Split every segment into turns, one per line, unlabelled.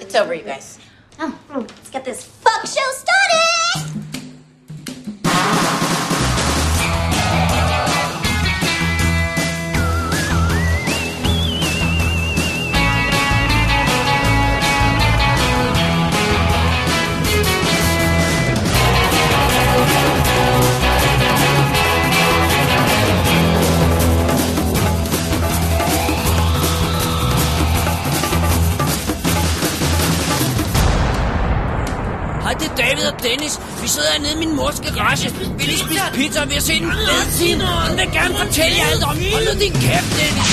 It's over, you guys.
Oh, let's get this fuck show started!
Hej, det er David og Dennis. Vi sidder hernede i min mors garage. Vi lige spise pizza, og vi har set en fed film. Han vil gerne fortælle jer alt om. Hold nu din kæft, Dennis.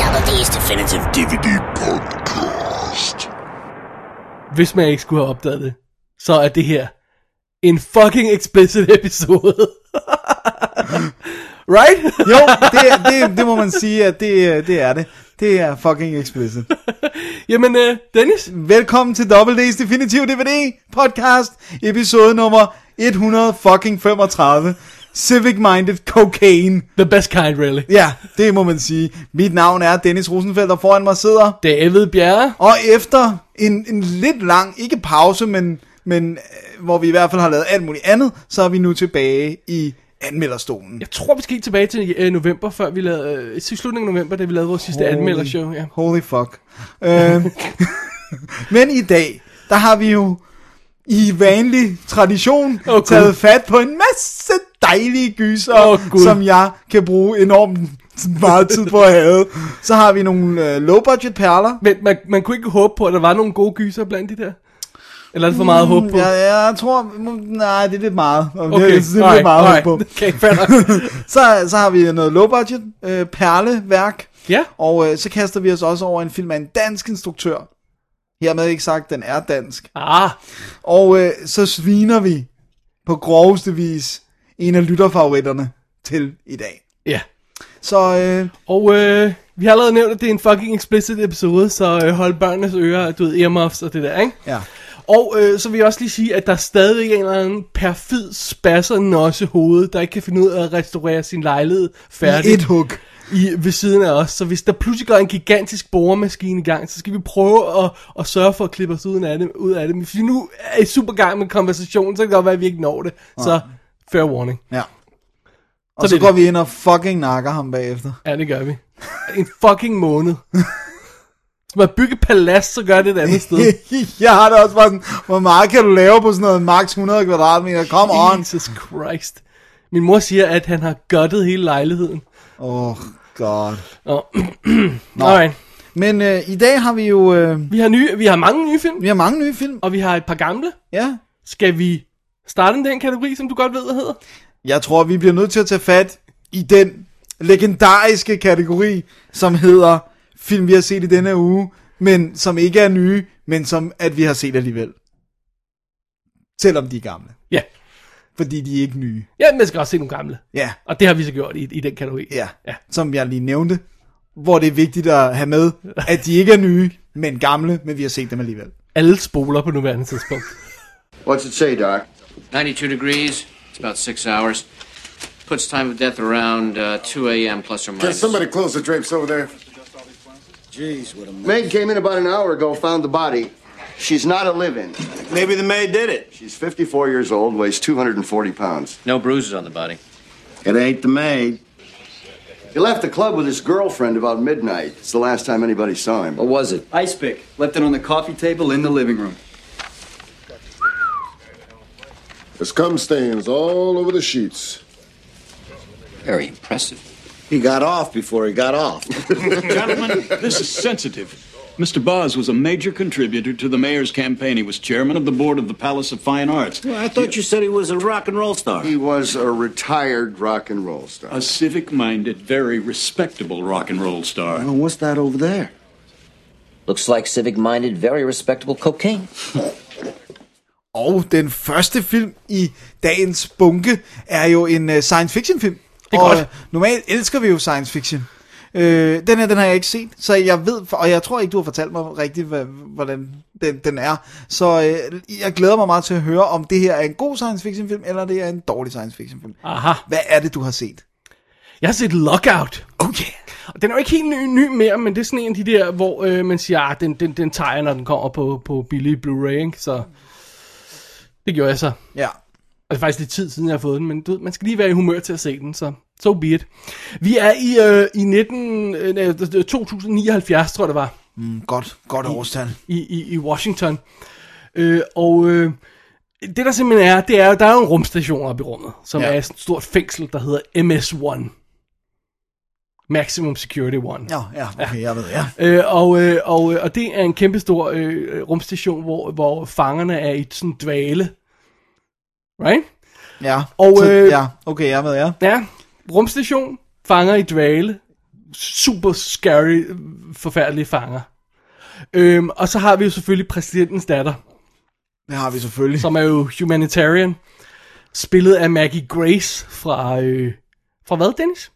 Double D's Definitive DVD Podcast.
hvis man ikke skulle have opdaget det, så er det her en fucking explicit episode. right?
Jo, det, det, det må man sige, at det, det er det. Det er fucking explicit.
Jamen, øh, Dennis,
Velkommen til Double D's Definitive DVD podcast, episode nummer 100 fucking 35. Civic Minded Cocaine.
the best kind, really.
Ja, det må man sige. Mit navn er Dennis Rosenfeldt, og foran mig sidder...
David Bjerre.
Og efter en, en lidt lang, ikke pause, men, men øh, hvor vi i hvert fald har lavet alt muligt andet, så er vi nu tilbage i anmelderstolen.
Jeg tror, vi skal helt tilbage til øh, november, før vi lavede, øh, til slutningen af november, da vi lavede vores sidste
Holy-
anmeldershow. Ja.
Holy fuck. Øh, men i dag, der har vi jo i vanlig tradition
Åh, Gud.
oh, taget fat på en masse dejlige gyser,
Åh, Gud.
som jeg kan bruge enormt meget tid på at have. Så har vi nogle øh, low-budget perler.
Men man, man kunne ikke håbe på, at der var nogle gode gyser blandt de der? Eller er det for meget at håbe på?
Jeg, jeg tror, mm, nej, det er lidt meget. Okay, det er,
Okay,
det er lidt meget at håbe på.
Okay, fair nok.
Så, så har vi noget low-budget øh, perleværk,
Ja,
og øh, så kaster vi os også over en film af en dansk instruktør. Hermed ikke sagt, at den er dansk.
ah,
Og øh, så sviner vi på groveste vis en af lytterfavoritterne til i dag.
ja.
Så øh,
Og øh, vi har allerede nævnt, at det er en fucking explicit episode, så øh, hold børnenes ører, du ved, earmuffs og det der, ikke?
ja,
Og øh, så vil jeg også lige sige, at der er stadigvæk en eller anden perfid spasser nosse hoved, der ikke kan finde ud af at restaurere sin lejlighed
i
færdigt
et hug.
i, ved siden af os. Så hvis der pludselig går en gigantisk boremaskine i gang, så skal vi prøve at, at sørge for at klippe os ud af det. Ud af det. Men hvis vi nu er i super gang med konversationen, så kan det godt være, at vi ikke når det. Så fair warning.
Ja.
Så
Og så,
det er
går vi ind og fucking nakker ham bagefter.
Ja, det gør vi. En fucking måned. Hvis man bygger palads, så gør det et andet sted.
jeg har det også bare sådan, hvor meget kan du lave på sådan noget max 100 kvadratmeter? Come on.
Jesus Christ. Min mor siger, at han har guttet hele lejligheden.
Oh god.
Oh. Alright.
Men øh, i dag har vi jo øh,
Vi har, nye, vi har mange nye film,
vi har mange nye film.
og vi har et par gamle.
Ja.
Skal vi starte med den kategori, som du godt ved, hvad hedder?
Jeg tror, vi bliver nødt til at tage fat i den legendariske kategori, som hedder film, vi har set i denne her uge, men som ikke er nye, men som at vi har set alligevel. Selvom de er gamle.
Ja.
Fordi de er ikke nye.
Ja, men jeg skal også se nogle gamle.
Ja,
Og det har vi så gjort i, i den kategori.
ja.
Ja.
ja. Som jeg lige nævnte. Hvor det er vigtigt at have med, at de ikke er nye, men gamle, men vi har set dem alligevel.
Alle spoler på nuværende tidspunkt.
What's it say, Doc?
92 degrees. It's about six hours. Puts time of death around uh, 2 a.m. plus or
Can
minus.
somebody close the drapes over there? Jeez, what a maid came in about an hour ago, found the body. She's not a live-in.
Maybe the maid did it.
She's 54 years old, weighs 240 pounds.
No bruises on the body.
It ain't the maid.
He left the club with his girlfriend about midnight. It's the last time anybody saw him.
What was it? Ice pick. Left it on the coffee table in the living room.
The scum stains all over the sheets.
Very impressive.
He got off before he got off.
Gentlemen, this is sensitive. Mr. Boz was a major contributor to the mayor's campaign. He was chairman of the board of the Palace of Fine Arts.
I thought you said he was a rock and roll star.
He was a retired rock and roll star.
A civic minded, very respectable rock and roll star.
what's that over there?
Looks like civic minded, very respectable cocaine.
Og den første film i dagens bunke er jo en uh, science fiction film.
Det er
og
godt.
øh, normalt elsker vi jo science fiction. Øh, den her, den har jeg ikke set, så jeg ved, og jeg tror ikke, du har fortalt mig rigtigt, hva- hvordan den, den er. Så øh, jeg glæder mig meget til at høre, om det her er en god science fiction film, eller det er en dårlig science fiction film.
Aha.
Hvad er det, du har set?
Jeg har set Lockout.
Okay.
Og den er jo ikke helt ny, ny mere, men det er sådan en af de der, hvor øh, man siger, ah, den, den, den tager jeg, når den kommer på, på billig Blu-ray, ikke? Så det gjorde jeg så.
Ja.
Altså faktisk lidt tid siden, jeg har fået den, men du, ved, man skal lige være i humør til at se den, så so be it. Vi er i, øh, i 19, øh, nej, det- det- 2079, tror jeg det var,
Mm, Godt, godt årstal.
i, i, i Washington. Øh, og øh, det der simpelthen er, det er, der er jo en rumstation oppe i rummet, som
Ja.
ja. er sådan et stort fængsel, der hedder MS-1. Maximum Security One.
Ja, ja, okay, jeg ved, ja.
Øh, og, øh, og, øh, og det er en kæmpestor øh, rumstation, hvor, hvor fangerne er i sådan dvale. Right?
Ja,
Og,
så,
øh,
ja okay, jeg ved, ja.
Ja, rumstation, fanger i dvale. Super scary, øh, forfærdelige fanger. Øhm, og så har vi jo selvfølgelig præsidentens datter,
Det har vi selvfølgelig.
som er jo humanitarian. Spillet af Maggie Grace fra... Øh, fra hvad, Dennis?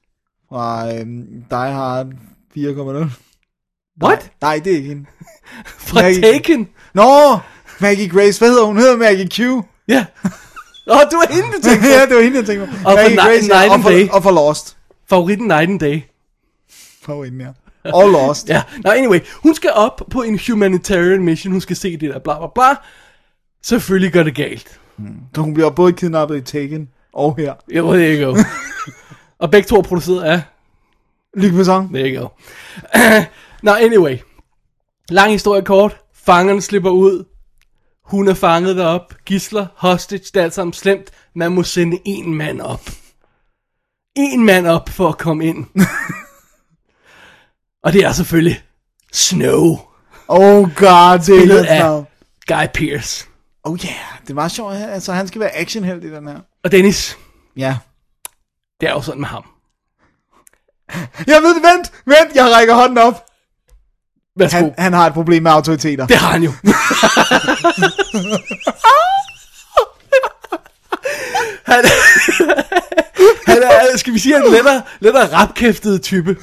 Fra øh, Die Hard 4,0.
What?
Nej, det er ikke hende.
Fra
Maggie-
Taken?
Nå, Maggie Grace, hvad hedder hun? Hun hedder Maggie Q.
Ja. Åh, oh, du er hende, du tænker.
ja, det var hende, jeg tænkte på.
Og fra Ni- Night
og,
and
for,
Day.
og for Lost.
Favoritten Night and Day.
For hende, ja. Og Lost.
Ja, no, anyway, hun skal op på en humanitarian mission, hun skal se det der bla bla bla. Selvfølgelig går det galt.
Så hun bliver både kidnappet i Taken og her.
Jo, there you go. og begge to er produceret af,
Lykke med sangen.
there you go. Nå, anyway. Lang historie kort. Fangerne slipper ud. Hun er fanget derop. Gisler, hostage, det er alt sammen slemt. Man må sende en mand op. En mand op for at komme ind. og det er selvfølgelig Snow,
Oh god, det er
spillet
ikke hans
af
navn.
Guy Pearce.
Oh yeah, det var sjovt. Altså, han skal være actionheld i den her.
Og Dennis,
Ja.
Det er jo sådan med ham.
Jeg ved det, vent, vent, jeg rækker hånden op. Han,
Værsgo. Han,
han har et problem med autoriteter.
det har han jo. han, han er, skal vi sige, en lettere, lettere rapkæftet type.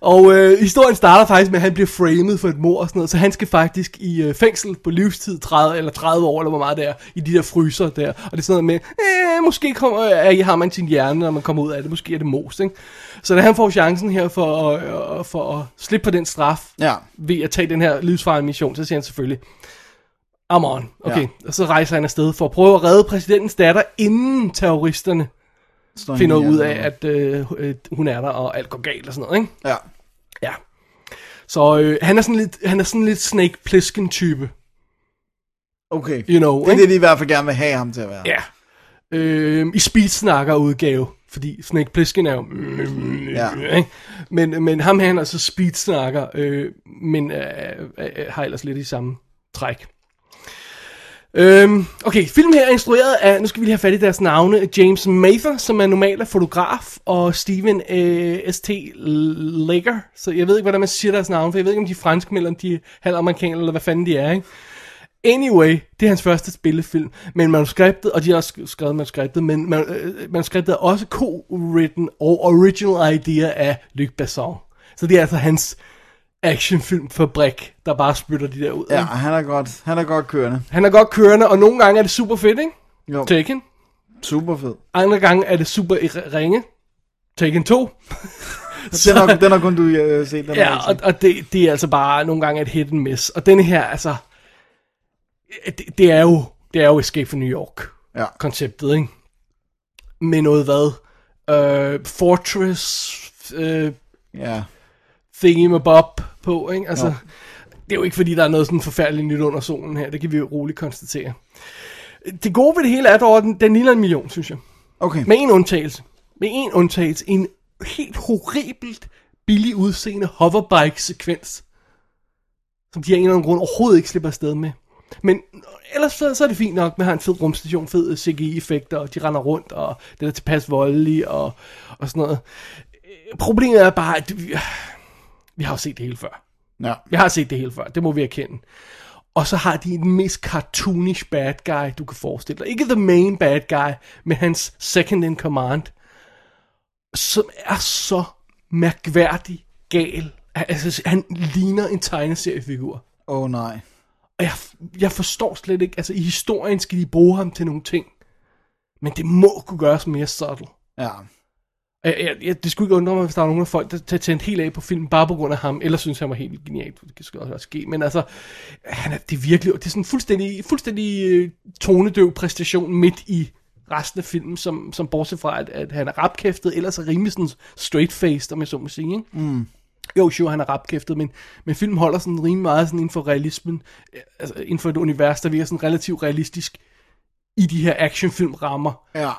Og øh, historien starter faktisk med, at han bliver framed for et mor og sådan noget, så han skal faktisk i øh, fængsel på livstid 30 eller 30 år, eller hvor meget det er, i de der fryser der. Og det er sådan noget med, øh, måske kommer, øh, har man sin hjerne, når man kommer ud af det, måske er det most, ikke? Så da han får chancen her for, at- øh, for at slippe på den straf,
Ja.
ved at tage den her livsfarlige mission, så siger han selvfølgelig, I'm on. Okay, ja. og så rejser han afsted for at prøve at redde præsidentens datter, inden terroristerne
Står han
finder
i
ud af,
hjernen.
at øh, øh, hun er der, og alt går galt og sådan noget, ikke?
Ja.
Ja. Så øh, han, er sådan lidt, han er sådan lidt Snake Plissken-type,
Okay.
you know,
Det er
ikke?
det, de i hvert fald gerne vil have ham til at være.
Ja. Øh, I speedsnakker-udgave, fordi Snake Plissken er jo...
Ja.
Ikke? Men, men ham her, han er så speedsnakker, øh, men øh, øh, øh, har ellers lidt i samme træk. Øhm, okay, filmen her er instrueret af, nu skal vi lige have fat i deres navne, James Mather, som er normalt er fotograf, og Steven øh, S.T. Lager, så jeg ved ikke, hvordan man siger deres navne, for jeg ved ikke, om de er franskmænd, eller om de er halvamerikanere, eller hvad fanden de er, ikke? Anyway, det er hans første spillefilm, men manuskriptet, og de har også sk- skrevet manuskriptet, men man, øh, manuskriptet er også co-written og original idea af Luc Besson. Så det er altså hans actionfilmfabrik, der bare spytter de der ud.
Ja,
ikke?
han er godt, han er godt kørende.
Han er godt kørende, og nogle gange er det super fedt, ikke?
Jo,
Taken.
super fed.
Andre gange er det super ir- ringe. Taken 2.
Den har, den har kun du øh, set. Den har jeg
Ja,
ikke
og,
set.
og det, det er altså bare nogle gange et hit and miss. Og denne her, altså... Det, det, er jo, det er jo Escape from New York.
Ja.
konceptet, ikke? Med noget hvad? Øh, Fortress øh,
ja.
thingy med Bob på, ikke? Altså,
Jo.
det er jo ikke fordi, der er noget sådan forfærdeligt nyt under solen her. Det kan vi jo roligt konstatere. Det gode ved det hele er dog, at den, den ligner en million, synes jeg.
Okay.
Med en undtagelse. Med en undtagelse. En helt horribelt billig udseende hoverbike-sekvens. Som de af en eller anden grund overhovedet ikke slipper afsted med. Men ellers så, så er det fint nok, man har en fed rumstation, fed øh, CGI-effekter, og de render rundt, og det er tilpas voldelige, og, og sådan noget. Øh, Problemet er bare, at vi, vi har jo set det hele før.
Ja.
Jeg har set det hele før, det må vi erkende. Og så har de den mest cartoonish bad guy, du kan forestille dig. Ikke the main bad guy, men hans second in command, som er så mærkværdig gal. Altså, han ligner en tegneseriefigur.
Åh oh, nej.
Og jeg, jeg forstår slet ikke, altså i historien skal de bruge ham til nogle ting. Men det må kunne gøres mere subtle.
Ja.
Jeg, jeg, jeg, det skulle ikke undre mig, hvis der er nogen af folk, der tager tændt helt af på filmen, bare på grund af ham, eller synes han var helt genial. Det skal også ske, men altså, han er, det er virkelig, det er sådan en fuldstændig, fuldstændig øh, tonedøv præstation midt i resten af filmen, som, som bortset fra, at, at han er rapkæftet, ellers er rimelig sådan straight-faced, om jeg så må sige, ikke? Mm. Jo, sure, han er rapkæftet, men, men filmen holder sådan rimelig meget sådan inden for realismen, øh, altså inden for et univers, der virker sådan relativt realistisk i de her actionfilmrammer.
Ja.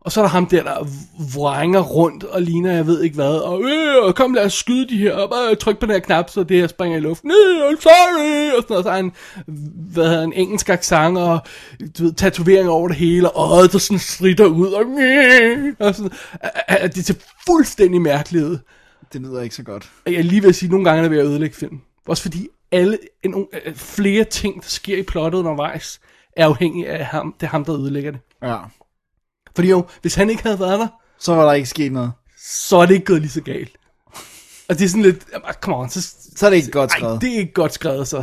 Og så er der ham der, der vrænger rundt og ligner, jeg ved ikke hvad. Og øh, kom lad os skyde de her, og bare tryk på den her knap, så det her springer i luften. Øh, I'm sorry! Og sådan noget. Så har han, hvad hedder han, engelsk accent og du ved, tatoveringer over det hele, og øjet, der sådan stritter ud. Og, øh, og sådan, øh, øh, det er til fuldstændig mærkelighed.
Det lyder ikke så godt.
Og jeg er lige ved at sige, at nogle gange er det ved at ødelægge filmen. Også fordi alle, en, en, flere ting, der sker i plottet undervejs, er afhængig af ham. Det er ham, der ødelægger det.
Ja.
Fordi jo, hvis han ikke havde været der,
Så var der ikke sket noget.
så er det ikke gået lige så galt. Og det er sådan lidt, ah, come on, så,
Så er det ikke godt skrevet.
Ej, det er ikke godt skrevet, så.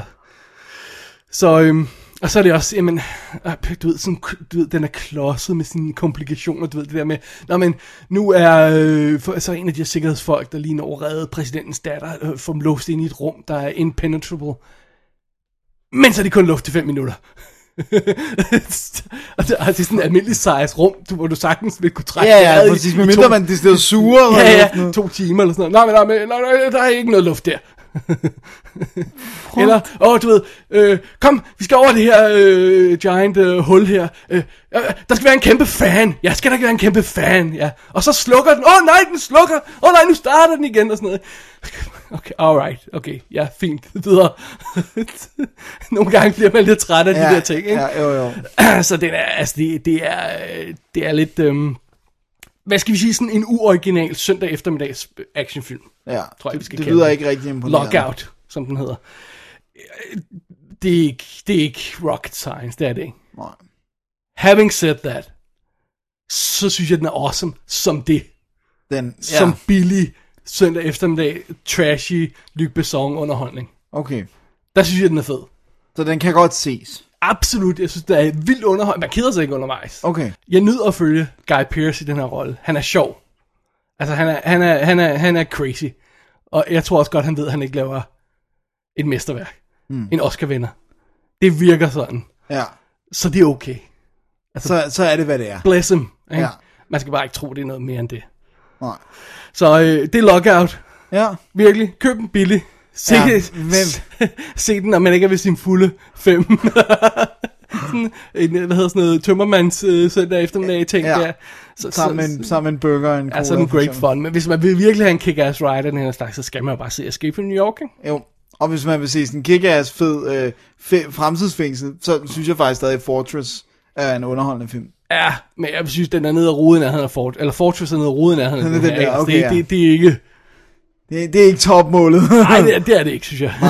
Så, øhm, og så er det også, jamen, ah, du ved, sådan, du ved, den er klodset med sine komplikationer, du ved, det der med, nå, men nu er øh, for, så en af de her sikkerhedsfolk, der lige når reddet præsidentens datter, øh, får dem låst ind i et rum, der er impenetrable. Men så er det kun luft til 5 minutter. og det, og det er sådan et almindeligt size rum, du, hvor du sagtens vil kunne trække
Ja,
vejret
ja,
i-
præcis.
i
Men
to-
mindre man det er sure. eller
ja,
sådan
ja,
noget.
to timer eller sådan noget. Nej, men, nej, men, nej, nej, der er ikke noget luft der. eller, åh, oh, du ved, øh, kom, vi skal over det her øh, giant øh, hul her. Øh, øh, der skal være en kæmpe fan. Ja, skal der ikke være en kæmpe fan, ja. Og så slukker den. Åh oh, nej, den slukker. Åh oh, nej, nu starter den igen og sådan noget. Okay, alright, okay, ja, fint, videre. Nogle gange bliver man lidt træt af
Ja,
de der ting, ikke?
Ja, jo, jo.
så den er, altså det, det er, øh, det er lidt, øhm, hvad skal vi sige, sådan en uoriginal søndag eftermiddags øh, actionfilm.
Ja.
Tror jeg, vi skal
det, det
kalde
lyder
den.
ikke rigtig imponerende.
Lockout, som den hedder. Øh, Det er, ikke, det er ikke rocket science, det er det ikke.
Nej.
Having said that, så synes jeg, den er awesome som det.
Den,
Ja. Som billig søndag eftermiddag, trashy Luc Besson underholdning.
Okay.
Der synes jeg, den er fed.
Så den kan godt ses.
Absolut, jeg synes, det er vildt underholdning. Man keder sig ikke undervejs.
Okay.
Jeg nyder at følge Guy Pearce i den her rolle. Han er sjov. Altså, han er, han, er, han, er, han er crazy. Og jeg tror også godt, han ved, at han ikke laver et mesterværk.
Hmm.
Mm. En Oscar-vinder. Det virker sådan.
Ja.
Så det er okay. Altså-
Så, så er det, hvad det er.
Bless him. Ikke?
Ja.
Man skal bare ikke tro, det er noget mere end det.
Nej.
Så øh, det er lockout.
Ja.
Virkelig. Køb den billig. Se,
Ja,
ja,
hvem-
se den, når man ikke er ved sin fulde fem. sådan en, hvad hedder sådan noget, tømmermands øh, søndag eftermiddag ting
Ja.
der. Så,
Sammen med, en, sammen med en burger og en cola.
er sådan
for
great
eksempel.
fun. Men hvis man vil virkelig have en kick-ass ride af den her slags, så skal man jo bare se Escape from New York, ikke?
Jo. Og hvis man vil se sådan en kick-ass fed øh, fe- fremtidsfængsel, så synes jeg faktisk stadig Fortress er en underholdende film.
Ja, men jeg synes, den er nede af ruden af han er Fort, eller Fortress er nede af ruden af han
Den er
er
den der, okay,
det,
ja.
det, det, er ikke...
Det, det er ikke topmålet.
Nej, det, er- det er det ikke, synes jeg.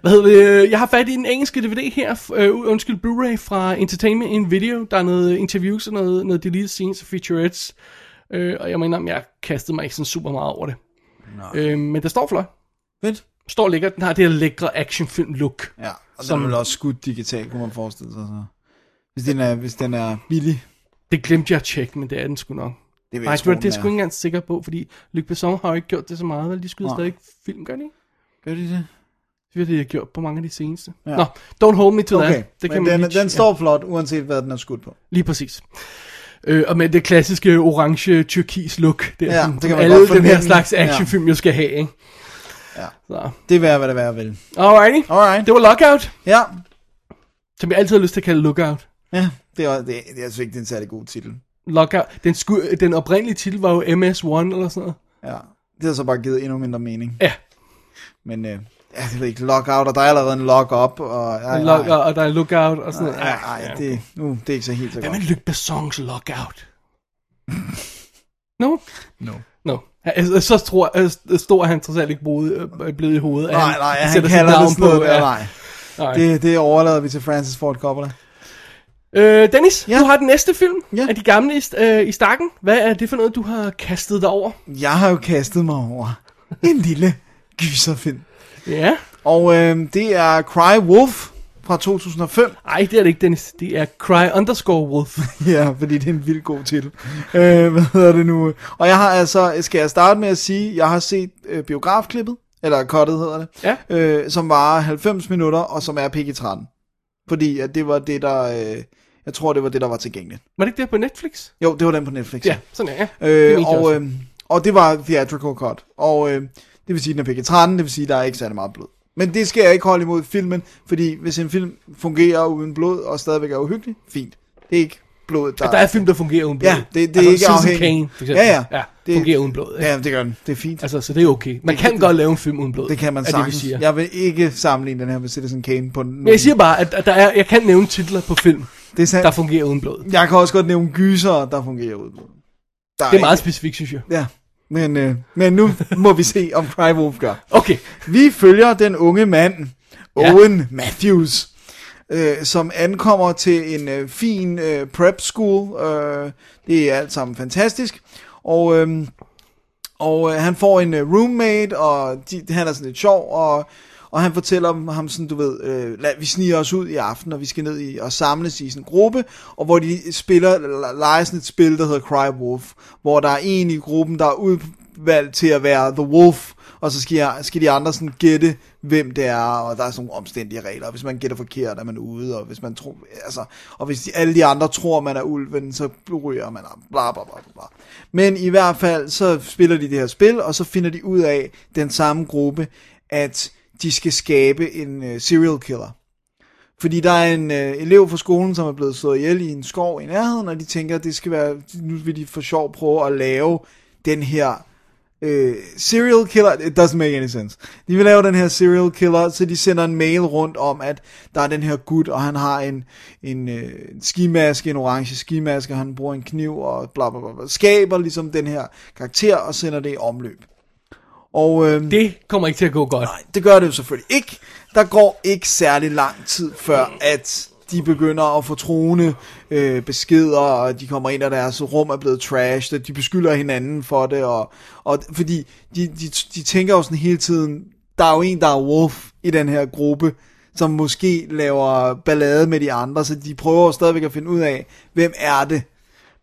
Hvad hedder det? Øh, Jeg har fat i den engelske DVD her, øh, undskyld, Blu-ray fra Entertainment in Video. Der er noget interviews og noget, noget deleted scenes og featurettes. Øh, og jeg mener, jeg kastede mig ikke sådan super meget over det. Øh, men der står flot.
Fedt.
Står lækkert. Den har det her lækre actionfilm-look.
Ja, og Som...
Som-
den er vel også skudt digitalt, kunne man forestille sig. Så. Hvis, den er, hvis den er billig.
Det glemte jeg at tjekke, men det er den sgu nok.
Det vil
Nej,
jeg
jeg tror,
tro,
det er jeg
den
sgu ikke engang sikker på, fordi Luc Besson har jo ikke gjort det så meget, vel? De skyder
Nej.
stadig film, gør de ikke?
Gør de det?
Det har de har gjort på mange af de seneste.
Ja.
Ja. Nå, don't hold me to
Okay,
that. Det kan
men
man
den,
lige-
den står flot, uanset hvad den er skudt på.
Lige præcis. Øh, og med det klassiske orange tyrkis look, der,
Ja,
ja, som,
det
som
kan man
alle
godt
den her
fornemme.
slags actionfilm jo skal have, ikke?
Ja.
Så.
Det er værd, hvad det er vel.
Alrighty.
Alright.
Det var Lockout,
Ja.
som jeg altid har lyst til at kalde Lookout.
Ja, det er, det, det er altså ikke den særlig god titel.
Lockout. Den, sku, den oprindelige titel var jo MS1 eller sådan noget.
Ja. Det har så bare givet endnu mindre mening.
Ja,
Men øh, ja, det ved ikke, lockout, og der er allerede en lock-up, og... Ej,
lock,
ej,
og der er Lookout og sådan noget.
ej, ej, det, nu, det er ikke så helt så
Hvad med
godt.
Luc Besson's Lockout? no? No. No. Altså, så tror, altså, stor er han trods alt ikke boede, øh, blevet i hovedet. at
Nej, nej, han
sætter sit
kalder det
navn
sådan noget. Ja, nej.
nej.
Det, det overlader vi til Francis Ford Coppola.
Øh, Dennis,
Ja.
ja. du har den næste film
Ja.
ja. af de gamle i, st- øh, i stakken. Hvad er det for noget, du har kastet dig over?
Jeg har jo kastet mig over En lille gyserfilm.
Ja.
Og øh, det er Cry Wolf fra 2005.
Ej, det er det ikke, Dennis. Det er Cry underscore Wolf.
Ja, fordi det er en vildt god titel. Øh, hvad hedder det nu? Og jeg har altså, skal jeg starte med at sige, jeg har set øh, biografklippet, eller cuttet hedder det,
Ja.
øh, som var 90 minutter, og som er PG-13. Fordi at det var det, der... Øh, jeg tror, det var det, der var tilgængeligt.
Var det ikke der på Netflix?
Jo, det var den på Netflix.
Ja, sådan er jeg.
Øh, og,
og,
øh, og det var theatrical cut. Og øh, det vil sige, den er PG-13, det vil sige, der er ikke særlig meget blod. Men det skal jeg ikke holde imod filmen, fordi hvis en film fungerer uden blod og stadigvæk er uhyggelig, fint. Det er ikke blodet, der,
der er film, der fungerer uden blod.
Ja, det, det
altså,
er ikke
Citizen
afhængigt.
Kane, for eksempel.
Ja, ja.
ja det, fungerer uden blod. Ja.
Ja, det gør den. Det er fint.
Altså, så det er okay. Man kan godt lave en film uden blod.
det kan man
er det, vi
sagtens.
siger.
jeg vil ikke sammenligne den her med Citizen Kane på nogen.
Men jeg siger bare, at at der er, jeg kan nævne titler på film,
det er sandt.
der fungerer uden blod.
Jeg kan også godt nævne gyser, der fungerer ud. Der
Det er meget
ikke-
specifikt, synes jeg.
Ja, men, øh, men nu må vi se, om Cry Wolf gør.
Okay.
Vi følger den unge mand,
Ja.
Owen Matthews, øh, som ankommer til en øh, fin øh, prep school. Øh, det er alt sammen fantastisk. Og, øh, og øh, han får en øh, roommate, og de, han er sådan lidt sjov, og, og han fortæller dem- ham sådan, du ved, øh, lad, vi sniger os ud i aften, og vi skal ned i, og samles i sådan en gruppe, og hvor de spiller, le- leger sådan et spil, der hedder Cry Wolf, hvor der er en i gruppen, der er udvalgt til at være The Wolf, og så skal, jeg, skal de andre sådan gætte, hvem det er, og der er sådan nogle omstændige regler, og hvis man gætter forkert, er man ude, og hvis man tror, altså, og hvis de, alle de andre tror, man er ulven, så ryger man op, bla bla bla bla, bla. Men i hvert fald, så spiller de det her spil, og så finder de ud af, den samme gruppe, at de skal skabe en øh, serial killer. Fordi der er en øh, elev fra skolen, som er blevet slået ihjel i en skov i nærheden, og de tænker, at det skal være, nu vil de for sjov prøve at lave den her øh, serial killer, it doesn't make any sense. De vil lave den her serial killer, så de sender en mail rundt om, at der er den her gut, og han har en, en, øh, en skimaske, en orange skimaske, og han bruger en kniv, og bla bla bla, bla. skaber ligesom den her karakter, og sender det i omløb. Og, øh,
Det kommer ikke til at gå godt.
Nej, det gør det jo selvfølgelig ikke. Der går ikke særlig lang tid før, at de begynder at få truende øh, beskeder, og de kommer ind, og deres rum er blevet trashed, og de beskylder hinanden for det, og, og fordi de, de, de tænker jo sådan hele tiden, der er jo en, der er wolf i den her gruppe, som måske laver ballade med de andre, så de prøver stadigvæk at finde ud af, hvem er det,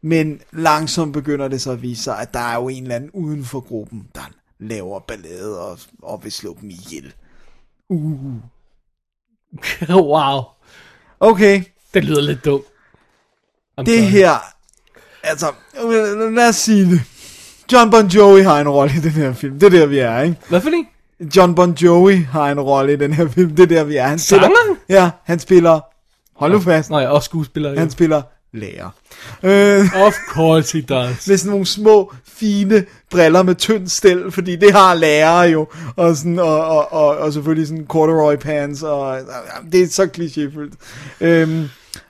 men langsomt begynder det så at vise sig, at der er jo en eller anden uden for gruppen, der laver ballade og, og vil slå dem ihjel.
wow.
Okay,
Det lyder lidt dumt. I'm
det
sorry.
her... Altså, øh, lad os sige det. John Bon Jovi har en rolle i den her film. Det er der, vi er, ikke?
Hvad for en?
John Bon Jovi har en rolle i den her film. Det er der, vi er. Han spiller,
Sangeren?
Ja, han spiller... Hold nu fast.
Nej, og skuespiller. jo.
Han spiller lærer. Øh,
Of course he does.
med sådan nogle små, fine briller med tynd stel, fordi det har lærere jo, og, sådan, og, og, og, og selvfølgelig sådan corduroy pants, og, og det er så klichéfyldt. Øhm,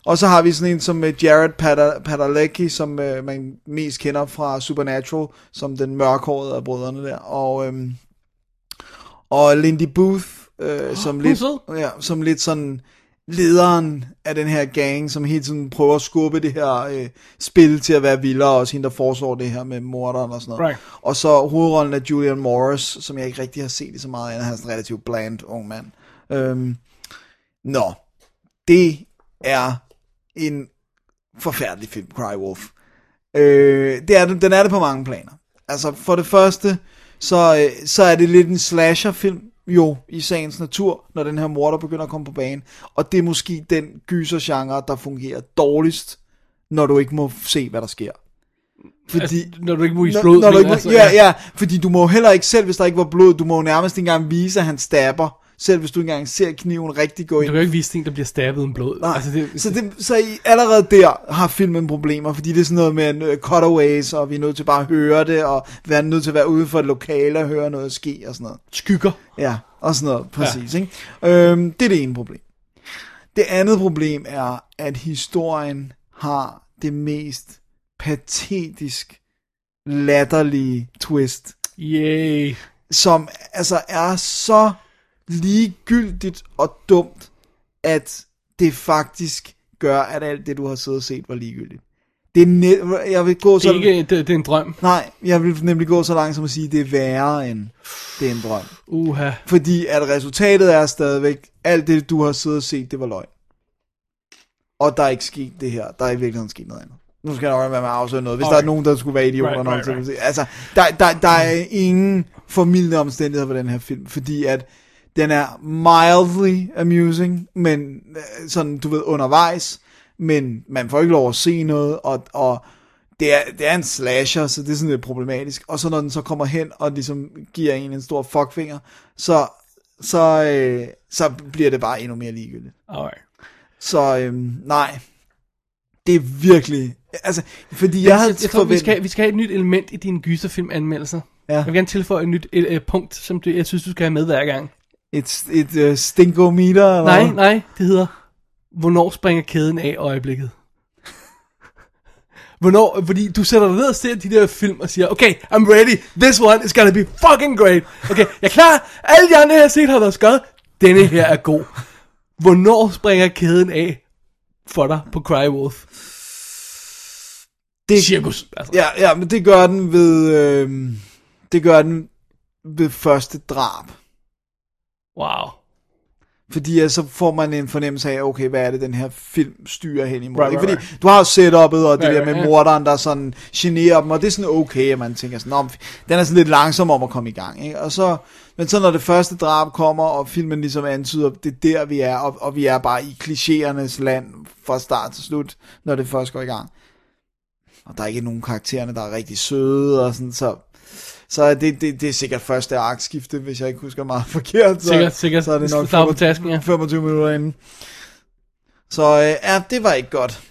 og så har vi sådan en som øh, Jared Padalecki, Padalecki, som øh, man mest kender fra Supernatural, som den mørkhårede af brødrene der, og, øhm, og Lindy Booth, øh, som,
er
lidt,
sød.
ja, som lidt sådan lederen af den her gang, som hele tiden prøver at skubbe det her øh, spil til at være vildere, og også hende, der foreslår det her med morderen og sådan noget.
Right.
Og så hovedrollen af Julian Morris, som jeg ikke rigtig har set i så meget andet, han er sådan en relativt bland ung mand. Øhm, nå, det er en forfærdelig film, Cry Wolf. Øh, det er, den den er det på mange planer. Altså, for det første, så, øh, så er det lidt en slasherfilm, jo, i sagens natur, når den her morder begynder at komme på banen. Og det er måske den gysergenre, der fungerer dårligst, når du ikke må se, hvad der sker. Fordi,
Altså, når du ikke må vise
Når-
blod.
når du
men
ikke må-
altså,
ja, ja, fordi du må jo heller ikke selv, hvis der ikke var blod, du må jo nærmest ikke engang vise, at han stabber. Selv hvis du ikke engang ser kniven rigtig gå
Du
ind.
kan jo ikke vise ting, der bliver stabbet uden blod.
Nej,
Altså, det,
så, det, så I, allerede der har filmen problemer, fordi det er sådan noget med øh, cutaways, og vi er nødt til bare at høre det, og vi er nødt til at være ude for et lokale og høre noget ske og sådan noget.
skygger.
Ja, og sådan noget, præcis. Ja. Ikke? Øhm, det er det ene problem. Det andet problem er, at historien har det mest patetisk latterlige twist,
Yay.
som altså er så ligegyldigt og dumt, at det faktisk gør, at alt det, du har siddet og set, var ligegyldigt. Det er net, jeg vil gå
Det er,
så...
ikke, det, det er en drøm.
Nej, jeg vil nemlig gå så langt som at sige, det er værre end det er en drøm.
Uha.
Fordi at resultatet er stadigvæk, alt det du har siddet og set, det var løgn. Og der er ikke sket det her, der er i virkeligheden sket noget andet. Nu skal jeg nok være med at afsløre noget, hvis okay. der er
Alright.
nogen, der skulle være idioter
Right,
nok
right,
til at sige- Altså, der, der, der er ingen formidlende omstændigheder på den her film, fordi at den er mildly amusing, men øh, sådan, du ved, undervejs, men man får ikke lov at se noget, og, og det er, det er en slasher, så det er sådan lidt problematisk. Og så når den så kommer hen og ligesom giver en en stor fuckfinger, så, så, øh, så bliver det bare endnu mere ligegyldigt.
Alright.
Så øh, nej, det er virkelig... Altså, fordi jeg
Jeg,
havde
jeg, jeg tror, vi
forventet-
skal, vi skal have et nyt element i dine gyserfilmanmeldelser.
Ja.
Ja. Jeg vil gerne tilføje et nyt et, et, punkt, som du, jeg synes, du skal have med hver gang.
Et, et uh, stinkometer, eller
Nej,
hvad?
nej, det hedder, hvornår springer kæden af øjeblikket? Hvornår, fordi du sætter dig ned og ser de der film og siger, okay, I'm ready, this one is gonna be fucking great. Okay, jeg er klar, alle de andre, jeg har set, har været skød, denne her er god. Hvornår springer kæden af for dig på Cry Wolf?
det,
Cirkus, altså.
Ja, ja, men det gør den ved... Øh, det gør den ved første drab.
Wow.
Fordi ja, så får man en fornemmelse af, okay, hvad er det, den her film styrer hen imod.
Right,
Right, right,
right,
Fordi du har jo setup'et, og det
Right,
right, der
right,
med
ja.
morderen, der sådan generer dem, og det er sådan okay, at man tænker sådan, "Nå, men den er sådan lidt langsom om at komme i gang. Ikke? Og så, men så når det første drab kommer, og filmen ligesom antyder, det er der, vi er, og, og vi er bare i klichéernes land fra start til slut, når det først går i gang. Og der er ikke nogen karaktererne, der er rigtig søde, og sådan, så... Så det, det, det er sikkert første arkskifte, hvis jeg ikke husker meget forkert. Så,
Sikkert, sikkert.
Så er det nok
Slag på
25
tasken, ja.
25 minutter inden. Så øh, ja, det var ikke godt.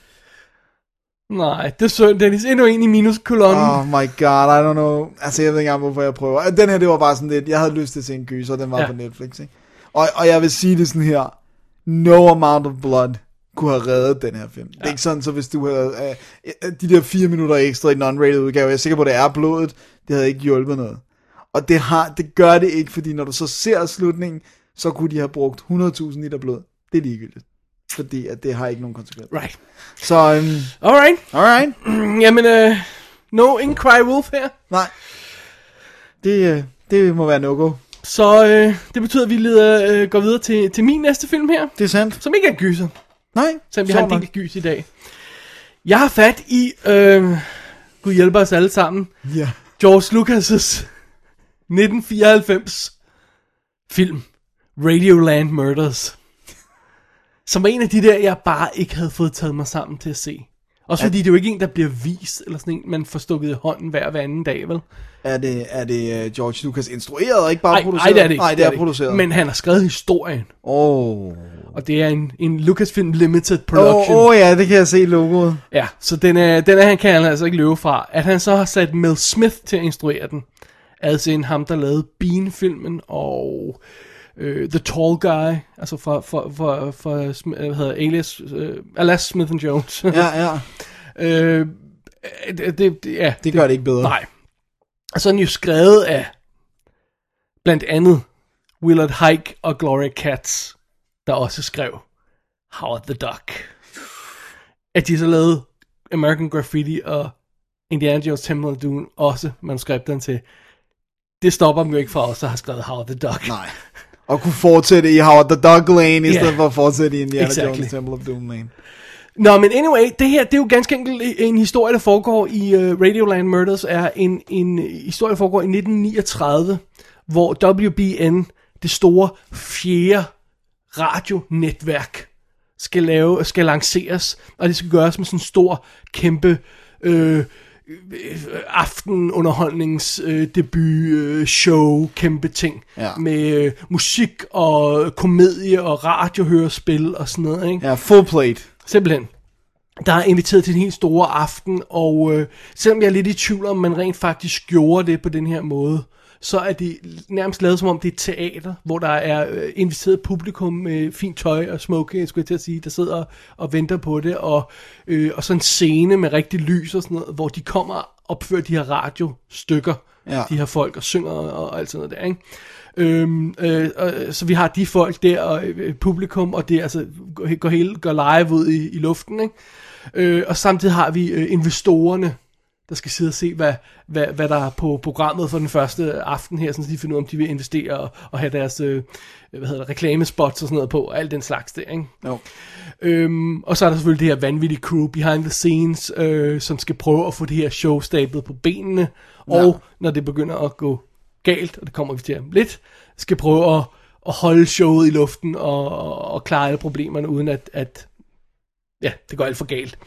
Nej, det er synd, Dennis. Endnu en i minuskolonnen.
Oh my god, I don't know. Altså, jeg ved ikke engang, hvorfor jeg prøver. Den her, det var bare sådan lidt, jeg havde lyst til at se en gyser, den var ja.
Ja.
på Netflix, ikke? Og, og jeg vil sige det sådan her, no amount of blood kunne have reddet den her film. Ja. Det er ikke sådan, så hvis du havde øh, de der fire minutter ekstra i den unrated udgave, jeg er sikker på, det er blodet, det havde ikke hjulpet noget. Og det, har, det gør det ikke, fordi når du så ser slutningen, så kunne de have brugt 100.000 liter blod. Det er ligegyldigt. Fordi at det har ikke nogen konsekvens.
Right.
Så, um,
Alright.
alright.
Jamen, øh, no, ingen Cry Wolf her.
Nej. Det, øh, det må være no-go.
Så øh, det betyder, at vi leder, øh, går videre til, til min næste film her,
Det er sandt.
som ikke er en gyser,
Nej.
selvom vi har en del gys i dag. Jeg har fat i, øh, Gud hjælper os alle sammen,
Ja.
George Lucas' 1994 film, Radioland Murders, som var en af de der, jeg bare ikke havde fået taget mig sammen til at se. Også fordi det er jo ikke en, der bliver vist, eller sådan en, man får stukket i hånden hver, hver anden dag, vel?
Er det, er det øh, George Lucas instrueret, og ikke bare
Nej,
produceret?
nej, det er det ikke.
Nej, det er,
ikke.
produceret.
Men han har skrevet historien.
Åh. Oh.
Og det er en, en Lucasfilm Limited
Åh,
Production.
oh, oh, ja, det kan jeg se i logoet.
Ja, så den, er, den er, han kan han altså ikke løbe fra. At han så har sat Mel Smith til at instruere den. Altså en ham, der lavede Bean-filmen og øh, The Tall Guy. Altså fra, fra, fra, fra Sm- øh, hvad hedder, det, Alias, øh, Alas Smith and Jones.
Ja, ja.
øh, det, det, det, ja,
Det gør det ikke bedre.
Nej. Og så er den jo skrevet af blandt andet Willard Hike og Gloria Katz, der også skrev Howard the Duck. At de så lavede American Graffiti og Indiana Jones Temple of Doom også manuskripterne til. Det stopper dem jo ikke fra os, der har skrevet Howard the Duck.
Nej. Og kunne fortsætte i Howard the Dog Lane, i
Ja.
stedet for at fortsætte i Indiana
Exactly.
Jones Temple of Doom Lane.
Nå, men anyway, det her, det er jo ganske enkelt en historie, der foregår i uh, Radioland Murders, er en, en historie, der foregår i 1939, hvor WBN, det store fjerde radionetværk, skal, lave, skal lanceres, og det skal gøres med sådan en stor, kæmpe øh, aftenunderholdnings øh, debut øh, show kæmpe ting
Ja.
med øh, musik og komedie og radiohørespil og sådan noget, ikke?
Ja, full plate.
Simpelthen. Der er inviteret til den helt store aften, og øh, selvom jeg er lidt i tvivl om, man rent faktisk gjorde det på den her måde, så er det nærmest lavet som om det er et teater, hvor der er øh, inviteret publikum med fint tøj og smoking, skulle jeg til at sige, der sidder og venter på det, og, øh, og så en scene med rigtig lys og sådan noget, hvor de kommer og opfører de her radiostykker,
Ja.
de her folk, og synger og, og alt sådan noget der, ikke? Øhm, øh, øh, så vi har de folk der, og øh, publikum, og det er altså går, går hele går live ud i, i luften. Ikke? Øh, og samtidig har vi øh, investorerne, der skal sidde og se, hvad, hvad, hvad der er på programmet for den første aften her, sådan, så de finder ud af, om de vil investere og, og have deres øh, hvad hedder det, reklamespots og sådan noget på, og alt den slags der. Ikke?
Jo.
Øhm, og så er der selvfølgelig det her vanvittige crew behind the scenes, øh, som skal prøve at få det her show stablet på benene, og når det begynder at gå galt, og det kommer vi til om lidt, skal prøve at, at holde showet i luften og, og, og klare alle problemerne, uden at, at ja, det går alt for galt.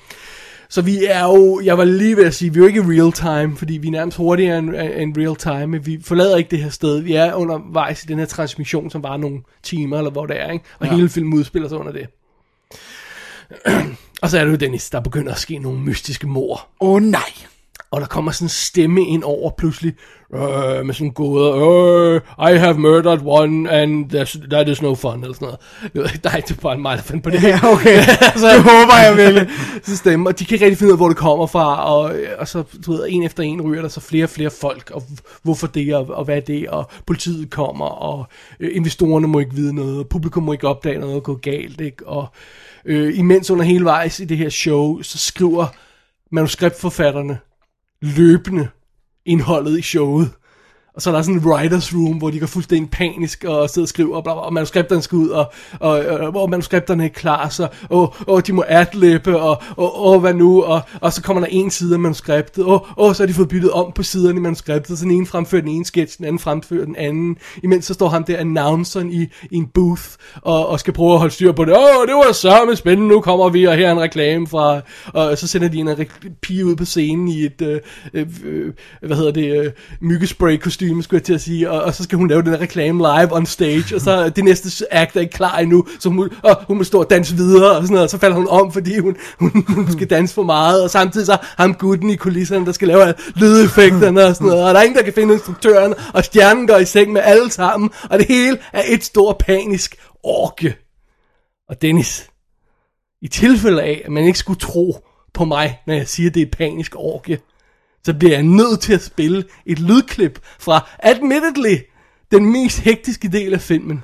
Så vi er jo, jeg var lige ved at sige, vi er jo ikke i real time, fordi vi er nærmest hurtigere end, end real time, men vi forlader ikke det her sted. Vi er undervejs i den her transmission, som var nogle timer, eller hvor det er, ikke? og ja. hele filmen udspiller sig under det. og så er det jo Dennis, der begynder at ske nogle mystiske mor.
Åh oh, nej.
Og der kommer sådan en stemme ind over pludselig, øh, med sådan gåder, øh, I have murdered one, and there's- that is no fun, eller sådan noget. Jeg ved ikke, nej, det er bare mig, der fandt på det.
Ja, okay.
altså,
Det håber jeg virkelig.
så stemme, og de kan ikke rigtig finde ud af, hvor det kommer fra, og, og så, du ved, en efter en ryger der så flere og flere folk, og hvorfor det, og, og hvad er det, og politiet kommer, og øh, investorerne må ikke vide noget, og publikum må ikke opdage noget, og gå galt, ikke? Og øh, imens under hele vejs i det her show, så skriver manuskriptforfatterne løbende indholdet i showet. Og så er der sådan en writers room, hvor de går fuldstændig panisk og sidder og skriver, og, bla, bla, og manuskripterne skal ud, og, og, og, og manuskripterne er ikke klar, så og, og de må adlibbe, og, og, og hvad nu, og, og så kommer der en side af manuskriptet, og, og så har de fået byttet om på siderne i manuskriptet, så den ene fremfører den ene sketch, den anden fremfører den anden, imens så står ham der announceren i, i en booth, og, og skal prøve at holde styr på det, åh, det var sørme spændende, nu kommer vi, og her er en reklame fra, og så sender de en re- pige ud på scenen i et, øh, øh, øh, hvad hedder det, øh, myggespray kostume, skulle jeg til at sige, og, og så skal hun lave den her reklame live on stage, og så er det næste act er ikke klar endnu, så hun, og hun må stå og danse videre, og sådan noget, og så falder hun om, fordi hun, hun, hun skal danse for meget, og samtidig så er ham gutten i kulisserne, der skal lave lydeffekterne og sådan noget, og der er ingen, der kan finde instruktøren, og stjernen går i seng med alle sammen, og det hele er et stort panisk orke. Og Dennis, i tilfælde af, at man ikke skulle tro på mig, når jeg siger, at det er et panisk orke, så bliver jeg nødt til at spille et lydklip fra, admittedly, den mest hektiske del af filmen.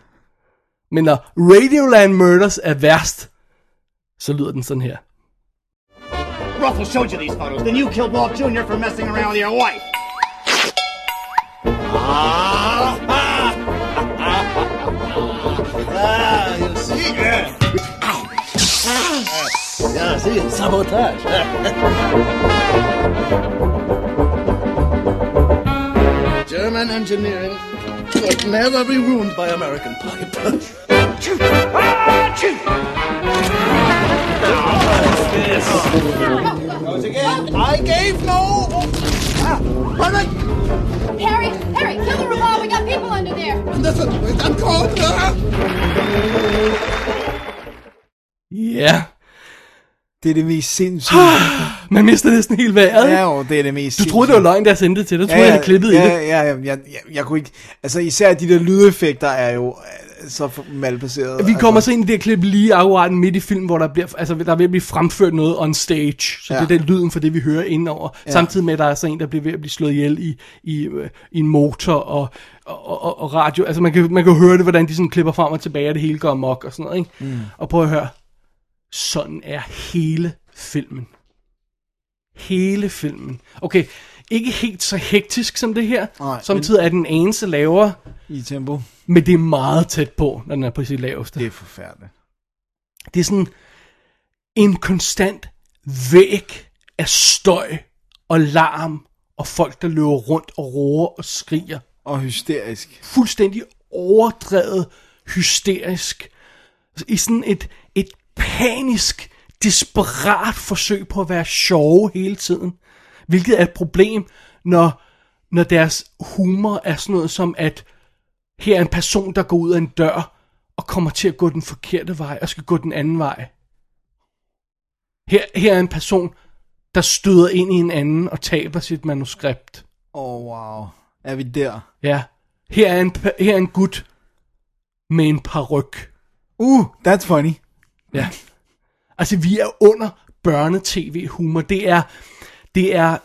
Men når Radioland Murders er værst, så lyder den sådan her.
Ruffle showed you these photos. Then you killed Walt Jr. for messing around with your wife.
German engineering could never be ruined by American pipe.
Harry, Harry, kill the robot. We got people under there.
Ja, yeah.
Det er det mest sindssyge.
man mister næsten helt vejret.
ja,
Ja,
jo, det er det mest
du troede, det var løgn, da jeg sendte det til dig. Du troede, jeg havde klippet
ja,
i det.
Ja, ja, ja, jeg, jeg kunne ikke... Altså, især de der lydeffekter er jo øh, så for- malplacerede.
Vi kommer
altså,
så ind i det her klip lige akkurat midt i filmen, hvor der bliver, altså, der er ved at blive fremført noget on stage. Så ja.
Ja.
det er den lyden for det, vi hører indenover. Ja. Samtidig med, at der er så en, der bliver ved at blive slået ihjel i, i, øh, i en motor og, og, og, og radio. Altså man kan, man kan høre det, hvordan de sådan klipper frem og tilbage, og det hele går amok og sådan noget. Ikke? Mm. Og prøv at høre. Sådan er hele filmen. Hele filmen. Okay, ikke helt så hektisk som det her.
Nej, men-
Samtidig er den anelse lavere,
I tempo.
men det er meget tæt på, når den er på sit laveste.
Det er forfærdeligt.
Det er sådan en konstant væg af støj og larm og folk, der løber rundt og roer og skriger.
Og hysterisk.
Fuldstændig overdrevet, hysterisk. Altså, I sådan et, et panisk, desperat forsøg på at være sjove hele tiden. Hvilket er et problem, når, når deres humor er sådan noget som, at her er en person, der går ud af en dør og kommer til at gå den forkerte vej og skal gå den anden vej. Her, her er en person, der støder ind i en anden og taber sit manuskript.
Åh, oh, wow. Er vi der?
Ja. Her er en, pa- her er en gut med en paryk.
Uh, that's funny.
Ja. Altså, vi er under børnetv-humor. Det er, det er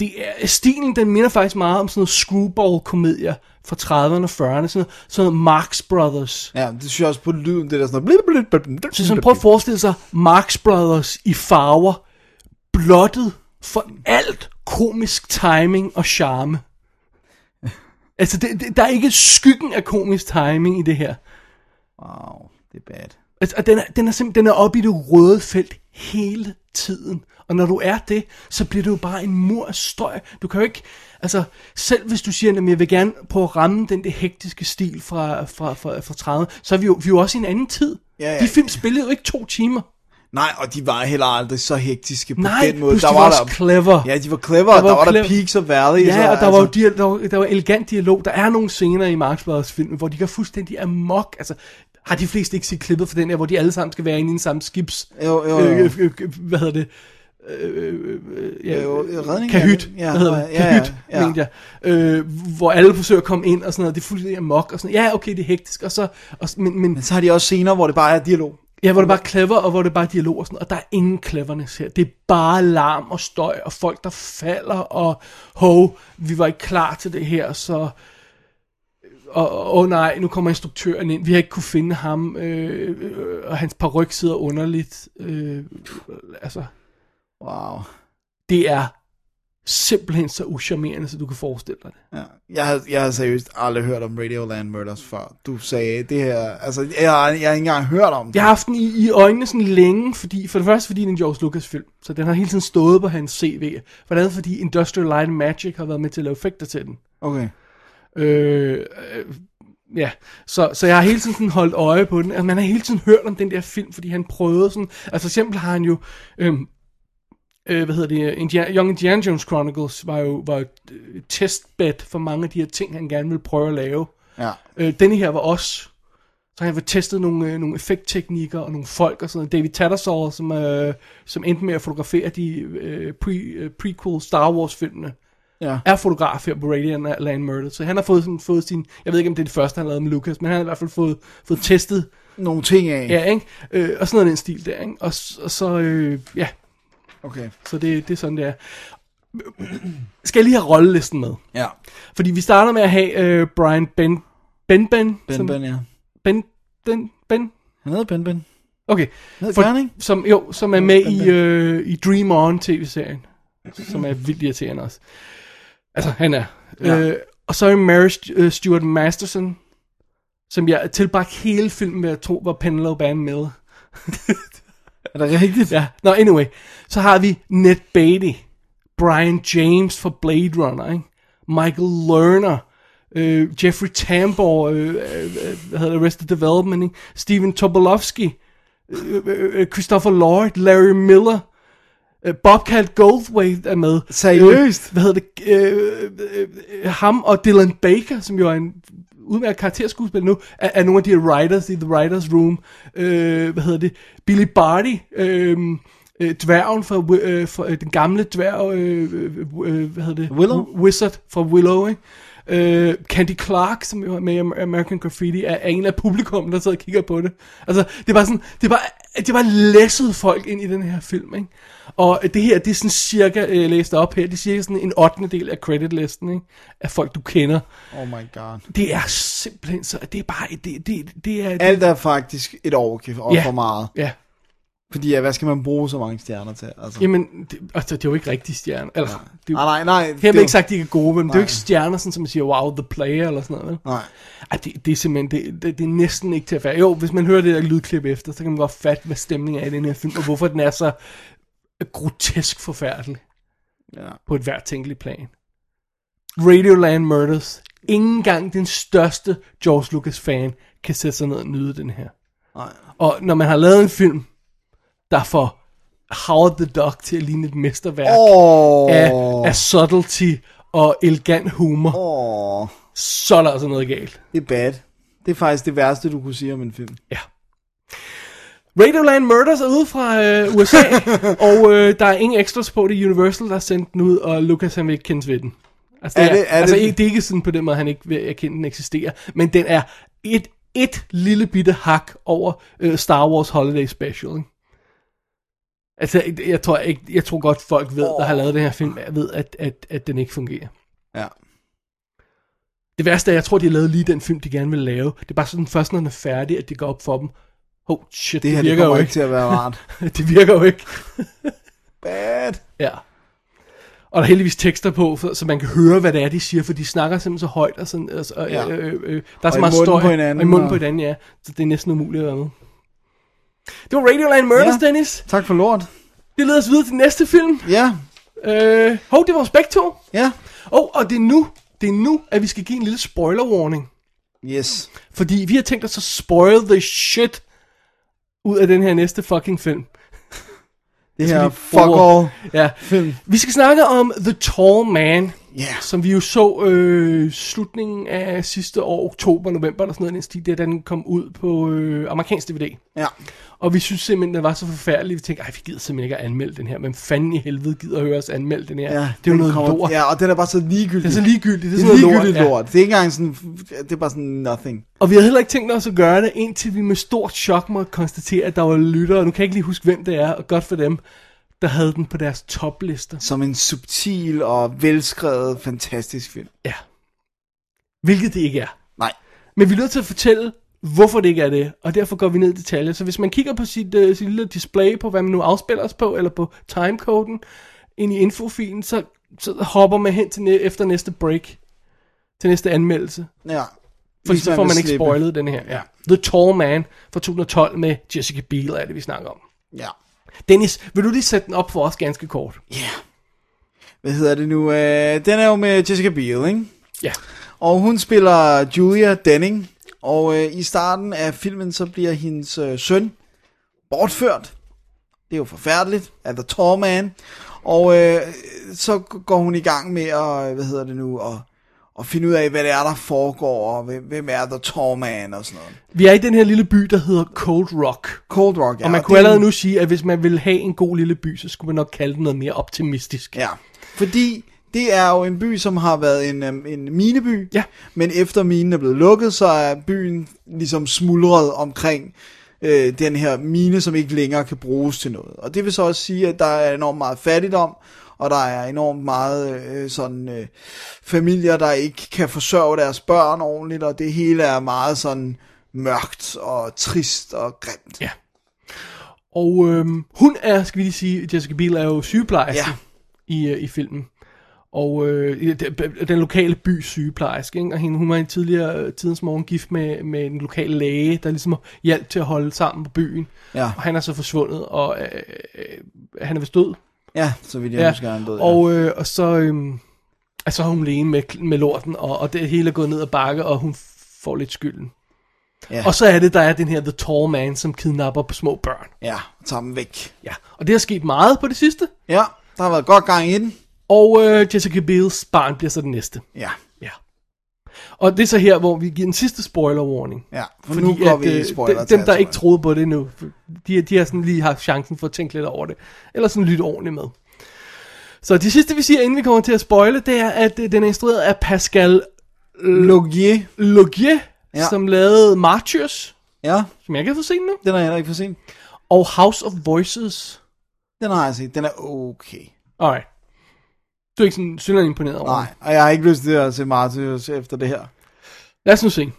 det er, stilen, den minder faktisk meget om sådan noget screwball-komedier fra 30'erne og 40'erne, sådan noget, sådan noget Marx Brothers.
Ja, det synes jeg også på lyden, det der sådan noget... blip, blip, blip, blip,
Så sådan,
blip,
prøv at forestille sig Marx Brothers i farver, blottet for alt komisk timing og charme. Altså, det, det, der er ikke skyggen af komisk timing i det her.
Wow, det er bad.
Altså, og den er, den er simpelthen den er oppe i det røde felt hele tiden. Og når du er det, så bliver det jo bare en mur af støj. Du kan jo ikke, altså selv hvis du siger, at jeg vil gerne prøve at ramme den der hektiske stil fra, fra, fra, fra 30, så er vi jo, vi er jo også i en anden tid.
Ja, ja.
De film spillede jo ikke to timer.
Nej, og de var heller aldrig så hektiske på
Nej,
den måde.
plus de var også clever.
Ja, de var clever. Der var, der, var der
clever.
peaks og valleys.
Ja, og der var jo
altså,
dia- der var, der var elegant dialog. Der er nogle scener i Marx Brothers film, hvor de går fuldstændig amok. Altså, har de fleste ikke set klippet fra den her, hvor de alle sammen skal være inde i den samme skibs...
Jo, jo, jo.
Øh, øh, øh, hvad hedder det? Øh, øh, ja,
Jo, redning-
kahyt,
ja,
hvad hedder det?
ja, ja,
kahyt,
ja.
mente jeg. Øh, hvor alle forsøger at komme ind og sådan noget. Det er fuldstændig amok og sådan Ja, okay, det er hektisk. Og så, og, s- men, men
Men så har de også scener, hvor det bare er dialog.
Ja, hvor det bare er clever, og hvor det bare er dialog og sådan noget. Og der er ingen cleverness her. Det er bare larm og støj, og folk, der falder, og hov, vi var ikke klar til det her, så... Og, og åh nej, nu kommer instruktøren ind. Vi har ikke kunne finde ham, øh, øh, og hans paryk sidder underligt. Øh, altså,
Wow.
det er simpelthen så uscharmerende, så du kan forestille dig det.
Ja. Jeg, har, jeg har seriøst aldrig hørt om Radioland Murders før. Du sagde det her... Altså, jeg har, jeg har ikke engang hørt om det.
Jeg har haft den i, i øjnene sådan længe, fordi, for det første fordi det er en George Lucas film, så den har hele tiden stået på hans CV. For det andet fordi Industrial Light and Magic har været med til at lave effekter til den.
Okay.
Øh, øh, ja, så, så jeg har hele tiden sådan holdt øje på den. Altså, man har hele tiden hørt om den der film, fordi han prøvede sådan... Altså for eksempel har han jo... Øhm, øh, hvad hedder det, Indiana, Young Indiana Jones Chronicles var jo, var jo et øh, testbed for mange af de her ting, han gerne ville prøve at lave.
Ja.
Øh, denne her var også. Så han var testet nogle, øh, nogle effektteknikker og nogle folk og sådan noget. David Tattersall, som, øh, som endte med at fotografere de øh, pre, øh, prequel Star Wars filmene,
Ja.
er fotograf her på Radiant Land Murder. Så han har fået, sådan, fået sin, jeg ved ikke om det er det første, han lavede med Lucas, men han har i hvert fald fået, fået testet,
Nogle ting af.
ja, ikke? Øh, og sådan noget af den stil der, ikke? Og, s- og så, øh, ja,
Okay.
så det, det er sådan, det er. Skal jeg lige have rollelisten med?
Ja.
Fordi vi starter med at have øh, Brian Ben... Ben Ben?
Ben
som-
Ben, ja.
Ben, den, ben?
Han hedder Ben Ben.
Okay.
hedder
For-
Gerning?
Som, jo, som er med
Ben
i,
Ben.
øh, i Dream On tv-serien. Som er vildt irriterende også. Altså, han er.
Ja.
Ja. Øh, og så er Mary St- øh, Stuart Masterson, som jeg tilbragte hele filmen ved at tro var Penelope Ann Miller.
Er det rigtigt?
Ja, nå, no, anyway. Så har vi Ned Beatty, Brian James fra Blade Runner, ikke? Michael Lerner, øh, Jeffrey Tambor, øh, øh, øh, hvad hedder det, Arrested Development, ikke? Steven Tobolowski, øh, øh, øh, Christopher Lloyd, Larry Miller, øh, Bobcat Goldthwait er med.
Seriøst?
Øh, hvad hedder det? Øh, øh, øh, ham og Dylan Baker, som jo er en udmærket karakterskuespiller nu, er, er nogle af de her writers i The Writers Room. Øh, hvad hedder det? Billy Barty, øh, øh, dværgen fra, Wi- øh, fra øh, den gamle dværg, øh, øh, øh, hvad hedder det?
Willow?
Wi- Wizard fra Willow, ikke? Øh, Candy Clark, som jo er med i Amer- American Graffiti, er, er en af publikum, der sidder og kigger på det. Altså, det var sådan, det var, det var læsset folk ind i den her film, ikke? Og det her, det er sådan cirka, øh, jeg læste op her, det er cirka sådan en ottende del af creditlisten, ikke? Af folk, du kender.
Oh my god.
Det er simpelthen så, det er bare, det, det, det er...
Alt er faktisk et overkill og
Ja.
for meget.
Ja,
Fordi ja, hvad skal man bruge så mange stjerner til? Altså. Ah,
jamen, det, altså, det er jo ikke rigtige stjerner. Eller, det er
Nej,
jo,
nej, nej.
her
det
har
var-
ikke sagt, at de ikke er gode, men det er jo
Nej.
ikke stjerner, sådan, som man siger, wow, the player, eller sådan noget, vel?
Nej.
Ej, det, det er simpelthen, det, det, det er næsten ikke til at fatte. Jo, hvis man hører det der lydklip efter, så kan man godt fatte, hvad stemningen er i den her film, og hvorfor den er så grotesk forfærdelig.
Ja.
På et hvert tænkeligt plan. Radioland Murders. Ingen gang den største George Lucas-fan kan sætte sig ned og nyde den her.
Nej.
Og når man har lavet en film, der får Howard the Duck til at ligne et mesterværk
Åh.
af, af subtlety og elegant humor,
Åh.
så er der altså noget galt.
Det er bad. Det er faktisk det værste, du kunne sige om en film.
Ja. Radioland Murders er ude fra øh, USA, og øh, der er ingen extras på det. er Universal, der har sendt den ud, og Lucas han vil ikke kendes ved den. Altså, det
Er
er,
det-
det,
er
altså
det-
ikke- det er ikke sådan på den måde, han ikke vil erkende, den eksisterer, men den er et, et lille bitte hak over øh, Star Wars Holiday Special. Ikke? Altså, jeg- jeg tror, jeg, jeg tror godt, folk ved, der har lavet den her film, ved, at, at, at den ikke fungerer.
Ja.
Det værste er, jeg tror, de har lavet lige den film, de gerne vil lave. Det er bare sådan, først når den er færdig, at det går op for dem. Oh shit,
Det
det,
her det
virker
kommer
jo
ikke
ikke.
til at være rart.
det virker jo ikke.
Bad.
Ja. Og der er heldigvis tekster på, for, så man kan høre, hvad det er, de siger, for de snakker simpelthen så højt. Og sådan, altså, og,
Ja.
ja. øh, øh, der er så
i
meget
munden
støj.
på hinanden,
og i munden
og-
på hinanden, ja. Så det er næsten umuligt at være med. Det var Radioland Murders,
Ja.
ja. Dennis.
Tak for lort.
Det leder os videre til næste film.
Ja,
Øh, hov, det var os begge to.
ja.
Oh, og det er nu, det er nu, at vi skal give en lille spoiler warning.
Yes.
Fordi vi har tænkt os at spoil the shit ud af den her næste fucking film. skal
Det her
lige
fuck
bruge-
all
Ja.
film.
Vi skal snakke om The Tall Man,
Ja.
som vi jo så øh, slutningen af sidste år, oktober, november eller sådan noget, i den stil, der da den kom ud på øh, amerikansk DVD.
Ja.
Og vi synes simpelthen, den var så forfærdelig, vi tænkte, ej, vi gider simpelthen ikke at anmelde den her. Men fanden i helvede gider at høre os anmelde den her.
ja.
det er jo
den
noget
kommer-
lort.
Ja, og den er bare så ligegyldig.
Det er så ligegyldigt. Det er,
det
sådan
er
noget
ligegyldigt
lort.
lort. Det er ikke engang sådan, det er bare sådan nothing.
Og vi havde heller ikke tænkt os at gøre det, indtil vi med stort chok måtte konstatere, at der var lyttere, og nu kan jeg ikke lige huske, hvem det er, og godt for dem, der havde den på deres toplister.
Som en subtil og velskrevet, fantastisk film.
Ja. Hvilket det ikke er.
Nej.
Men vi er nødt til at fortælle, hvorfor det ikke er det, og derfor går vi ned i detaljer. Så hvis man kigger på sit, uh, sit lille display på, hvad man nu afspiller os på, eller på timecoden, ind i infofilen, så, så hopper man hen til næ- efter næste break, til næste anmeldelse.
Ja.
For
Hvis
så får
vil
man ikke
slippe.
spoilet den her. Ja. The Tall Man fra 2012 med Jessica Biel er det, vi snakker om.
Ja.
Dennis, vil du lige sætte den op for os ganske kort?
Ja. Hvad hedder det nu? Øh, Den er jo med Jessica Biel, ikke?
Ja.
Og hun spiller Julia Denning. Og øh, i starten af filmen, så bliver hendes øh, søn bortført. Det er jo forfærdeligt. Af The Tall Man. Og øh, så går hun i gang med at, øh, hvad hedder det nu, at, at finde ud af, hvad det er, der foregår, og hvem- hvem er The Tall Man og sådan noget.
Vi er i den her lille by, der hedder Cold Rock.
Cold Rock, ja.
og man
det
kunne
er
allerede
en-
nu sige, at hvis man ville have en god lille by, så skulle man nok kalde den noget mere optimistisk.
Ja, fordi det er jo en by, som har været en, øhm, en mineby,
Ja.
men efter minen er blevet lukket, så er byen ligesom smuldret omkring øh, den her mine, som ikke længere kan bruges til noget. Og det vil så også sige, at der er enormt meget fattigdom, og der er enormt meget øh, sådan øh, familier, der ikke kan forsørge deres børn ordentligt, og det hele er meget sådan mørkt og trist og grimt.
Ja. Og øhm, hun er, skal vi lige sige, Jessica Biel er jo sygeplejerske i, øh, i filmen. Og øh, i de- den lokale by sygeplejerske, ikke? og hende, hun var i tidligere øh, tidens morgen gift med, med en lokal læge, der ligesom hjalp til at holde sammen på byen.
Ja.
Og han er så forsvundet, og øh, øh, han er vist død.
Ja, så vil jeg ja. huske, at han død, ja.
Og, øh, og så, øh, altså, er hun alene med, med lorten, og, og det hele er gået ned ad bakke, og hun får lidt skylden.
Ja.
Og så er det, der er den her The Tall Man, som kidnapper på små børn.
ja, tager dem væk.
Ja, og det har sket meget på det sidste.
Ja, der har været godt gang i den.
Og øh, Jessica Biels barn bliver så den næste.
Ja,
Ja. Og det er så her, hvor vi giver en sidste spoiler warning. øh,
ja. For Fordi nu går at, vi i spoiler
dem, der ikke troede på det endnu, de, de har sådan lige haft chancen for at tænke lidt over det. Eller sådan lytte ordentligt med. Så det sidste, vi siger, inden vi kommer til at spoile, det er, at øh, den er instrueret af Pascal
Logier.
Logier,
Ja.
ja. som lavede Martyrs,
Ja,
som jeg ikke har fået set nu,
den har jeg heller ikke for sent.
og House of Voices.
Den har jeg set. Den er okay.
Alright. Du er ikke sådan synderligt imponeret over
Nej, og jeg har ikke lyst til at se Martyrs efter det her.
Lad os nu se.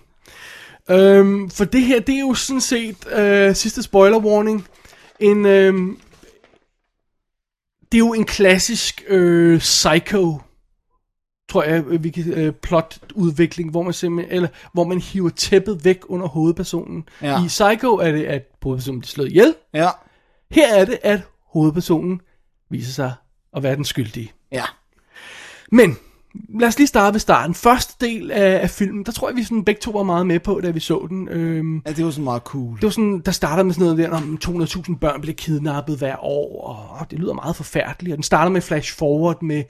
Øhm, for det her, det er jo sådan set, øh, sidste spoiler warning, en, øhm, det er jo en klassisk øh, psycho, tror jeg, øh, vi kan, øh, plotudvikling, hvor man simpelthen, eller hvor man hiver tæppet væk under hovedpersonen.
Ja.
Ja. I Psycho er det, at hovedpersonen bliver slået ihjel.
Ja,
Her er det, at hovedpersonen viser sig at være den skyldige.
ja,
Men lad os lige starte ved starten. Første del af, af filmen, der tror jeg, vi sådan begge to var meget med på, da vi så den. Øhm,
ja det var sådan meget cool.
det var sådan, der starter med sådan noget der, om 200.000 børn bliver kidnappet hver år, og, og det lyder meget forfærdeligt. Og den starter med flash forward med,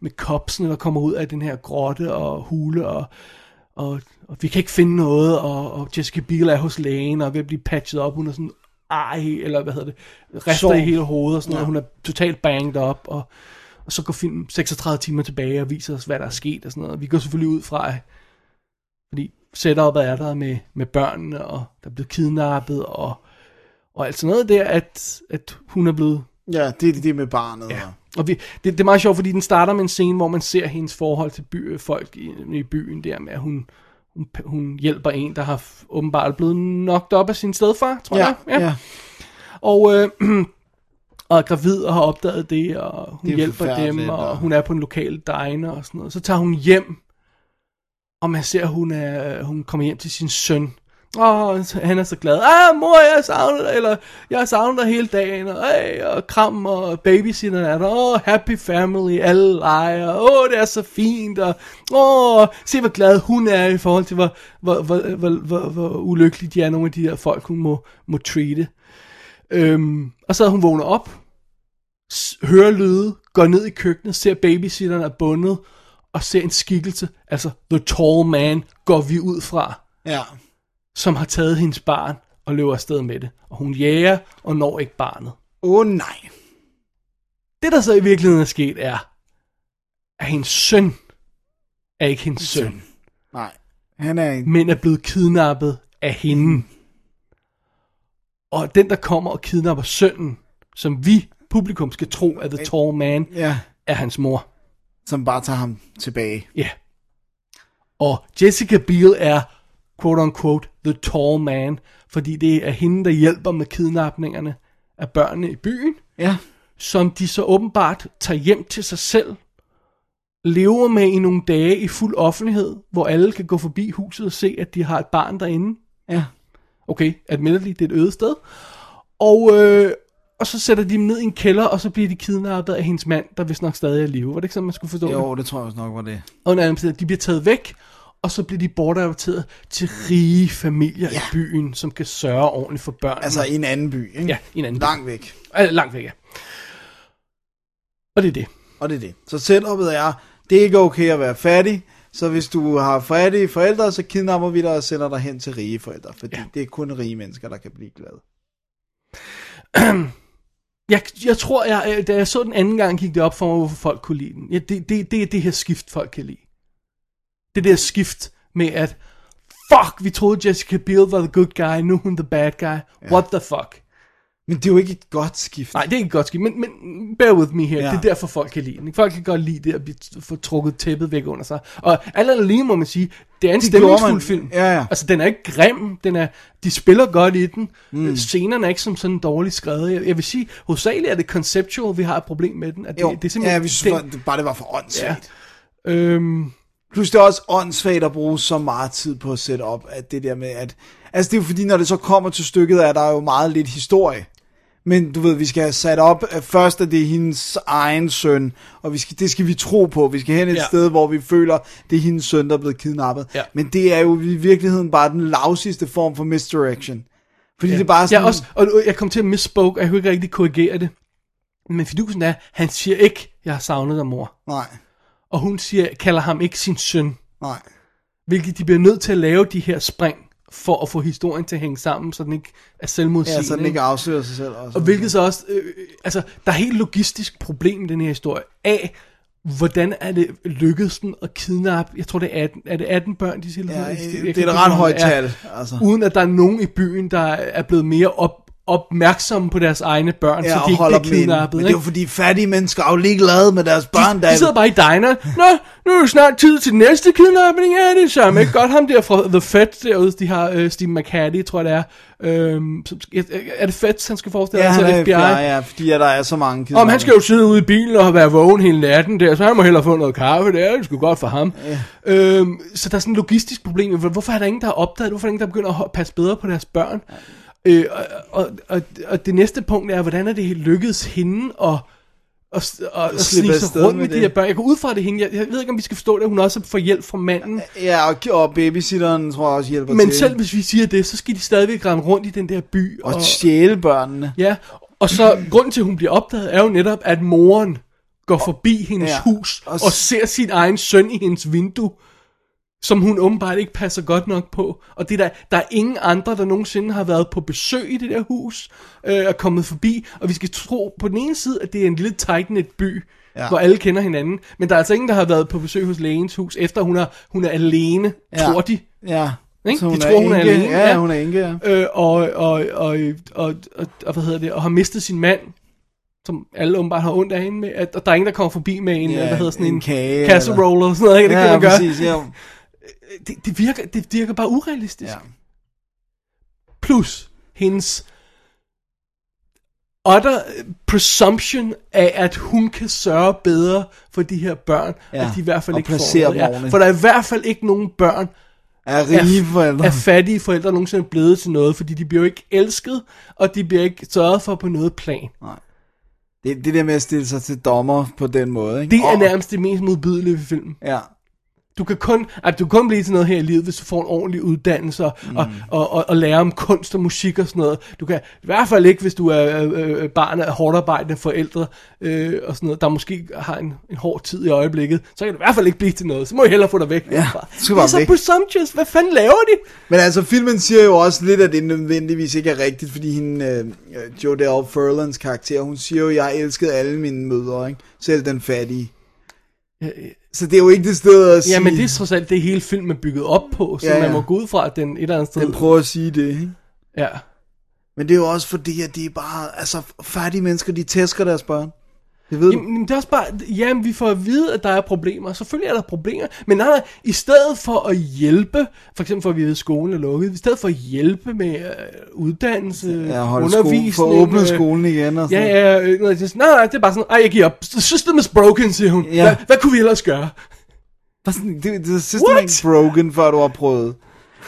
med kopsene, der kommer ud af den her grotte og hule, og, og, og vi kan ikke finde noget, og, og Jessica Biel er hos lægen, og er ved at blive patchet op, hun er sådan ej, eller hvad hedder det, rester
Sorg.
i hele hovedet, og sådan ja. noget. hun er totalt banged op, og, og så går filmen 36 timer tilbage og viser os, hvad der er sket og sådan noget. Vi går selvfølgelig ud fra, at- fordi setupet er der med, med børnene, og der er blevet kidnappet, og, og alt sådan noget der, at, at hun er blevet
Ja, det er det med barnet. Ja.
Og vi, det, det er meget sjovt, fordi den starter med en scene, hvor man ser hendes forhold til by, folk i, i byen der med, at hun, hun, hun hjælper en, der har f- åbenbart blevet knocked op af sin stedfar, tror
Ja,
jeg.
ja.
Og, øh, og er gravid og har opdaget det, og hun
Det
det
er
hjælper dem,
forfærdeligt,
og,
og-
hun er på en lokal diner og sådan noget. Så tager hun hjem, og man ser, at hun, er, hun kommer hjem til sin søn. Og han er så glad. Ah, mor, jeg savner dig, eller jeg savner dig hele dagen, og, hey, og kram, og babysitter er der, og happy family, alle leger, åh, oh, det er så fint, og åh, oh, se hvor glad hun er i forhold til, hvor, hvor, hvor, hvor, hvor, hvor ulykkelige de er, nogle af de der folk, hun må, må treate. Øhm, og så hun vågner op, s- hører lyde, går ned i køkkenet, ser babysitteren er bundet, og ser en skikkelse, altså the tall man, går vi ud fra,
ja.
som har taget hendes barn og løber afsted med det. Og hun jager og når ikke barnet.
Åh oh, nej.
Det, der så i virkeligheden er sket, er, at hendes søn er ikke hendes søn,
Nej. Han er en...
men er blevet kidnappet af hende. Og den, der kommer og kidnapper sønnen, som vi, publikum, skal tro er the tall man,
Ja,
er hans mor.
som bare tager ham tilbage.
Ja. Og Jessica Biel er quote unquote the tall man, fordi det er hende, der hjælper med kidnapningerne af børnene i byen,
Ja.
som de så åbenbart tager hjem til sig selv, lever med i nogle dage i fuld offentlighed, hvor alle kan gå forbi huset og se, at de har et barn derinde.
Ja.
Okay, admittedly, det er et øget sted. Og, øh, og så sætter de dem ned i en kælder, og så bliver de kidnappet af hendes mand, der vist nok stadig er i live. Var det ikke sådan, man skulle forstå det?
Jo, det tror jeg også nok var det.
under alle omstændigheder, de bliver taget væk, og så bliver de bortadopteret til rige familier ja. i byen, som kan sørge ordentligt for børn.
Altså i en anden by, ikke?
ja, i en anden by.
Langt væk.
Øh, langt væk, ja. Og det er det.
Og det er det. Så setupet er, det er ikke okay at være fattig, så hvis du har fattige forældre, så kidnapper vi dig og sender dig hen til rige forældre, fordi ja. det er kun rige mennesker, der kan blive glade.
Jeg, jeg tror, jeg, øh, da jeg så den anden gang, gik det op for mig, hvorfor folk kunne lide den. Ja, det, det, det er det her skift, folk kan lide. Det der skift med at, fuck, vi troede Jessica Biel var the good guy, nu er hun the bad guy. Ja. What the fuck?
Men det er jo ikke et godt skift.
Nej, det er ikke et godt skidt, men, men bear with me her.
Ja.
Ja. Det er derfor, folk kan lide den. ikke? Folk kan godt lide det at blive t- få trukket tæppet væk under sig. Og alt andet lige må man sige, det er en
Det
stemningsfuld
gjorde man.
film.
Ja, ja.
Altså, den er ikke grim. Den er, de spiller godt i den. Mm. Scenerne er ikke som sådan dårligt skrevet. Jeg, jeg vil sige, hovedsageligt er det conceptual, vi har et problem med den. At det,
Jo,
det er simpelthen...
ja, vi synes,
den,
det, bare det var for åndssvagt.
ja. Øhm,
Plus det er også åndssvagt at bruge så meget tid på at sætte op, at det der med, at... Altså det er jo fordi, når det så kommer til stykket, er der jo meget lidt historie. Men du ved, vi skal have sat op, at først at det er hendes egen søn, og vi skal, det skal vi tro på. Vi skal hen et ja.
Ja.
sted, hvor vi føler, det er hendes søn, der er blevet kidnappet.
Ja.
Men det er jo i virkeligheden bare den lavsigste form for misdirection. Fordi ja. det er bare Altså, sådan...
Ja, også, og jeg kom til at misspoke, og jeg kunne ikke rigtig korrigere det. Men fidusen er, han siger ikke, jeg har savnet dig, mor.
Nej,
Og hun siger, kalder ham ikke sin søn.
nej.
Hvilket de bliver nødt til at lave de her spring, for at få historien til at hænge sammen, så den ikke er selvmodsigende.
Ja, så Altså, den ikke afslører sig selv også.
Og hvilket så også, øh, øh, altså, der er helt logistisk problem i den her historie. A, hvordan er det lykkedes den at kidnappe, jeg tror det er 18, er det 18 børn, de siger?
Ja,
Jeg kan
det
ikke
er
huske,
et ret
hvor
højt
mange det er.
tal, altså.
Uden at der er nogen i byen, der er blevet mere op, opmærksomme på deres egne børn, så de ikke
holder
bliver
dem inde.
kidnappet.
Men det er
ikke?
jo fordi fattige mennesker er jo ligeglade med deres børn.
De sidder bare i dineren. Nå, nu er det snart tid til den næste kidnapning. Ja, det er samme. Ikke godt ham der fra The Fed derude. De har øh, Steve McCaddy, tror jeg det er. Øhm, som, er det Fed, han skal forestille?
Ja,
altså
han er FBI.
FBI.
ja, fordi at der er så mange kidnapper.
Om han skal jo sidde ude i bilen og være vågen hele natten der, så han må hellere få noget kaffe der, det skulle godt for ham. Yeah. Øhm, så der er sådan et logistisk problem, Hvor- hvorfor er der ingen, der har opdaget, det? hvorfor er der ingen, der begynder at ho- passe bedre på deres børn? Øh, og, og, og, og det næste punkt er, hvordan er det lykkedes hende at, at, at, at
slippe
snige sig
afsted
rundt
med
med, de
det.
her børn? Jeg går ud fra at det er hende, jeg, jeg ved ikke, om vi skal forstå det, at hun også får hjælp fra manden.
Ja, og, og babysitteren tror jeg også hjælper
Men
til.
selv hvis vi siger det, så skal de stadigvæk rende rundt i den der by.
Og stjæle børnene.
Ja, og så grunden til, at hun bliver opdaget, er jo netop, at moren går forbi hendes
ja,
ja, hus
og
og,
s-
og ser sin egen søn i hendes vindue, som hun åbenbart ikke passer godt nok på. Og det er der, der er ingen andre, der nogensinde har været på besøg i det der hus, øh, er kommet forbi, og vi skal tro på den ene side, at det er en lille tight by,
Ja.
ja. hvor alle kender hinanden, men der er altså ingen, der har været på besøg hos lægens hus, efter hun er, hun er alene,
Ja.
ja. tror de.
Ja.
Ikke?
Så hun
De
er
tror, hun er
enke.
alene,
Ja,
ja.
hun er enke, ja.
Øh, og, og, og, og, og, og, og, hvad hedder det, og har mistet sin mand, som alle åbenbart har ondt af hende med, at, og der er ingen, der kommer forbi med en,
Ja,
hvad hedder sådan en,
en kage,
casserole eller... og sådan noget, ikke? det
ja,
kan man gøre.
præcis, ja.
Det, det, virker, det virker bare urealistisk.
ja.
plus hendes utter presumption af, at hun kan sørge bedre for de her børn,
Ja,
ja, at de i hvert fald
og
ikke får
placere
noget.
dem ordentligt.
for der er i hvert fald ikke nogen børn,
Er rige forældre.
er fattige forældre nogensinde blevet til noget, fordi de bliver jo ikke elsket, og de bliver ikke sørget for på noget plan.
Det, det der med at stille sig til dommer på den måde, ikke?
Det er
Og-
nærmest det mest modbydelige ved filmen.
Ja,
Du kan kun, altså, du kan kun blive til noget her i livet, hvis du får en ordentlig uddannelse og, mm. og, og, og, og lære om kunst og musik og sådan noget. Du kan i hvert fald ikke, hvis du er øh, øh, barn af hårdt arbejdende forældre øh, og sådan noget, der måske har en, en hård tid i øjeblikket, så kan du i hvert fald ikke blive til noget. Så må jeg hellere få dig væk.
Ja,
herfra.
du skal
det er
bare
så
væk.
presumptuous. Hvad fanden laver de?
men altså filmen siger jo også lidt, at det nødvendigvis ikke er rigtigt, fordi hende, øh, øh, Jodelle Furlans karakter, hun siger jo, jeg elskede alle mine mødre, ikke? Selv den fattige. Så det er jo ikke det sted at sige,
Jamen det er trods alt det hele film er bygget op på, så
Ja,
ja,
ja.
ja. man må gå ud fra, at den et eller andet sted...
den prøver at sige det, ikke?
ja.
Men det er jo også fordi, at det er bare, altså fattige mennesker, de tæsker deres børn. Det ved du.
Jamen, det er også bare, jamen, vi får at vide, at der er problemer. Selvfølgelig er der problemer, men nej, nej, i stedet for at hjælpe, for eksempel for at vi ved, at skolen er lukket, i stedet for at hjælpe med øh, uddannelse,
Ja, holde skolen,
undervisning.
få åbnet
øh,
skolen igen og
Ja,
sådan
ja, øh, nej, det er sådan, nej, nej, det er bare sådan, ej, jeg giver op. System is broken, siger hun.
Ja.
Ja. Hvad, hvad kunne vi ellers gøre?
Bare sådan, det, det system
What?
ikke broken, før du har prøvet.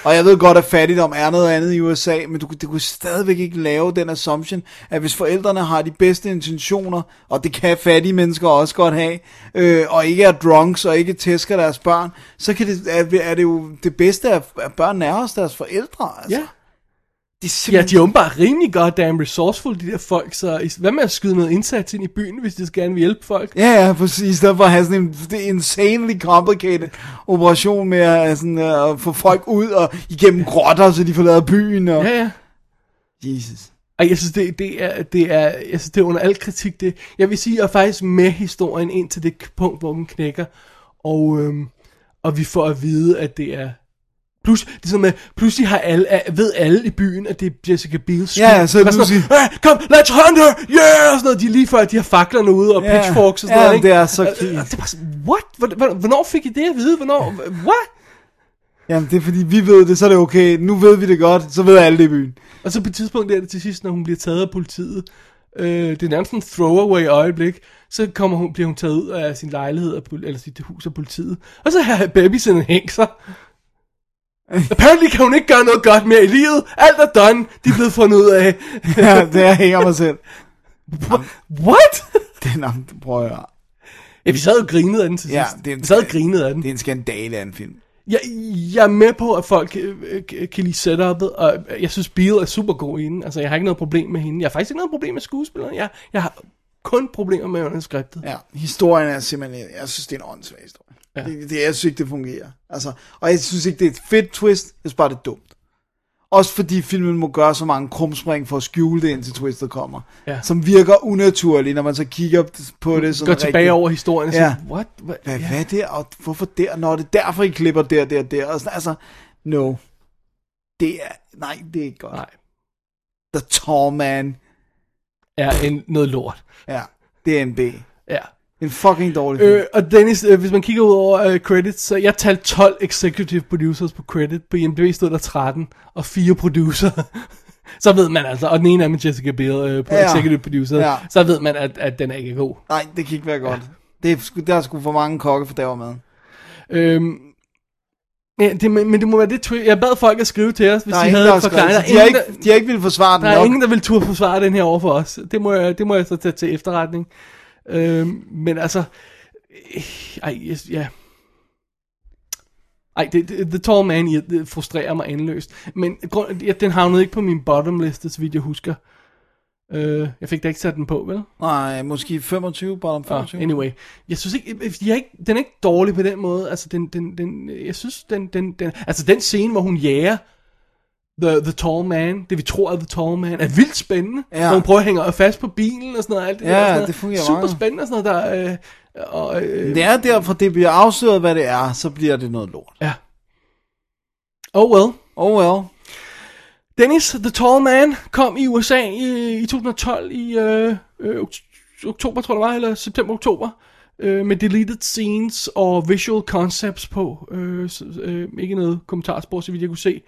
Og jeg ved godt, at fattigdom er noget andet i USA, men du, kunne- du kunne stadigvæk ikke lave den assumption, at hvis forældrene har de bedste intentioner, og det kan fattige mennesker også godt have, øh, og ikke er drunks og ikke tæsker deres børn, så kan det, er, er det jo det bedste, at, at børn er hos deres forældre. Altså.
Ja.
Det
Ja,
er simpelthen...
de er jo bare rimelig goddamn resourceful, de der folk, så i- hvad med at skyde noget indsats ind i byen, hvis de skal gerne vil hjælpe folk?
Ja, ja, præcis. I stedet for at have sådan en det er insanely complicated operation med at, sådan, øh, at få folk ud og igennem grotter, så de forlader byen. Og...
Ja, ja.
Jesus.
Ej, jeg synes, det, det, er, det, er, jeg synes, det er under al kritik. Det, jeg vil sige, jeg er faktisk med historien ind til det k- punkt, hvor den knækker. Og, øhm, og vi får at vide, at det er... Plus, det er sådan med, pludselig har alle, er- ved alle i byen, at det er Jessica Biels skyld.
Ja, så
Bare
nu
sådan,
siger-
hey, kom, let's hunt her, yeah, og sådan noget. De er lige før, de har faklerne ude, og
Ja,
pitchforks og sådan
ja,
noget, ikke?
det er så
Og- og-
cute.
og Det er bare sådan, what? Hvor- hvor- Hvornår fik I det at vide? Hvornår? What?
Jamen, det er fordi, vi ved det, så er det okay. Nu ved vi det godt, så ved alle det i byen.
Og så på et tidspunkt der til sidst, når hun bliver taget af politiet, øh, det er nærmest en throwaway øjeblik, så kommer hun, bliver hun taget ud af sin lejlighed, af pol- eller sit hus af politiet, og så har babysen hængt sig. Apparently kan hun ikke gøre noget godt mere i livet. Alt er done. De er blevet fundet ud af.
Ja, det er jeg hænger mig selv.
What?
Det er, nå, prøv at høre.
Ja, vi sad og grinede af den til
Ja,
sidst.
det er en-
vi sad og grinede af den.
Det er en skandale af en film.
Jeg, jeg er med på, at folk øh, øh, kan lide setup'et, og øh, jeg synes, Biel er super god i den. Altså, jeg har ikke noget problem med hende. Jeg har faktisk ikke noget problem med skuespilleren. Jeg, jeg har kun problemer med manuskriptet.
Ja, historien er simpelthen, jeg synes, det er en åndssvag historie. Ja. Det, det, jeg synes ikke, det fungerer. Altså, og jeg synes ikke, det er et fedt twist, jeg synes bare, det er dumt. Også fordi filmen må gøre så mange krumspring for at skjule det, indtil twistet kommer.
Ja.
Som virker unaturligt, når man så kigger på det sådan
Går tilbage
rigtig-
over historien og
Ja.
siger, what? Hvad?
Hvad, ja.
Ja.
hvad der? Og hvorfor der? Når det er derfor, I klipper der, der, der. Og sådan, altså, no. Det er, nej, det er ikke godt.
Nej,
The Tall Man.
er en, noget lort.
Ja, det er en B.
Ja.
En fucking dårlig film.
Øh, og Dennis, øh, hvis man kigger ud over øh, credits, så jeg talte 12 executive producers på credit. På IMDb stod der 13, og fire producer. så ved man altså, og den ene er med Jessica Biel øh, på
Ja.
ja. executive producer,
Ja.
ja. så ved man, at, at den er ikke god.
Nej, det kan ikke være godt. Det er, sgu- der er sgu for mange kokke for dagmad.
Øhm, ja, det, men, men det må være det twi- Jeg bad folk at skrive til os, hvis
Der er
de
ingen,
havde
der har
en forklaring. Der er
skrevet. så De har
ingen,
ikke, de har ikke ville forsvare den
der, der, er
nok.
ingen, der vil turde forsvare den her over for os. Det må jeg, det må jeg så tage til efterretning. Øhm, men altså... øh, Ej, yes, ja... Ej, det, det, The Tall Man ja, det frustrerer mig endeløst. Men grund, ja, den havnede ikke på min bottom liste, så vidt jeg husker. Øh, jeg fik da ikke sat den på, vel?
Nej, måske 25, bottom
Ah,
25.
anyway, jeg synes ikke, øh, jeg, jeg er ikke, den er ikke dårlig på den måde. Altså, den, den, den, jeg synes, den, den, den, altså den scene, hvor hun jager the, the Tall Man, det vi tror er The Tall Man, er vildt spændende.
Ja.
Hvor hun prøver at hænge fast på bilen og sådan noget. Alt det
Ja,
der, og sådan noget.
det fungerer
Super
meget.
spændende og sådan noget. Der, øh, og, øh,
Det er derfor, det bliver afsløret, hvad det er, så bliver det noget lort.
ja. Oh well.
Oh well.
Dennis, The Tall Man, kom i USA i, i 2012 i øh, øh, oktober, tror jeg det var, eller september-oktober, øh, med deleted scenes og visual concepts på. Øh, så, øh, ikke noget kommentarspor, så vidt jeg kunne se.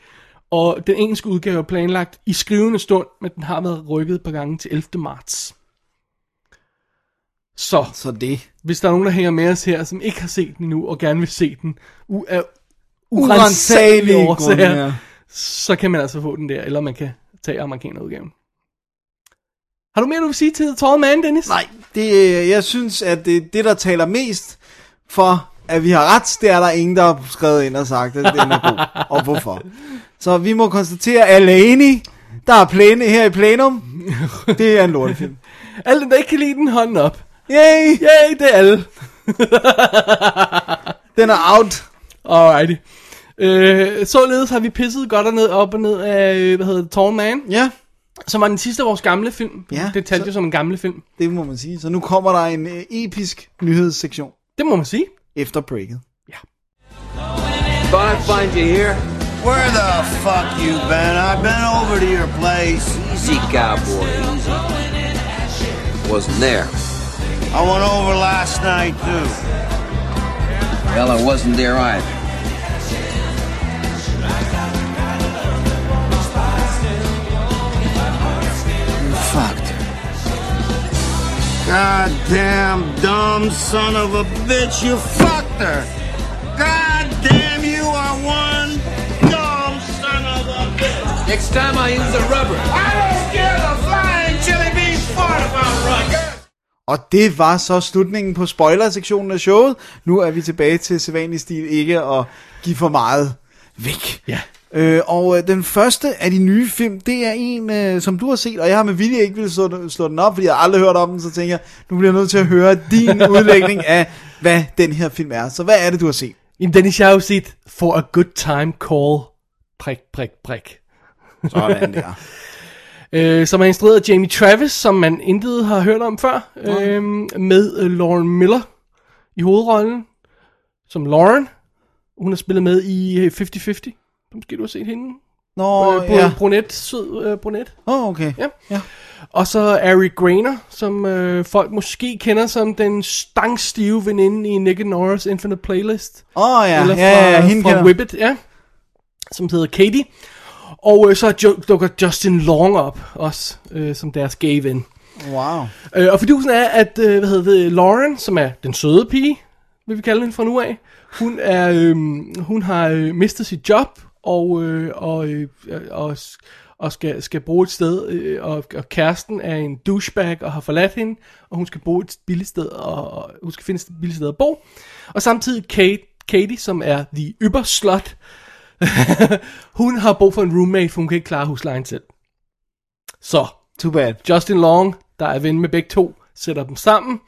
Og den engelske udgave er planlagt i skrivende stund, men den har været rykket et par gange til 11. marts. Så,
Så det.
hvis der er nogen, der hænger med os her, som ikke har set den endnu, og gerne vil se den, u- af urensagelige
Urensagelige grunde,
årsager,
ja.
så kan man altså få den der, eller man kan tage amerikanerudgaven. Har du mere, du vil sige til The Tall Man, Dennis?
Nej, det, øh, jeg synes, at det, det, der taler mest for, at vi har ret, det er der ingen, der har skrevet ind og sagt, at den er god, og hvorfor. Så vi må konstatere, at alle er enige. Der er plæne her i plenum. Det er en lortefilm.
Alle dem, der ikke kan lide den, hånden op.
Yay!
Yay, det er alle.
Den er out.
Alrighty. Øh, således har vi pisset godt og ned, op og ned af, øh, hvad hedder det, Tall Man,
Ja,
som var den sidste af vores gamle film.
Ja,
det talte
så-
jo som en gamle film.
det må man sige. Så nu kommer der en øh, episk nyhedssektion
Det må man sige.
efter breaket.
Thought I'd find you here.
Where the fuck you been? I've been over to your place.
Easy, cowboy. Easy. Wasn't there.
I went over last night too.
Well, I wasn't there either.
God damn dumb son of a bitch, you fucked her. God damn you are one dumb son of a bitch.
Next time I use a rubber.
I don't give a flying chili bean fart about Rutger.
Og det var så slutningen på spoilersektionen af showet. Nu er vi tilbage til sædvanlig stil ikke at give for meget væk.
Ja.
Øh, og øh, den første af de nye film, det er en, øh, som du har set, og jeg har med vilje ikke ville slå, den- slå den op, fordi jeg har aldrig hørt om den, så tænker jeg, nu bliver jeg nødt til at høre din udlægning af, hvad den her film er. Så hvad er det, du har set?
Jamen, Dennis, jeg har jo set For a Good Time Call, prik, prik, prik.
Sådan der.
øh, som er instrueret af Jamie Travis, som man intet har hørt om før, øh, med øh, Lauren Miller i hovedrollen, som Lauren. Hun har spillet med i øh, 50-50, måske du har set hende.
Nå,
øh, br-
ja.
Brunet, sød øh, brunet.
Åh, oh, okay.
Ja. ja. Og så Ari Grainer, som øh, folk måske kender som den stangstive veninde i Nick and Nora's Infinite Playlist.
Åh, oh, ja.
Eller fra,
ja, ja, hende
fra
kender.
Whippet, ja. Som hedder Katie. Og øh, så jo, dukker Justin Long op, også øh, som deres gay ven.
Wow.
Øh, og fidusen er, at øh, hvad hedder det, Lauren, som er den søde pige, vil vi kalde hende fra nu af, hun, er, øh, hun har øh, mistet sit job, og, øh, og, øh, og, s- og skal, skal bruge et sted, øh, og, og kæresten er en douchebag og har forladt hende, og hun skal bruge et billigt sted, og, og hun skal finde et billigt sted at bo. Og samtidig Kate, Katie, som er the yberslot, hun har brug for en roommate, for hun kan ikke klare huslejen selv. Så,
Too bad.
Justin Long, der er ven med begge to, sætter dem sammen.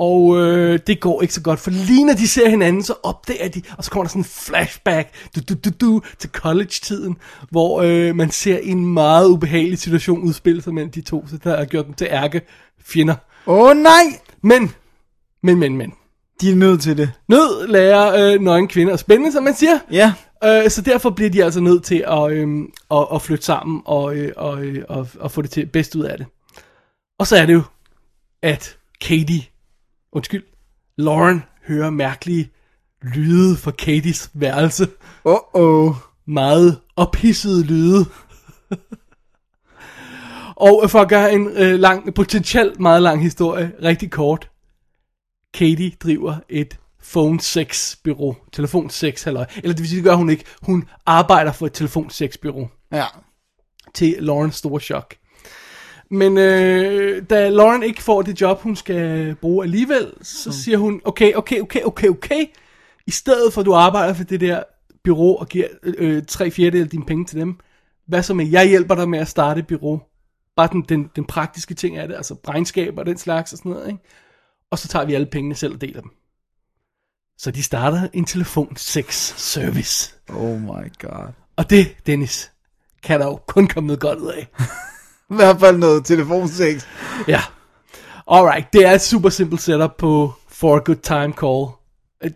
Og øh, det går ikke så godt, for lige når de ser hinanden, så opdager de, og så kommer der sådan en flashback du, du, du, du, til college-tiden, hvor øh, man ser en meget ubehagelig situation udspille sig mellem de to, så der har gjort dem til ærke fjender.
Åh, oh, nej!
Men, men, men, men.
De er nødt til det.
Nød lærer øh, nøgen kvinder at spænde, som man siger.
Ja.
Øh, så derfor bliver de altså nødt til at, øhm, at, at flytte sammen og, øh, og, øh, og, og få det til bedst ud af det. Og så er det jo, at Katie, undskyld, Lauren hører mærkelige lyde fra Katies værelse.
Åh, oh, oh.
Meget ophidsede lyde. og øh, for at gøre en øh, lang, potentielt meget lang historie rigtig kort. Katie driver et phone sex bureau telefon sex halløj. Eller det vil sige, det gør hun ikke. Hun arbejder for et telefon sex bureau
Ja.
til Laurens store chok. Men øh, da Lauren ikke får det job, hun skal bruge alligevel, så siger hun, okay, okay, okay, okay, okay. I stedet for, at du arbejder for det der bureau og giver øh, tre fjerdedel af dine penge til dem, hvad så med, jeg hjælper dig med at starte et bureau. Bare den, den, den praktiske ting af det, altså regnskab og den slags og sådan noget, ikke? Og så tager vi alle pengene selv og deler dem. Så de starter en telefon 6 service.
Oh my god.
Og det, Dennis, kan der jo kun komme noget godt ud af.
I hvert fald noget telefonsex.
Ja. Alright, det er et super simpelt setup på For a Good Time Call.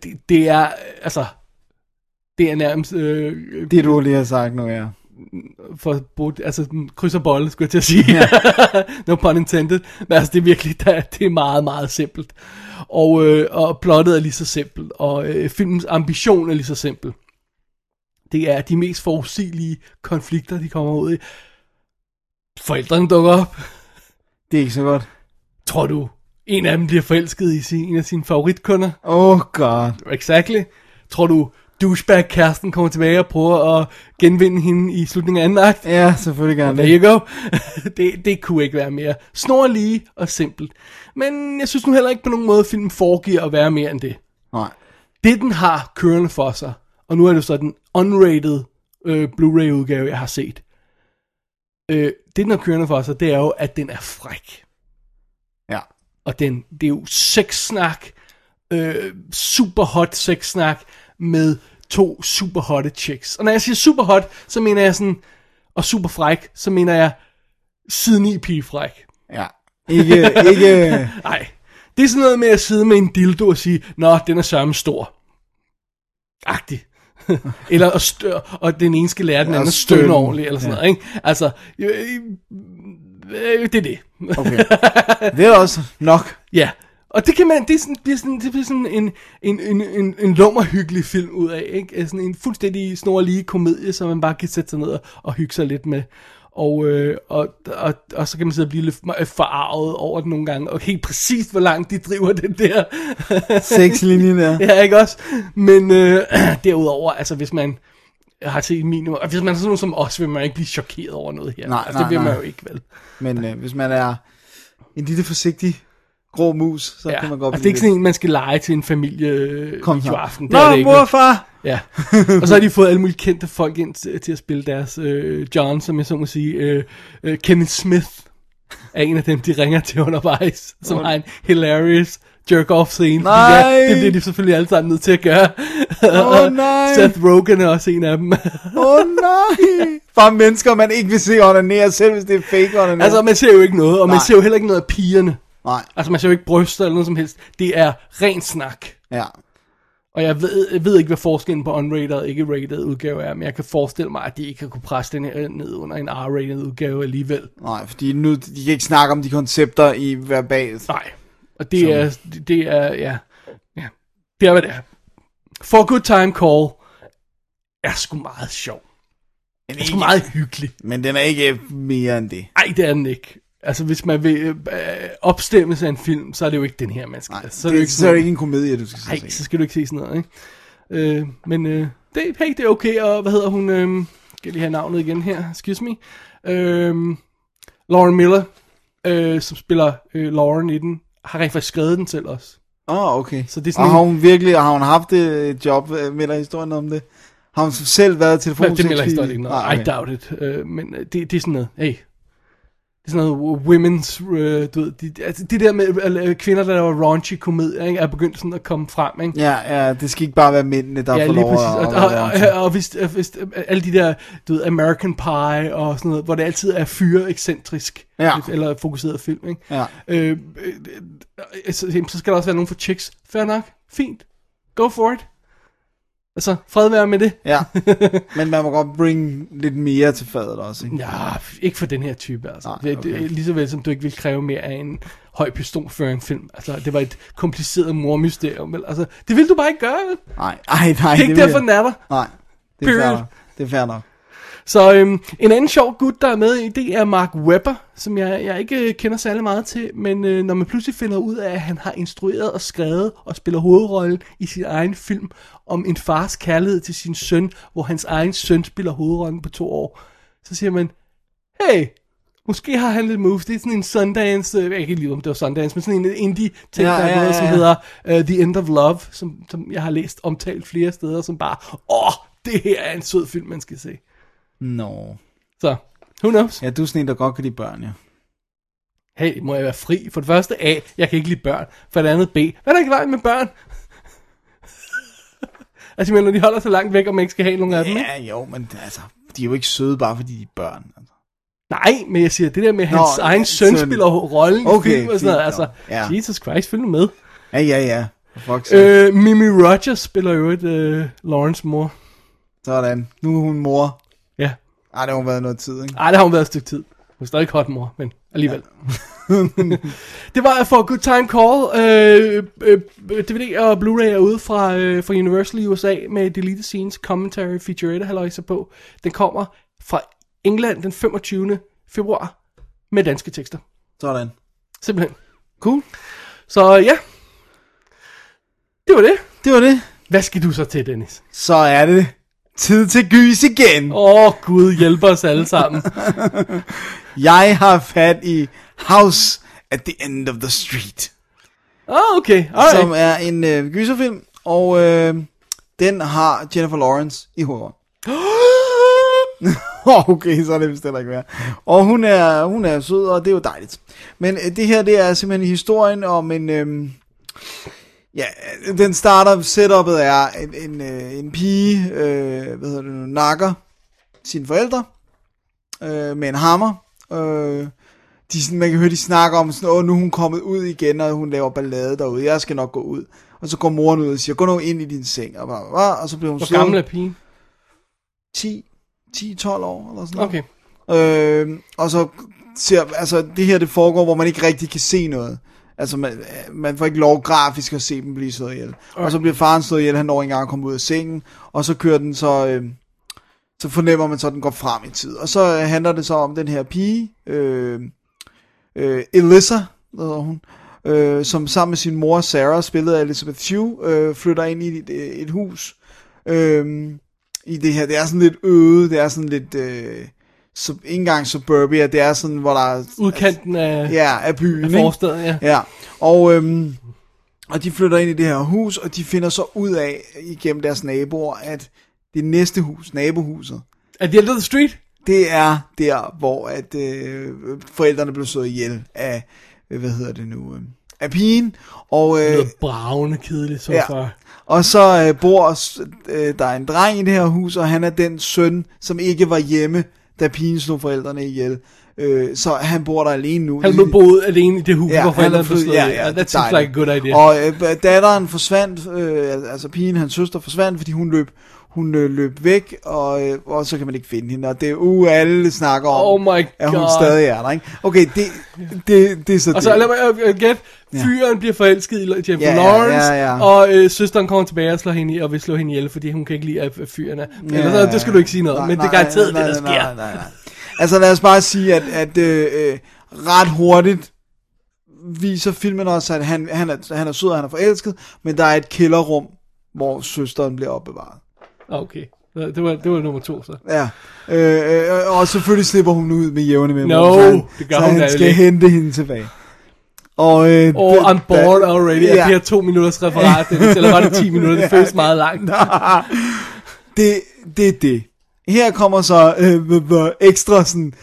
Det, det er, øh, altså, det er nærmest, øh, øh,
Det du lige har sagt nu, ja.
for at bruge, altså mm, kryds og bolle, skulle jeg til at sige. Ja. no pun intended. Men altså, det er virkelig, der, det er meget, meget simpelt. Og, øh, og plottet er lige så simpelt, og øh, filmens ambition er lige så simpel. Det er de mest forudsigelige konflikter, de kommer ud i. Forældrene dukker op.
Det er ikke så godt.
Tror du, en af dem bliver forelsket i sin, en af sine favoritkunder?
Oh god.
Exactly. Tror du, douchebag-kæresten kommer tilbage og prøver at genvinde hende i slutningen af anden akt?
Ja, selvfølgelig gerne det.
There you go. det, det kunne ikke være mere snorlige og simpelt. Men jeg synes nu heller ikke på nogen måde, at filmen foregiver at være mere end det.
Nej.
Det, den har kørende for sig, og nu er det så den unrated øh, Blu-ray-udgave, jeg har set. Øh, det, den har kørende for sig, det er jo, at den er fræk.
Ja.
Og den, det er jo sexsnak, øh, super hot sexsnak med to super hotte chicks. Og når jeg siger super hot, så mener jeg sådan, og super fræk, så mener jeg siden i pige fræk.
Ja. Ikke, ikke...
Nej. Det er sådan noget med at sidde med en dildo og sige, nå, den er samme stor. Agtig. eller at stør, og den ene skal lære den
Ja,
anden at
stønne.
stønne ordentligt, eller sådan ja. noget, ikke? Altså, øh, øh, det er det.
Okay. Det er også nok.
Ja, og det kan man, det, er sådan, bliver sådan, det bliver sådan en, en, en, en, en lummerhyggelig film ud af, ikke? Altså Sådan en fuldstændig snorlige komedie, som man bare kan sætte sig ned og, og hygge sig lidt med. Og, øh, og, og, og, så kan man sidde og blive lidt forarvet over det nogle gange, og helt præcist, hvor langt de driver den der.
Sexlinjen der.
ja, ikke også? Men øh, derudover, altså hvis man har set minimum, og hvis man er sådan nogen som os, vil man ikke blive chokeret over noget her.
Nej,
altså,
nej,
det vil man
nej.
jo ikke, vel?
Men øh, hvis man er en lille forsigtig grå mus, så
Ja.
kan man
Man
godt
og det er ikke sådan en, man skal lege til en familie
Kom
Kom
så.
i aften. Det
Nå,
er det ikke.
mor og far!
Ja, og så har de fået alle mulige kendte folk ind til, til at spille deres øh, John, som jeg så må sige. Øh, øh, Kevin Smith er en af dem, de ringer til undervejs, som har en hilarious jerk-off scene.
Nej!
Ja, det bliver de selvfølgelig alle sammen nødt til at gøre.
Åh,
Og
nej!
Seth Rogen er også en af dem.
Åh oh, nej! Bare mennesker, man ikke vil se onanere, selv hvis det er fake onanere.
altså, man ser jo ikke noget, og man
Nej.
ser jo heller ikke noget af pigerne.
Nej,
Altså, man ser jo ikke bryster eller noget som helst. Det er ren snak.
ja.
Og jeg ved, jeg ved ikke, hvad forskellen på unrated og ikke-rated udgave er, men jeg kan forestille mig, at de ikke har kunne presse den her ned under en R-rated udgave alligevel.
Nej, fordi nu, de kan ikke snakke om de koncepter i verbalt.
Nej. Og det er, det er, ja, ja, det er, hvad det er. For Good Time Call er sgu meget sjov.
Men,
Det er sgu meget hyggelig.
men den er ikke mere end det.
Ej, det er den ikke. Altså, hvis man vil øh, opstemmes af en film, så er det jo ikke den her, man skal.
Nej,
så
det,
jo
det, så er
sådan-
det ikke en komedie, du skal
Ej,
se.
så skal du ikke se sådan noget, ikke? Øh, men øh, det, hey, det er okay, og hvad hedder hun? Øh, skal jeg lige have navnet igen her? Excuse me. Øh, Lauren Miller, øh, som spiller øh, Lauren i den, har rent faktisk skrevet den selv også.
Åh, oh, okay.
Så det er sådan
og
en-
har hun virkelig har hun haft et job? øh, Melder historien om det? Har hun selv været
Prøv,
telefonsexpige?
det melder historien ikke noget.
Nej,
I doubt it. Øh, men øh, det, det er sådan noget, hey. Det er sådan noget women's, øh, du ved, de, altså, det der med øh, kvinder, der laver raunchy komedier, ikke, er begyndt sådan at komme frem, ikke?
Ja, ja, det skal ikke bare være mændene, der
Ja,
får
lige
lov
præcis. Og,
at... at være
og,
onanere.
og, og hvis, øh, hvis øh, alle de der, du ved, American Pie og sådan noget, hvor det altid er fyre ekscentrisk,
Ja.
eller fokuseret film, ikke?
Ja.
Øh, øh, øh, så, jamen, så skal der også være nogen for chicks. Fair nok. Fint. Go for it. Altså, fred være med det.
Ja, men man må godt bringe lidt mere til fadet også, ikke?
Ja, ikke for den her type, altså.
Nej,
Nej,
okay.
okay. Lige så vel som du ikke vil kræve mere af en høj pistolføring film. Altså, det var et kompliceret mormysterium, vel? Altså, det vil du bare ikke gøre, vel? Det
Nej, ej, nej.
er ikke
vil
derfor,
jeg-
den er der.
Nej, det er fair
Period.
nok. Det er fair nok.
Så øhm, en anden sjov gut, der er med i, det er Mark Webber, som jeg, jeg ikke øh, kender særlig meget til, men øh, når man pludselig finder ud af, at han har instrueret og skrevet og spiller hovedrollen i sin egen film om en fars kærlighed til sin søn, hvor hans egen søn spiller hovedrollen på to år, så siger man, hey, måske har han lidt moves. Det er sådan en Sundance, øh, jeg kan ikke lide, om det var Sundance, men sådan en indie ting,
Ja,
ja, der
ja,
er gået,
ja,
som
ja.
hedder øh, The End of Love, som, som jeg har læst omtalt flere steder, som bare, åh, oh, det her er en sød film, man skal se.
Nå.
Så, who knows?
Ja, du er sådan en, der godt kan lide børn, ja.
Hey, må jeg være fri? For det første A, jeg kan ikke lide børn. For det andet B, hvad er der ikke i vejen med børn? altså, men når de holder så langt væk, og man ikke skal have nogen af dem. ikke?
Ja, jo, men altså, de er jo ikke søde, bare fordi de er børn. Altså.
Nej, men jeg siger, det der med at
Nå,
hans egen søn
søn.
spiller rollen
Okay,
i film og sådan noget.
fint
Altså,
nok. Ja.
Jesus Christ, følg nu med.
Ja, ja, ja. For fuck's sake.
Øh, Mimi Rogers spiller jo et øh, Lawrence mor.
Sådan. Nu er hun mor.
Ja.
Ej, det har jo været noget tid, ikke?
Ej, det har hun været et stykke tid. Hun er stadig hot mor, men alligevel. det var for Good Time Call. Øh, øh, DVD og Blu-ray er ude fra, øh, fra Universal i USA med deleted scenes, commentary, featurette, halløjser på. Den kommer fra England den 25. februar med danske tekster.
Sådan.
Simpelthen. Cool. Så ja. Det var det.
Det var det.
Hvad skal du så til, Dennis?
Så er det tid til gys igen.
Åh, oh, Gud hjælper os alle sammen.
Jeg har fat i House at the End of the Street,
Åh, oh, okay.
Alright.
Alright.
som er en øh, gyserfilm, og øh, den har Jennifer Lawrence i hovedet. okay, så er det vist heller ikke værd. Og hun er, hun er sød, og det er jo dejligt. Men øh, det her, det er simpelthen historien om en... Øh, Ja, den starter, setupet er en, en, øh, en pige, øh, hvad hedder det nu, nakker sine forældre øh, med en hammer. Øh, de, er sådan- man kan høre, de snakker om sådan, åh, nu er hun kommet ud igen, og hun laver ballade derude, jeg skal nok gå ud. Og så går moren ud og siger, gå nu ind i din seng, og, bla, bla, bla, og så bliver hun
Hvor
slået
gammel er pigen?
10, 10-12 år, eller sådan noget.
Okay.
Øh, og så ser, altså det her det foregår, hvor man ikke rigtig kan se noget. Altså man, man får ikke lov grafisk at se dem blive slået ihjel. Og så bliver faren slået ihjel, han når ikke engang at komme ud af sengen, og så kører den så, øh, så fornemmer man så, at den går frem i tid. Og så øh, handler det så om den her pige, øh, øh, Elissa, hvad hedder hun, øh, som sammen med sin mor Sarah, spillet af Elizabeth Shue, øh, flytter ind i et, et hus. Øh, i det her, det er sådan lidt øde, det er sådan lidt, øh, sub, ikke engang suburbia, det er sådan, hvor der er,
Udkanten af, ja,
ja, af byen,
af
ikke?
forstedet, ja.
Ja, og, øhm, og de flytter ind i det her hus, og de finder så ud af, igennem deres naboer, at det næste hus, nabohuset,
Er det End of the Street?
det er der, hvor at øh, forældrene blev slået ihjel af, øh, hvad hedder det nu, øh, af pigen, og... Øh,
Noget bravende kedeligt, så
Ja.
far.
og så øh, bor s- øh, der er en dreng i det her hus, og han er den søn, som ikke var hjemme, da pigen slog forældrene ihjel. Øh, så han bor der alene nu.
Han blev boet alene i det hus, ja, hvor
han er
forældrene blev
flyttet-
slået. Ja, ja,
det er
that seems like a
dejligt.
good idea. Og,
Og øh, datteren forsvandt, øh, al- altså pigen, hans søster forsvandt, fordi hun løb, hun øh, løb væk, og, øh, og så kan man ikke finde hende. Og det er uh, alle snakker om,
Oh my
at hun
God.
stadig er der. Ikke? Okay, det, det, det er så
og
det.
så lad mig øh, øh, gætte, fyren bliver forelsket i Jennifer
Ja, ja,
Lawrence,
ja, ja.
og øh, søsteren kommer tilbage og, slår hende, i- og vil slå hende ihjel, fordi hun kan ikke lide, at fyren er. Men ja, altså, det skal du ikke sige noget om, men det er garanteret det, der sker.
Nej, nej, nej. Altså lad os bare sige, at, at øh, øh, ret hurtigt viser filmen også, at han, han, er, han er sød, og han er forelsket, men der er et kælderrum, hvor søsteren bliver opbevaret.
Ah, Okay, Så det var, det var nummer to så.
Ja, øh, øh, og selvfølgelig slipper hun ud med jævne med
No, det gør
så
hun da
han skal
ikke.
hente hende tilbage. Og, øh,
Og
det-
oh, I'm bored already af
Ja.
det her to minutters referat, Dennis, eller var det 10 minutter, det føles meget langt.
det, det er det. Her kommer så øh, b- b- ekstra sådan,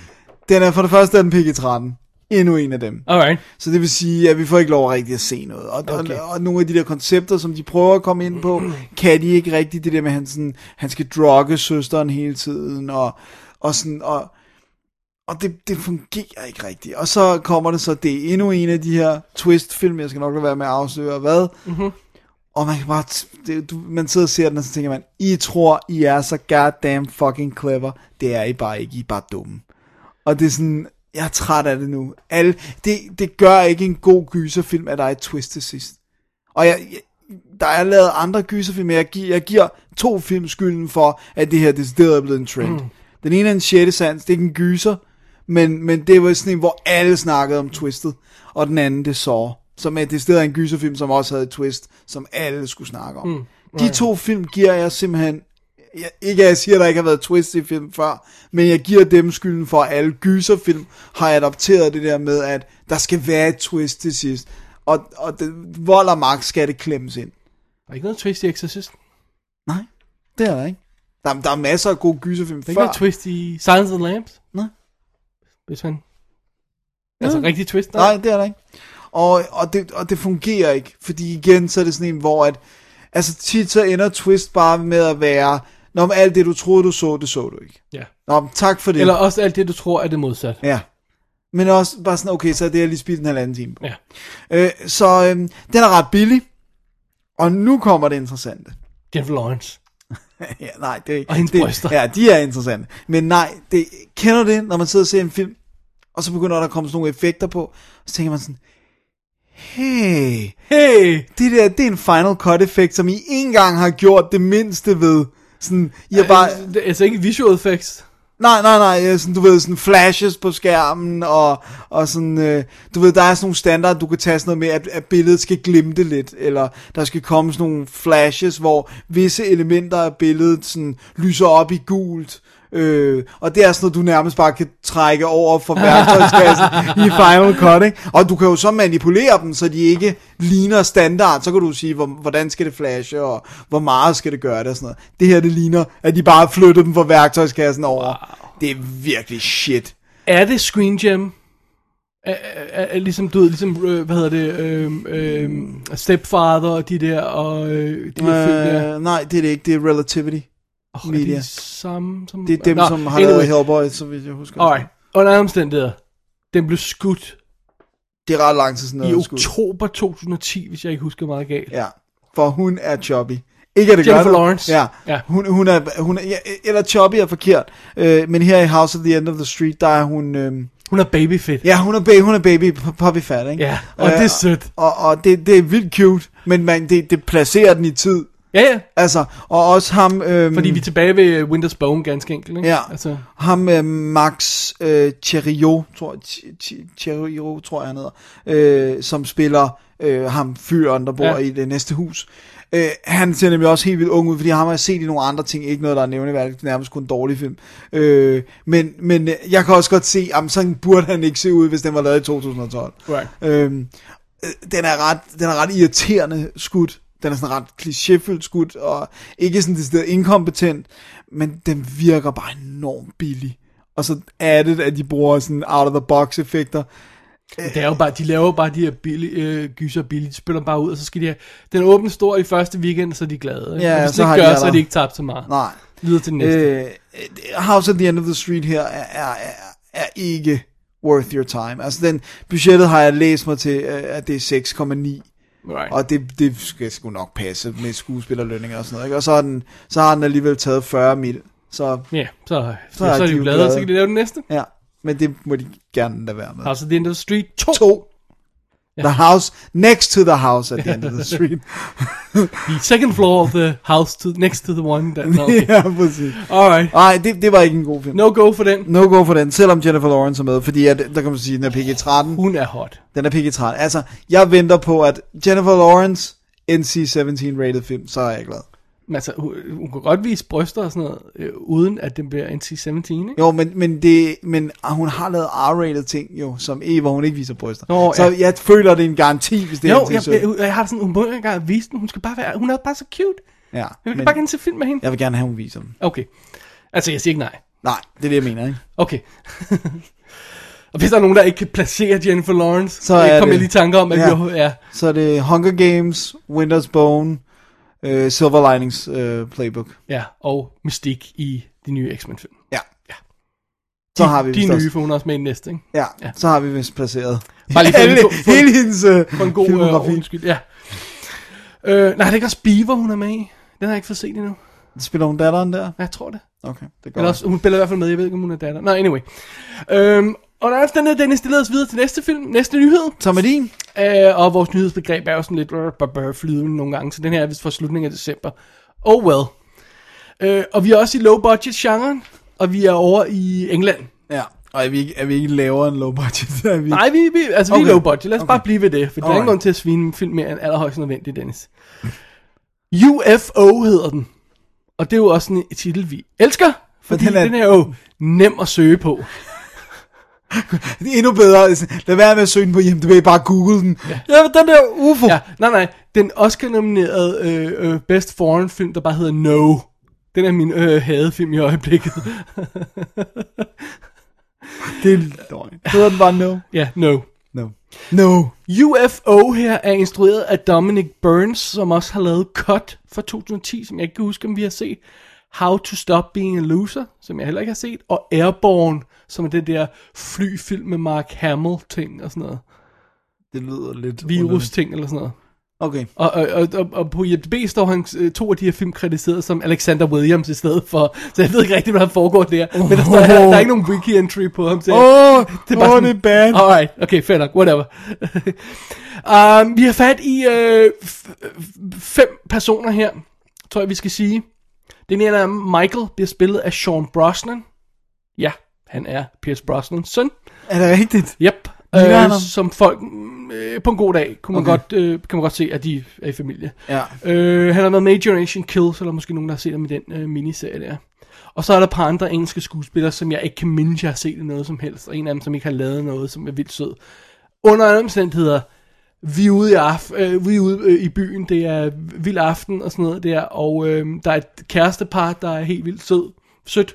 den er for det første er den PG-13, endnu en af dem.
Alright,
Så det vil sige, at vi får ikke lov rigtig at se noget. Og, okay.
Okay.
og, og nogle af de der koncepter, som de prøver at komme ind på, kan de ikke rigtigt. Det der med, at han, sådan, han skal drogge søsteren hele tiden, og, og sådan... Og, og det, det fungerer ikke rigtigt. Og så kommer det så, det er endnu en af de her twist-film, jeg skal nok lade være med at afsløre hvad. Mm-hmm. Og man kan bare, t- det, du, man sidder og ser den, og så tænker man, I tror, I er så goddamn fucking clever. Det er I bare ikke, I er bare dumme. Og det er sådan, jeg er træt af det nu. Alle, det, det gør ikke en god gyserfilm, at der er et twist til sidst. Og jeg, jeg der er lavet andre gyserfilm, men jeg, gi- jeg giver to film skylden for, at det her decideret er blevet en trend. Mm. Den ene er en sjette sans, det er ikke en gyser, men, men det var sådan en, hvor alle snakkede om twistet. Og den anden, det så, som er decideret en gyserfilm, som også havde et twist, som alle skulle snakke om. Mm. De to film giver jeg simpelthen jeg, ikke at jeg siger, at der ikke har været twist i film før, men jeg giver dem skylden for, at alle gyserfilm har adopteret det der med, at der skal være et twist til sidst. Og, og det, vold og magt skal det klemmes ind.
der er ikke noget twist i Exorcist. Der
Nej, det er der ikke. Der, der er masser af gode gyserfilm
er ikke
før.
noget twist i Silence of the Lambs.
Nej.
Hvis man... Altså, rigtig twist.
Nej, det er der ikke. Og, og, det, og det fungerer ikke, fordi igen, så er det sådan en, hvor at, altså tit så ender twist bare med at være, når alt det, du troede, du så, det så du ikke.
Ja.
Nå, men tak for det.
Eller også alt det, du tror, er det modsatte.
Ja. Men også bare sådan, okay, så er det her lige spildt en halvanden time på.
Ja.
Øh, så øh, den er ret billig. Og nu kommer det interessante.
Jennifer Lawrence.
ja, nej, det er ikke.
Og hendes
det,
bryster.
Ja, de er interessante. Men nej, det, kender du det, når man sidder og ser en film, og så begynder der at komme sådan nogle effekter på, og så tænker man sådan, hey,
Hey!
det der, det er en Final Cut-effekt, som I ikke engang har gjort det mindste ved. Sådan, I har bare...
Det er altså ikke visual effects.
Nej, nej, nej, øh, sådan, du ved, sådan flashes på skærmen, og, og sådan, øh, du ved, der er sådan nogle standard, du kan tage sådan noget med, at, at billedet skal glimte lidt, eller der skal komme sådan nogle flashes, hvor visse elementer af billedet sådan lyser op i gult, øh, og det er sådan noget, du nærmest bare kan trække over fra værktøjskassen i Final Cut, ikke? Og du kan jo så manipulere dem, så de ikke ligner standard, så kan du sige, hvor, hvordan skal det flashe, og hvor meget skal det gøre det, og sådan noget. Det her, det ligner, at de bare flyttede dem fra værktøjskassen over. Wow. Det er virkelig shit.
Er det Screen Jam? Er, er, er, er ligesom, du ved, ligesom, øh, hvad hedder det, øh, øh, Stepfather og de der, og øh, de der øh, film der.
Øh, nej, det er det ikke. Det er Relativity.
Oh, er
media.
det de samme, som...
Det er dem,
Nå,
Nå, som har lavet Hellboy, så vidt jeg husker.
Alright. Under alle omstændigheder. Den blev skudt
Det er ret lang tid siden,
i
noget skud.
oktober 2010, hvis jeg ikke husker meget galt.
Ja, for hun er choppy. Ikke at det
Jennifer
gør noget.
Lawrence.
Ja,
Ja.
Hun, hun er, hun er ja, eller choppy er forkert. Øh, men her i House of the End of the Street, der er hun... Øh,
Hun er babyfit.
ja, hun er, ba- hun er baby pu- puppy fat, ikke? Øh,
Ja, og det er sødt.
Og, og det, det er vildt cute, men man, det, det placerer den i tid.
Ja, ja.
Altså, og også ham... Øh,
Fordi vi er tilbage ved øh, Winter's Bone ganske enkelt, ikke?
Ja,
Altså,
altså. ham øh, Max øh, Cherio, tror, Ch- Ch- Cherio, tror jeg han hedder, øh, som spiller øh, ham fyren, der bor
Ja.
ja. i det næste hus. Øh, han ser nemlig også helt vildt ung ud, fordi ham har jeg set i nogle andre ting, ikke noget, der er nævneværdigt, nærmest kun en dårlig film. Øh, men, men øh, jeg kan også godt se, at sådan burde han ikke se ud, hvis den var lavet i 2012.
Right.
Øhm, øh, den, er ret, den er ret irriterende skudt. Den er sådan ret klichéfyldt skudt, og ikke sådan det inkompetent, men den virker bare enormt billig. Og så er det, at de bruger sådan out-of-the-box effekter. Øh,
det er jo bare, de laver jo bare de her billige, øh, gyser billigt, de spiller bare ud, og så skal de have, den åbne stor i første weekend, så er de glade. Ikke?
Ja,
og hvis
så
de
har
ikke
de
gør,
været
så er de
der.
ikke tabt så meget.
Nej.
Videre til den næste. Øh,
Øh, House at the End of the Street her er, er, er, er ikke worth your time. Altså den budgettet har jeg læst mig til, øh, at det er 6,9
right.
Og det, det skal sgu nok passe med skuespillerlønninger og sådan noget. Ikke? Og så har, den, så har den alligevel taget 40 mil. Så
Ja, så, så,
Så
så,
er
så er de
de
jo
jo
glade,
glade.
så kan de lave den næste.
ja, men det må de gerne lade være med.
House of the End of the Street 2.
To. The house next to the house at the end of the street.
The second floor of the house to, next to the one. That, no, okay.
ja, præcis.
Alright.
Nej, det, det var ikke en god film.
No go for den.
No go for den, selvom Jennifer Lawrence er med, fordi at, der kan man sige, at den er PG-13.
Hun er hot.
Den er PG-13. Altså, jeg venter på, at Jennifer Lawrence NC-17 rated film, så er jeg glad.
Men altså, hun, hun kan godt vise bryster og sådan noget, øh, uden at den bliver NC-17, ikke?
Jo, men, men, det, men ah, hun har lavet R-rated ting jo, som E, hvor hun ikke viser bryster.
Nå,
så
ja.
jeg føler, det er en garanti, hvis det er
Jo,
en
jeg,
t-shirt.
jeg, jeg, har det sådan, hun må ikke engang vise den. Hun skal bare være, hun er bare så cute.
ja,
Jeg vil
men
bare gerne se film med hende.
jeg vil gerne have, hun viser dem.
Okay. Altså, jeg siger ikke nej.
Nej, det er det, jeg mener, ikke?
Okay. og hvis der er nogen, der ikke kan placere Jennifer Lawrence, så
Så er
kommer jeg
det-
lige i tanke om, at
Ja.
vi er...
Så er det Hunger Games, Winter's Bone, øh, Silver Linings øh, Playbook.
Ja, og mystik i de nye X-Men-film.
Ja. Så har vi
de
vist
nye,
også-
for hun er også med i den næste, ikke?
Ja,
Ja.
ja, så har vi vist placeret.
Bare lige for en
hele,
god- for en-
hele hendes øh,
For en god øh,
filmografi.
undskyld, ja. Øh, nej, det er ikke også Beaver, hun er med i. Den har jeg ikke fået set endnu.
Spiller hun datteren der?
Ja, Jeg tror det.
Okay, det går.
Eller også, hun spiller i hvert fald med, jeg ved ikke, om hun er datter. Nej, anyway. Øhm, og der er den her, Dennis, det leder os videre til næste film, næste nyhed.
Tom er din?
Øh, og vores nyhedsbegreb er jo sådan lidt øh, brr, brr, brr, flydende nogle gange, så den her er vist fra slutningen af december. Oh well. Øh, og vi er også i low budget genren, og vi er over i England.
Ja. Og er vi ikke, er vi ikke lavere end low budget? Er vi...
Nej, vi, vi, altså, okay. vi
Okay.
er low budget. Lad os okay. bare blive ved det, for der er ingen
Alright.
grund til at svine en film mere end allerhøjst nødvendigt, Dennis. UFO hedder den. Og det er jo også sådan en titel, vi elsker, fordi den
den
er,
er-
den er jo nem at søge på.
Det er endnu bedre. Lad være med at søge den på IMDb, bare google den. Ja, ja den der UFO.
Ja, nej, nej. Den Oscar-nominerede øh, øh, Best Foreign Film, der bare hedder No. Den er min øh, hadefilm i øjeblikket.
Det er løgn. Hedder den bare No?
ja, No.
No. No.
UFO her er instrueret af Dominic Burns, som også har lavet Cut fra 2010, som jeg ikke kan huske, om vi har set. How to Stop Being a Loser, som jeg heller ikke har set. Og Airborne, som er den der flyfilm med Mark Hamill-ting og sådan noget.
Det lyder lidt... underligt.
Virus-ting eller sådan noget.
Okay.
Og, og, og, og, og på IMDb står han øh, to af de her film kritiseret som Alexander Williams i stedet for. Så jeg ved ikke rigtig, hvad der foregår der. Oh. Men der, står, der, der er ikke nogen wiki-entry på ham. så jeg-
Åh, det, oh, det er bad.
Alright, okay, fair nok, whatever. um, vi har fat i øh, f- f- fem personer her, tror jeg vi skal sige. Den ene er Michael, bliver spillet af Sean Brosnan. Ja, han er Pierce Brosnans søn.
Er det rigtigt?
Yep.
Ligner han
Øh,
ham?
som folk mm, øh, på en god dag kunne man,
Okay.
okay. godt, øh, kan man godt se, at de er i familie.
Ja.
Øh, han har været med i Generation Kill, så der er måske nogen, der har set ham i den øh, miniserie der. Og så er der et par andre engelske skuespillere, som jeg ikke kan minde, jeg har set i noget som helst. Og en af dem, som ikke har lavet noget, som er vildt sød. Under alle omstændigheder, vi er ude i, af, øh, vi er ude, øh, i byen, det er vild aften og sådan noget der. Og øh, der er et kærestepar, der er helt vildt sød, sødt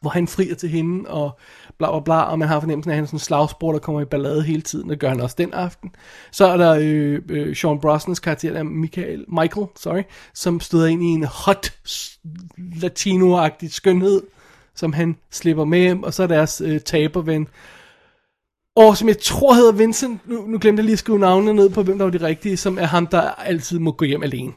hvor han frier til hende, og bla bla bla, og man har fornemmelsen af, at han er sådan en slagsbror, der kommer i ballade hele tiden, det gør han også den aften. Så er der øh, øh, Sean Brosnans karakter, der er Michael, Michael, sorry, som støder ind i en hot, s- latinoagtig skønhed, som han slipper med hjem, og så er deres øh, taberven, og som jeg tror hedder Vincent, nu, nu glemte jeg lige at skrive navnene ned på, hvem der var de rigtige, som er ham, der altid må gå hjem alene.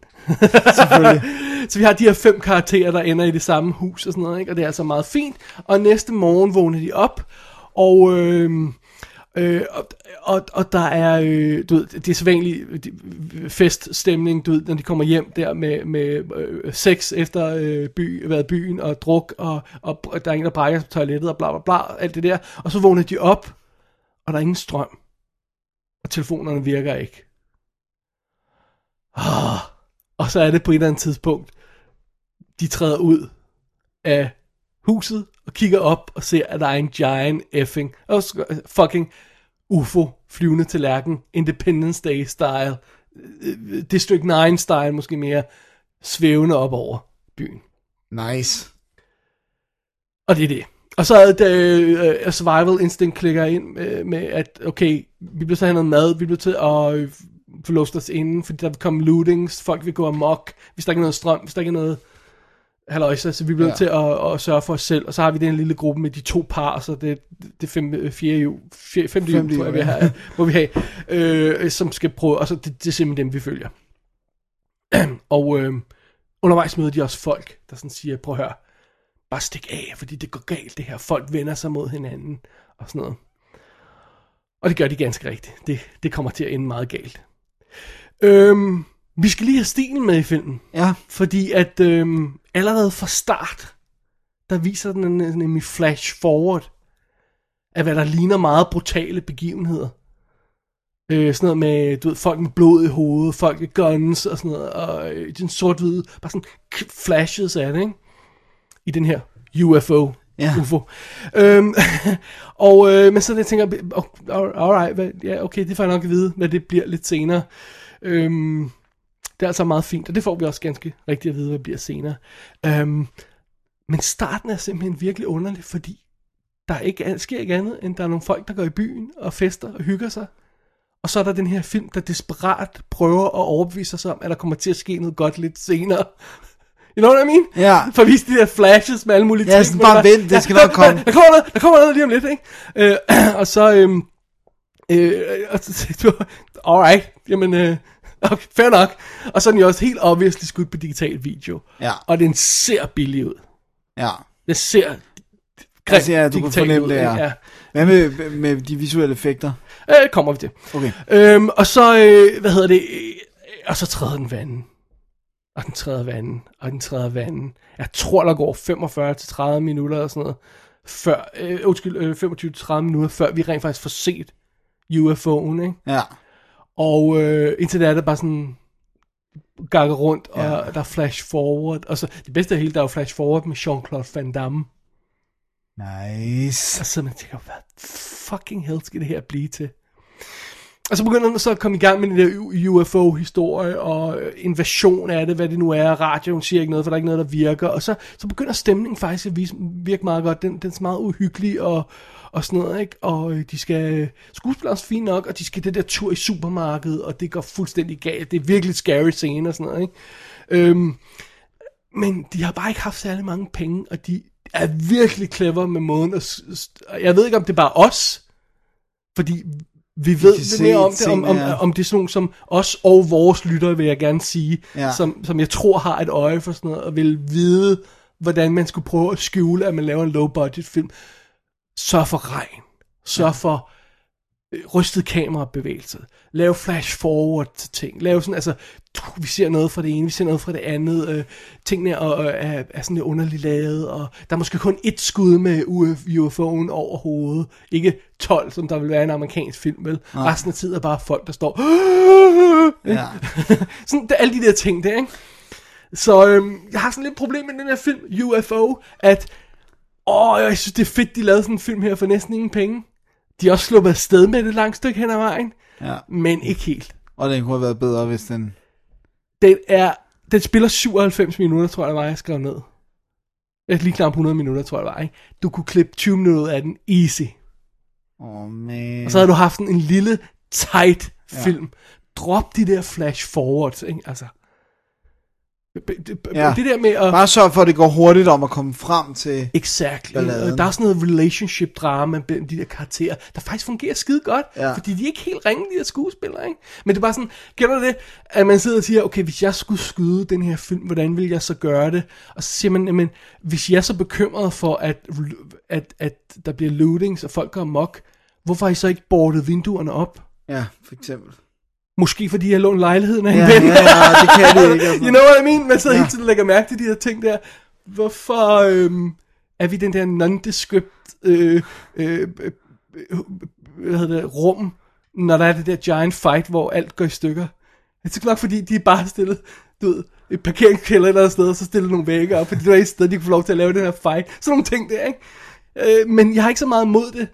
Så vi har de her fem karakterer, der ender i det samme hus og sådan noget, ikke? og det er altså meget fint. Og næste morgen vågner de op, og... Øh, Øh, og, og, og der er, øh, du ved, det er sædvanlig de- feststemning, du ved, når de kommer hjem der med, med øh, sex efter øh, by, været i byen og druk, og, og, og der er en, der brækker sig på toilettet og bla bla bla, alt det der. Og så vågner de op, og der er ingen strøm. Og telefonerne virker ikke. Ah, og så er det på et eller andet tidspunkt, de træder ud af huset og kigger op og ser, at der er en giant effing, oh, sk- fucking UFO flyvende tallerken, Independence Day style, øh, District 9 style måske mere, svævende op over byen.
Nice.
Og det er det. Og så er det, øh, øh, Survival Instinct klikker ind øh, med, at okay, vi bliver så have noget mad, vi bliver til at øh, få låst os inden, fordi der vil komme lootings, folk vil gå amok, hvis der ikke er noget strøm, hvis der ikke er noget halløjsa, så vi bliver
Ja.
ja. til at, at, sørge for os selv. Og så har vi den lille gruppe med de to par, så det, det fem, øh, fire jul, fire, femte jul,
Femte
tror jeg,
jul,
vi
ja.
har, må vi have, øh, som skal prøve, og så det, det er simpelthen dem, vi følger. og øh, undervejs møder de også folk, der sådan siger, prøv at høre, bare stik af, fordi det går galt det her. Folk vender sig mod hinanden og sådan noget. Og det gør de ganske rigtigt. Det, det kommer til at ende meget galt. Øhm, vi skal lige have stilen med i filmen.
Ja.
Fordi at øhm, allerede fra start, der viser den en- nemlig flash forward af hvad der ligner meget brutale begivenheder. Øh, sådan noget med, du ved, folk med blod i hovedet, folk med guns og sådan noget, og øh, den sort-hvide, bare sådan k- flashes af det, ikke? I den her UFO.
Ja.
UFO. Øhm, og, øh, men så jeg tænker, oh, alright, hvad, ja, okay, det får jeg nok at vide, hvad det bliver lidt senere. Øhm, det er altså meget fint, og det får vi også ganske rigtigt at vide, hvad det bliver senere. Øhm, men starten er simpelthen virkelig underlig, fordi der er ikke, sker ikke andet, end der er nogle folk, der går i byen og fester og hygger sig. Og så er der den her film, der desperat prøver at overbevise sig om, at der kommer til at ske noget godt lidt senere. You know what I mean?
Ja.
For at vise de der flashes med alle mulige
Ja,
ting,
sådan
hvor
bare
der-
vent, det skal nok
der-
komme.
Der kommer noget, der kommer noget lige om lidt, ikke? Øh, og så, øhm, øh, og så sagde du, alright, jamen, øh, okay, fair nok. Og så er den jo også helt obviously skudt på digital video.
Ja.
Og den ser billig ud.
Ja.
Den ser
Jeg siger, at du kan
digital
fornemme
ud,
det,
ikke?
ja. Hvad med, med de visuelle effekter?
ja. Øh, kommer vi til.
Okay.
Øhm, og så, øh, hvad hedder det, øh, og så træder den vandet. Og den træder vandet, og den træder vandet. Jeg tror, der går 45-30 minutter og sådan noget, før, øh, undskyld, øh, 25-30 minutter, før vi rent faktisk får set UFO'en, ikke?
Ja.
Og øh, indtil da er det bare sådan gakker rundt, og der er flash forward. Og så, det bedste af hele, der er jo flash forward med Jean-Claude Van Damme.
Nice.
Og så man tænker, hvad fucking hell skal det her blive til? Og så begynder den så at komme i gang med den der U- UFO-historie, og øh, invasion af det, hvad det nu er, radioen siger ikke noget, for der er ikke noget, der virker, og så, så begynder stemningen faktisk at vise, virke meget godt, den, den er så meget uhyggelig, og, og sådan noget, ikke? og øh, de skal, skuespillere er også fint nok, og de skal det der tur i supermarkedet, og det går fuldstændig galt, det er virkelig scary scene og sådan noget, ikke? Øhm, men de har bare ikke haft særlig mange penge, og de er virkelig clever med måden at... s- s- Jeg ved ikke, om det er bare os, fordi vi ved
kan
lidt
se
mere om det, om,
tingene,
om,
ja.
om det er sådan nogle som os og vores lyttere, vil jeg gerne sige,
Ja.
som, som jeg tror har et øje for sådan noget, og vil vide, hvordan man skulle prøve at skjule, at man laver en low-budget film. Sørg for regn. Sørg ja. for øh, rystet kamerabevægelse. Lav flash forward til ting. Lav sådan, altså, tu, vi ser noget fra det ene, vi ser noget fra det andet. Øh, tingene er, øh, er, er sådan lidt underligt lavet, og der er måske kun et skud med UF, UFO'en over hovedet. Ikke 12, som der vil være i en amerikansk film, vel? Nej. Resten af tiden er bare folk, der står...
Ja.
sådan, det, alle de der ting der, ikke? Så øhm, jeg har sådan lidt problem med den her film, UFO, at åh, jeg synes, det er fedt, de lavede sådan en film her for næsten ingen penge. De er også sluppet afsted med det et langt stykke hen ad vejen,
ja.
men ikke helt.
Og den kunne have været bedre, hvis den...
Den, er, den spiller 97 minutter, tror jeg, det var, jeg skrev ned. Jeg lige knap 100 minutter, tror jeg, det var, ikke? Du kunne klippe 20 minutter ud af den easy.
Åh, oh, man.
Og så havde du haft sådan en lille, tight film. Drop de der flash forwards, ikke? Altså. Det, det,
Ja.
det der med at...
Bare sørg for, at det går hurtigt om at komme frem til...
Exakt.
Balladen.
Balladen. Der er sådan noget relationship drama mellem de der karakterer, der faktisk fungerer skide godt,
Ja.
ja. fordi de er ikke helt ringe, de der skuespillere, ikke? Men det er bare sådan, gælder det, at man sidder og siger, okay, hvis jeg skulle skyde den her film, hvordan ville jeg så gøre det? Og så siger man, jamen, hvis jeg er så bekymret for, at, at, at der bliver lootings, og folk går amok, hvorfor har I så ikke bordet vinduerne op?
Ja, for eksempel.
Måske fordi jeg lånte lejligheden af en
Ja,
ven.
ja, ja, det kan det ikke. altså.
You know what I mean? Man sidder ja. hele tiden og lægger mærke til de der ting der. Hvorfor øhm, er vi den der nondescript øh, øh, øh, øh, hvad hedder det, rum, når der er det der giant fight, hvor alt går i stykker? Jeg tror nok, fordi de er bare stillet, du ved, et parkeringskælder et eller andet sted, og så stillet nogle vægge op, fordi det var et sted, de kunne få lov til at lave den her fight. Sådan nogle ting der, ikke? Øh, men jeg har ikke så meget mod det.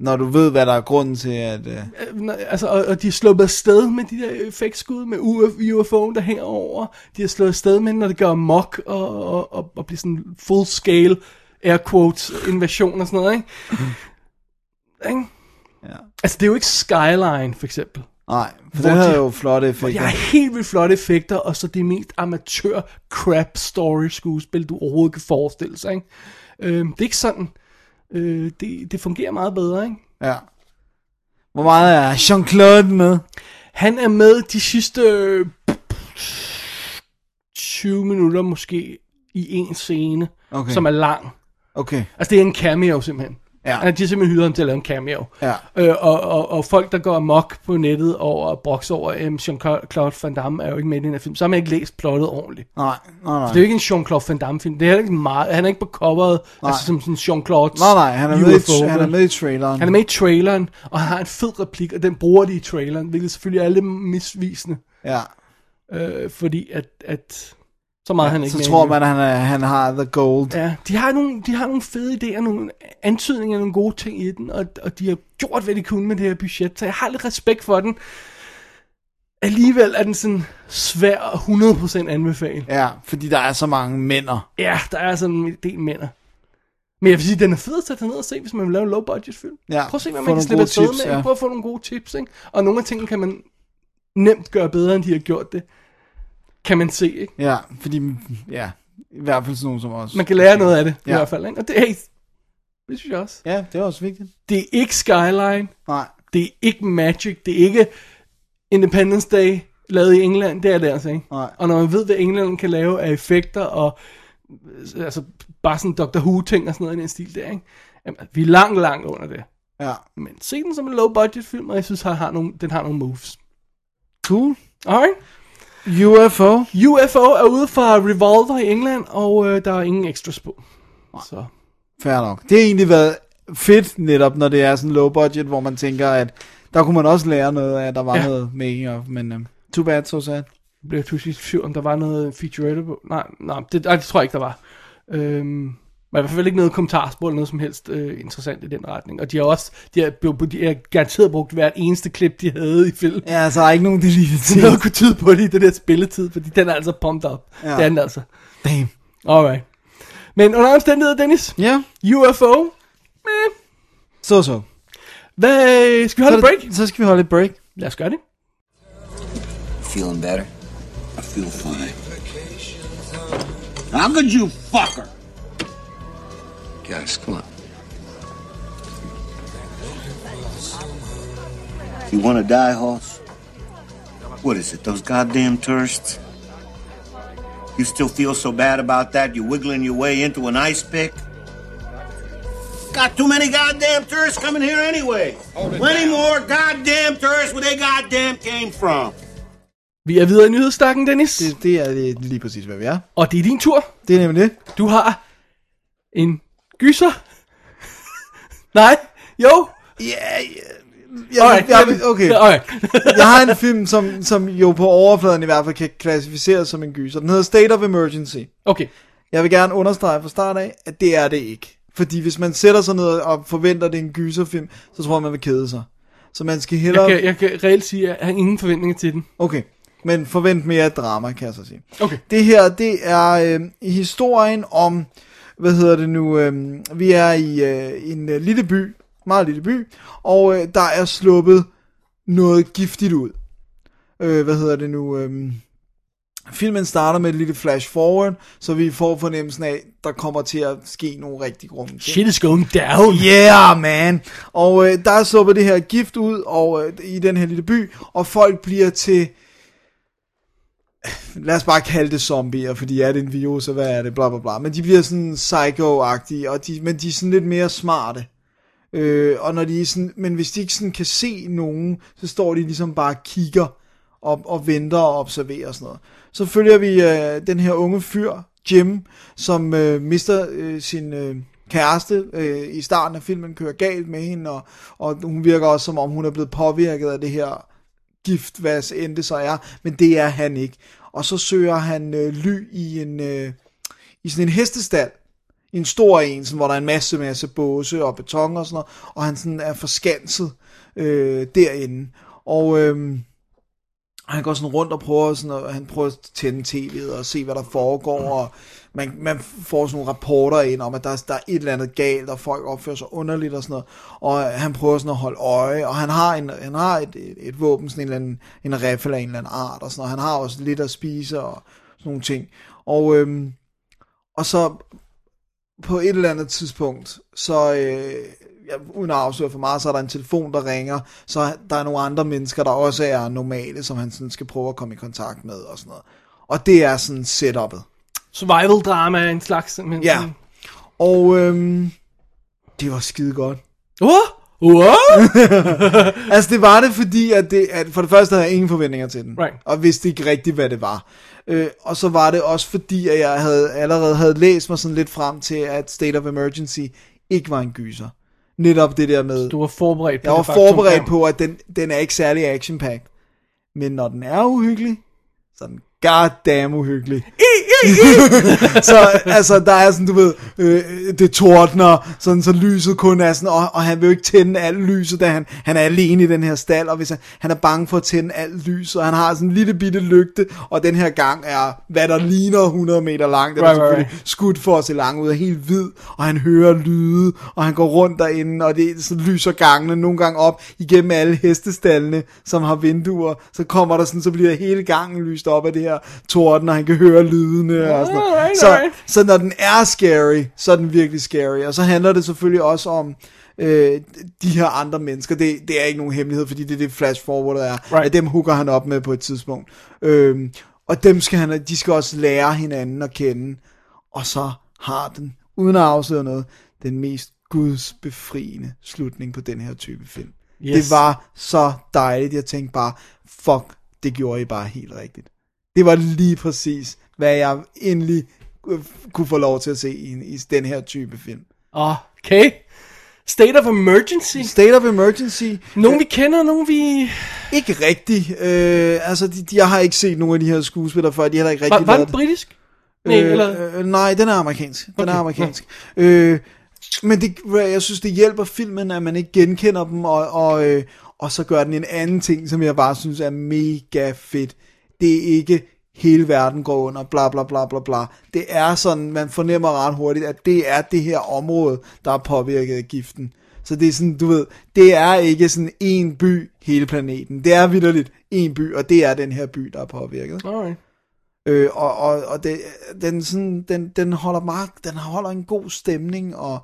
Når du ved, hvad der er grunden til, at... Uh...
Øh, nej, altså, og, og de er sluppet afsted med de der effektskud med UF, UFO'en, der hænger over. De har slået afsted med, når det gør mok og, og, og, og bliver sådan full scale, air quotes, invasion og sådan noget, ikke? ikke?
Ja.
Altså, det er jo ikke Skyline, for eksempel.
Nej, for
Hvor
den havde
de-
jo flotte effekter.
Jeg er helt vildt flotte effekter, og så det mest amatør crap story skuespil, du overhovedet kan forestille sig, ikke? Øh, det er ikke sådan. Øh, det, det fungerer meget bedre, ikke?
Ja. Hvor meget er Jean-Claude med?
Han er med de sidste øh, 20 minutter måske i en scene,
Okay.
okay. som er lang.
Okay,
Altså det er en cameo simpelthen.
Ja.
Han, de har simpelthen hyret ham til at lave en cameo.
Ja.
Øh, og, og, og folk, der går amok på nettet over broks over, at Jean-Claude Van Damme er jo ikke med i den her film, så har man ikke læst plottet ordentligt.
nej, nej, nej.
Det er jo ikke en Jean-Claude Van Damme film. Det er heller ikke meget, han er ikke på coveret, altså som sådan Jean-Claude
Nej, nej, han er, med i, han er med i traileren.
han er med i traileren, og han har en fed replik, og den bruger de i traileren, hvilket selvfølgelig er lidt misvisende.
Ja,
Øh, fordi at, at så meget ja, han ikke
så
med
tror
endnu.
man, at han, er, han har the gold.
Ja, de har, nogle, de har nogle fede idéer, nogle antydninger, nogle gode ting i den, og, og de har gjort, hvad de kunne med det her budget, så jeg har lidt respekt for den. Alligevel er den sådan svær at 100% anbefale.
Ja, fordi der er så mange mænder.
Ja, der er sådan en del mænd. Men jeg vil sige, den er fed at tage ned og se, hvis man vil lave en low-budget film.
Ja,
Prøv at se, hvad man
få nogle
kan slippe
gode
afsted
tips,
med.
ja.
Ja. Prøv at få nogle gode tips, ikke? Og nogle af tingene kan man nemt gøre bedre, end de har gjort det. Kan man se, ikke?
Ja, fordi, ja, i hvert fald sådan nogen som os.
Man kan lære noget af det, ja.
Ja.
i hvert fald. Ikke? Og det, hey, det synes jeg også.
Ja, det er også vigtigt.
Det er ikke Skyline,
Nej,
det er ikke Magic, det er ikke Independence Day lavet i England, det er det altså, ikke?
Nej.
Og når man ved, hvad England kan lave af effekter og øh, altså, bare sådan Doctor Who-ting og sådan noget i den stil der, ikke? Jamen, vi er langt, langt under det.
ja.
Men se den som en low-budget film, og jeg synes, han har nogle, den har nogle moves.
Cool.
Alright.
UFO.
UFO er ude fra Revolver i England, og øh, der er ingen extras på. Så.
Fair nok. Det har egentlig været fedt netop, når det er sådan low budget, hvor man tænker, at der kunne man også lære noget af, at der var ja.
Ja.
noget making of, men um, too bad, so sad.
blev jeg pludselig i tvivl, om der var noget featurette på. Nej, nej det, nej, det tror jeg ikke, der var. Øhm, men i hvert fald ikke noget kommentarspor eller noget som helst øh, interessant i den retning. Og de har også, de har, blev- de har garanteret brugt hvert eneste klip, de havde i film.
Ja, så der er ikke nogen deleted
Det havde
scenes.
kunne tyde på det i den der spilletid, fordi den er altså pumped op.
Ja.
Ja. Det er den altså.
Damn.
Alright. Men under omstændigheder, Dennis,
Ja,
UFO, meh.
så så.
Hvad, skal vi holde
Så,
et break?
så skal vi holde et break.
Lad os gøre det.
Feeling better?
I feel fine. How could you fuck her? Guys, come on. You want to die, Hoss? What is it, those goddamn tourists? You still feel so bad about that you're wiggling your way into an ice pick? Got too many goddamn tourists coming here anyway. Plenty more goddamn tourists where they goddamn came from.
Vi er videre i nyhedsstakken, Dennis.
Det, det er det- lige præcis, hvad vi er.
Og det er din tur.
Det er nemlig det.
Du har en gyser. Nej, jo.
Ja, ja.
Alright.
Jeg, jeg, okay.
Alright.
jeg har en film, som, som jo på overfladen i hvert fald kan klassificeres som en gyser. Den hedder State of Emergency.
Okay.
Jeg vil gerne understrege fra start af, at det er det ikke. Fordi hvis man sætter sig ned og forventer, at det er en gyserfilm, så tror jeg, man vil kede sig. Så man skal hellere...
Jeg kan, jeg kan reelt sige, at jeg har ingen forventninger til den.
Okay, men forvent mere drama, kan jeg så sige.
Okay.
Det her, det er øh, historien om, hvad hedder det nu, øh, vi er i øh, en øh, lille by, meget lille by, og øh, der er sluppet noget giftigt ud. Øh, hvad hedder det nu, øh, filmen starter med et lille flash forward, så vi får fornemmelsen af, der kommer til at ske nogle rigtig grumme ting.
Shit is going down.
Oh, Yeah, man. Og øh, der er sluppet det her gift ud og øh, i den her lille by, og folk bliver til, øh, lad os bare kalde det zombier, fordi er det en virus, og hvad er det, bla bla bla. Men de bliver sådan psycho-agtige, og de, men de er sådan lidt mere smarte. Øh, og når de er sådan, men hvis de ikke sådan kan se nogen, så står de ligesom bare og kigger og, og venter og observerer og sådan noget. Så følger vi øh, den her unge fyr, Jim, som øh, mister øh, sin øh, kæreste øh, i starten af filmen, kører galt med hende, og, og hun virker også som om hun er blevet påvirket af det her gift, hvad så end det så er, men det er han ikke. Og så søger han øh, ly i en øh, i sådan en hestestald, i en stor en, sådan, hvor der er en masse, masse båse og beton og sådan noget, og han sådan er forskanset øh, derinde. Og øh, han går sådan rundt og prøver, sådan, og han prøver at tænde tv'et og se, hvad der foregår, og man, man får sådan nogle rapporter ind om, at der, der er et eller andet galt, og folk opfører sig underligt og sådan noget, og øh, han prøver sådan at holde øje, og han har, en, han har et, et, et våben, sådan en eller anden en riffel af en eller anden art, og sådan noget. han har også lidt at spise og sådan nogle ting. Og, øhm, og så på et eller andet tidspunkt, så øh, ja, uden at afsløre for meget, så er der en telefon, der ringer, så der er nogle andre mennesker, der også er normale, som han sådan skal prøve at komme i kontakt med og sådan noget. Og det er sådan setup'et.
Survival drama af en slags. Men,
Ja. Og øhm, det var skide godt.
What? What?
Altså det var det, fordi at det, at for det første havde jeg ingen forventninger til den.
Right.
Og vidste ikke rigtigt, hvad det var. Øh, og så var det også fordi, at jeg havde, allerede havde læst mig sådan lidt frem til, at State of Emergency ikke var en gyser. Netop det der med...
Du var forberedt på
Jeg var
det faktum,
forberedt
ja.
på, at den, den er ikke særlig action -packed. Men når den er uhyggelig, så er den goddamn uhyggelig. så altså, der er sådan, du ved, øh, det tordner, sådan, så lyset kun er sådan, og, og han vil jo ikke tænde alt lyset, da han, han er alene i den her stald, og hvis han, han er bange for at tænde alt lys, og han har sådan en lille bitte lygte, og den her gang er, hvad der ligner 100 meter lang, den er
Right, right,
selvfølgelig skudt for at se lang ud, er helt hvid, og han hører lyde, og han går rundt derinde, og det så lyser gangene nogle gange op igennem alle hestestallene, som har vinduer, så kommer der sådan, så bliver hele gangen lyst op af det her torden, og han kan høre lydene og sådan noget.
Alright,
så,
alright.
så når den er scary, så er den virkelig scary, og så handler det selvfølgelig også om, Øh, de her andre mennesker, det, det er ikke nogen hemmelighed, fordi det er det flash forward er, right.
Right.
at dem hooker han op med på et tidspunkt. Øh, og dem skal han, de skal også lære hinanden at kende, og så har den, uden at afsløre noget, den mest gudsbefriende slutning på den her type film. Yes.
Yes.
Det var så dejligt, jeg tænkte bare, fuck, det gjorde I bare helt rigtigt. Det var lige præcis, hvad jeg endelig øh, kunne få lov til at se i, i den her type film.
Okay. State of emergency.
State of Emergency,
Nogen vi kender, nogen vi...
ikke rigtig, øh, altså de, de, jeg har ikke set nogen af de her skuespillere før, de har heller ikke
Var,
rigtig
var
lavet
den
det.
britisk? Nej,
øh,
eller...
øh, nej, den er amerikansk. Den okay.
Okay,
er
ja.
amerikansk. Øh, men det, jeg synes, det hjælper filmen, at man ikke genkender dem, og, og, øh, og så gør den en anden ting, som jeg bare synes er mega fedt. Det er ikke hele verden går under, bla bla bla bla bla. Det er sådan, man fornemmer ret hurtigt, at det er det her område, der er påvirket af giften. Så det er sådan, du ved, det er ikke sådan en by, hele planeten. Det er vidderligt en by, og det er den her by, der er påvirket.
Alright.
Øh, og og, og det, den, sådan, den, den, holder mark, den holder en god stemning, og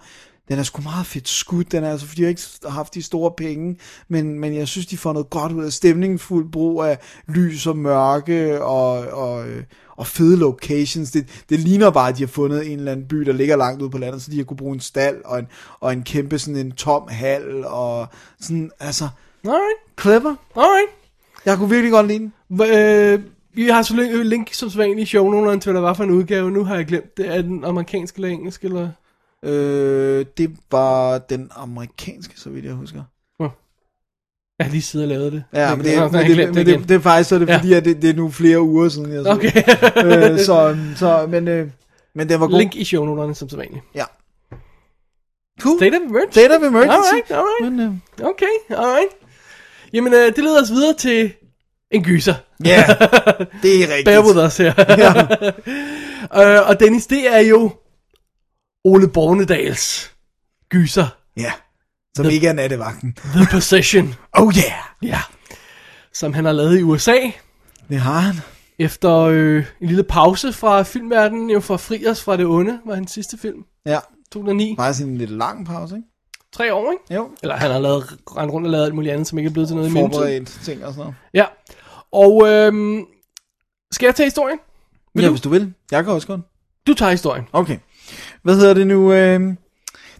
Den er sgu meget fedt skudt, den er altså, fordi jeg ikke har haft de store penge, men, men jeg synes, de får noget godt ud af stemningen, fuld brug af lys og mørke og, og, øh, og fede locations. Det, det ligner bare, at de har fundet en eller anden by, der ligger langt ude på landet, så de har kunne bruge en stald og en, og en kæmpe sådan en tom hal og sådan, altså,
Alright,
clever.
alright.
Jeg kunne virkelig godt lide den.
Hva- Øh, vi har så link, link som sædvanligt i shownoterne til, hvad der var for en udgave. Nu har jeg glemt det. Er den amerikansk eller engelsk? Eller?
Øh, det var den amerikanske, så vidt jeg husker.
Jeg har lige siddet og lavet det.
Ja, men det,
Nå,
men
så har jeg
det,
glemt
men det,
igen.
det, det er faktisk så er det,
Ja.
fordi at det, det er nu flere uger siden, jeg så
Okay.
det. øh, så, så, men, øh, men den var god.
Link i shownoterne som sædvanligt.
Ja. Cool.
State of Emergency.
State of emergency.
Alright, alright.
Men, øh,
Okay, alright. Jamen, øh, det leder os videre til en gyser.
ja, det er rigtigt.
Bear with us her.
Ja.
øh, og Dennis, det er jo Ole Bornedals gyser.
ja, som ikke er nattevagten.
The Possession.
Oh yeah,
ja. Som han har lavet i USA.
det har han.
Efter øh, en lille pause fra filmverdenen, jo fra Fri os fra det onde, var hans sidste film.
Ja,
2009.
faktisk en lidt lang pause, ikke?
Tre år, ikke?
Jo,
Eller han har lavet, rendt rundt og lavet alt muligt andet, som ikke er blevet til noget i mellemtiden.
forberedt ting og sådan noget.
Ja. Og øhm, skal jeg tage historien? Vil
ja,
du?
hvis du vil. Jeg kan også godt.
Du tager historien.
Okay. Hvad hedder det nu? Øh,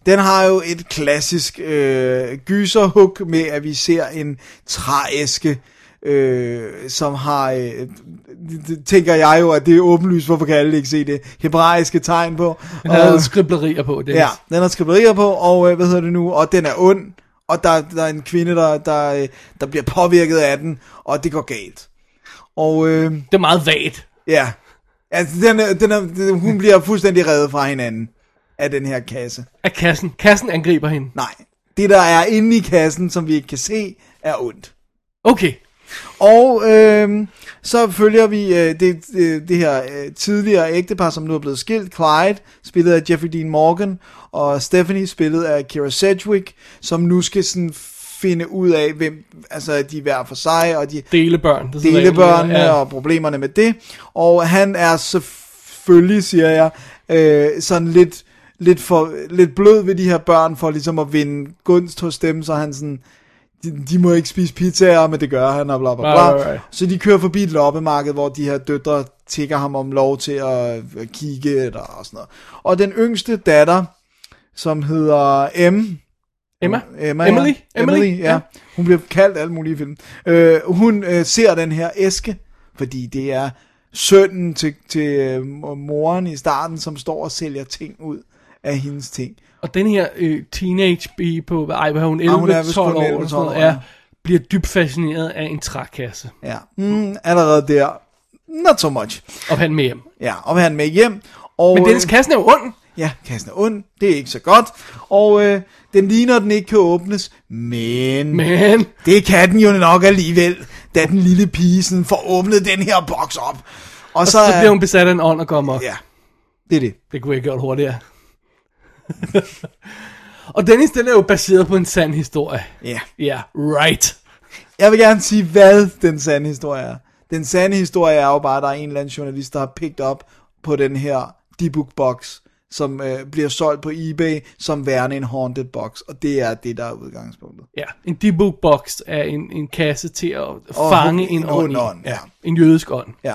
den har jo et klassisk øh, gyserhug med, at vi ser en trææske, øh, som har, øh, det- det tænker jeg jo, at det er åbenlyst, hvorfor kan alle ikke se det hebraiske tegn på.
Han har lavet skriblerier på, det.
Øh. Ja, den har skriverier på, og øh, hvad hedder det nu, og den er ond, og der, der er en kvinde, der, der, øh, der bliver påvirket af den, og det går galt. Og øh,
Det er meget vagt.
ja, altså, den er, den er, den- hun bliver fuldstændig reddet fra hinanden af den her kasse.
Af kassen. Kassen angriber hende.
Nej, det der er inde i kassen, som vi ikke kan se, er ondt.
Okay.
Og øh, så følger vi øh, det, det, det her øh, tidligere ægtepar, som nu er blevet skilt. Clyde, spillet af Jeffrey Dean Morgan, og Stephanie, spillet af Kira Sedgwick, som nu skal sådan finde ud af, hvem altså, at de er hver for sig, og de
Delebørn. Det er sådan
delebørnene
regel,
ja. og problemerne med det. Og han er selvfølgelig, siger jeg, øh, sådan lidt, lidt, for, lidt blød ved de her børn, for ligesom at vinde gunst hos dem, så han sådan, de, de må ikke spise pizzaer, men det gør han, og bla bla bla.
Right, right, right.
Så de kører forbi et loppemarked, hvor de her døtre tigger ham om lov til at, at kigge, eller og sådan noget. Og den yngste datter, som hedder M,
Emma?
Emma
Emily?
Ja. Emily, Emily ja. Hun bliver kaldt alle mulige film. Øh, hun øh, ser den her æske, fordi det er sønnen til, til øh, moren i starten, som står og sælger ting ud af hendes ting.
Og den her øh, teenage pige på, ej, hvad har hun, 11-12
Ah, hun er vist kun
år, eller
11-12
sådan noget,
år, ja.
er, bliver dybt fascineret af en trækasse.
Ja. Mm, allerede der. Not so much.
Og han med hjem.
Ja, og vil have den med hjem. Og,
Men
øh,
Dennis, kassen er jo ond.
Ja, kassen er ond. Det er ikke så godt. Og øh, den ligner, at den ikke kan åbnes. Men,
Men
det kan den jo nok alligevel, da den lille pige sådan får åbnet den her boks op. Og,
så, så bliver hun besat af en ånd og kommer.
øh, Ja, det er det.
Det kunne jeg gjort hurtigere. og Dennis, den er jo baseret på en sand historie.
Ja.
Ja, yeah, right.
Jeg vil gerne sige, hvad den sande historie er. Den sande historie er jo bare, at der er en eller anden journalist, der har picked op på den her D-Book box, som øh, bliver solgt på eBay som værende en haunted box. Og det er det, der er udgangspunktet.
Ja, en debug box er en, en kasse til at fange en,
en
ånd,
ond
i.
ånd, ja.
En jødisk ånd.
Ja,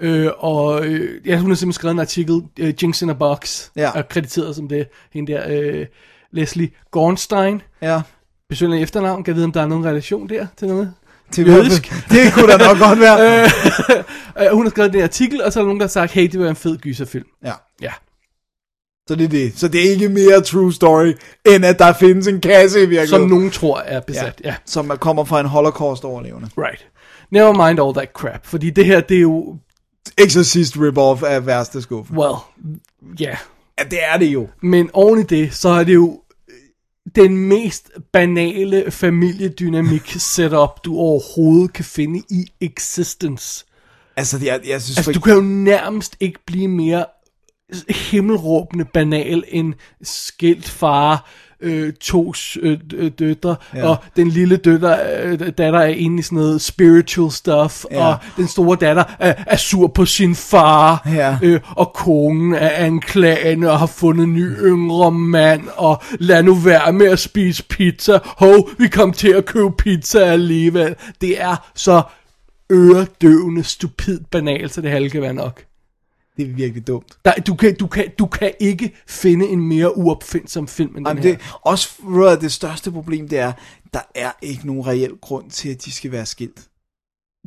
Øh, og øh, ja, hun har simpelthen skrevet en artikel, øh, Jinx in a Box,
Ja.
og krediteret som det, hende der øh, Leslie Gornstein.
ja.
Besøgende efternavn, kan jeg vide, om der er nogen relation der til noget?
Til
Jødisk.
Det kunne da nok godt være.
Øh, hun har skrevet den artikel, og så er der nogen, der har sagt, hey, det var en fed gyserfilm.
Ja.
Ja.
Så det er det. Så det er ikke mere true story, end at der findes en kasse i virkeligheden.
Som nogen tror er besat. Ja. ja.
Som er- kommer fra en holocaust-overlevende.
Right. Never mind all that crap, fordi det her, det er jo,
Exorcist rip-off af værste skuffe.
well, ja. Yeah.
Ja, det er det jo.
Men oven i det, så er det jo øh, den mest banale familiedynamik setup, du overhovedet kan finde i existence.
Altså, jeg, jeg synes...
Altså,
for-
du kan jo nærmest ikke blive mere himmelråbende banal end skilt far, øh, tos øh, øh, døtre, ja. og den lille døtter, øh, datter er inde i sådan noget spiritual stuff, ja. og den store datter er, er sur på sin far,
Ja.
øh, og kongen er anklagende og har fundet en ny yngre mand, og lad nu være med at spise pizza, hov, vi kom til at købe pizza alligevel. Det er så øredøvende, stupid banalt, så det halve kan være nok.
Det er virkelig dumt.
Der, du, kan, du, kan, du kan ikke finde en mere uopfindsom film end
Jamen,
den
det,
her.
også noget af det største problem, det er, der er ikke nogen reel grund til, at de skal være skilt.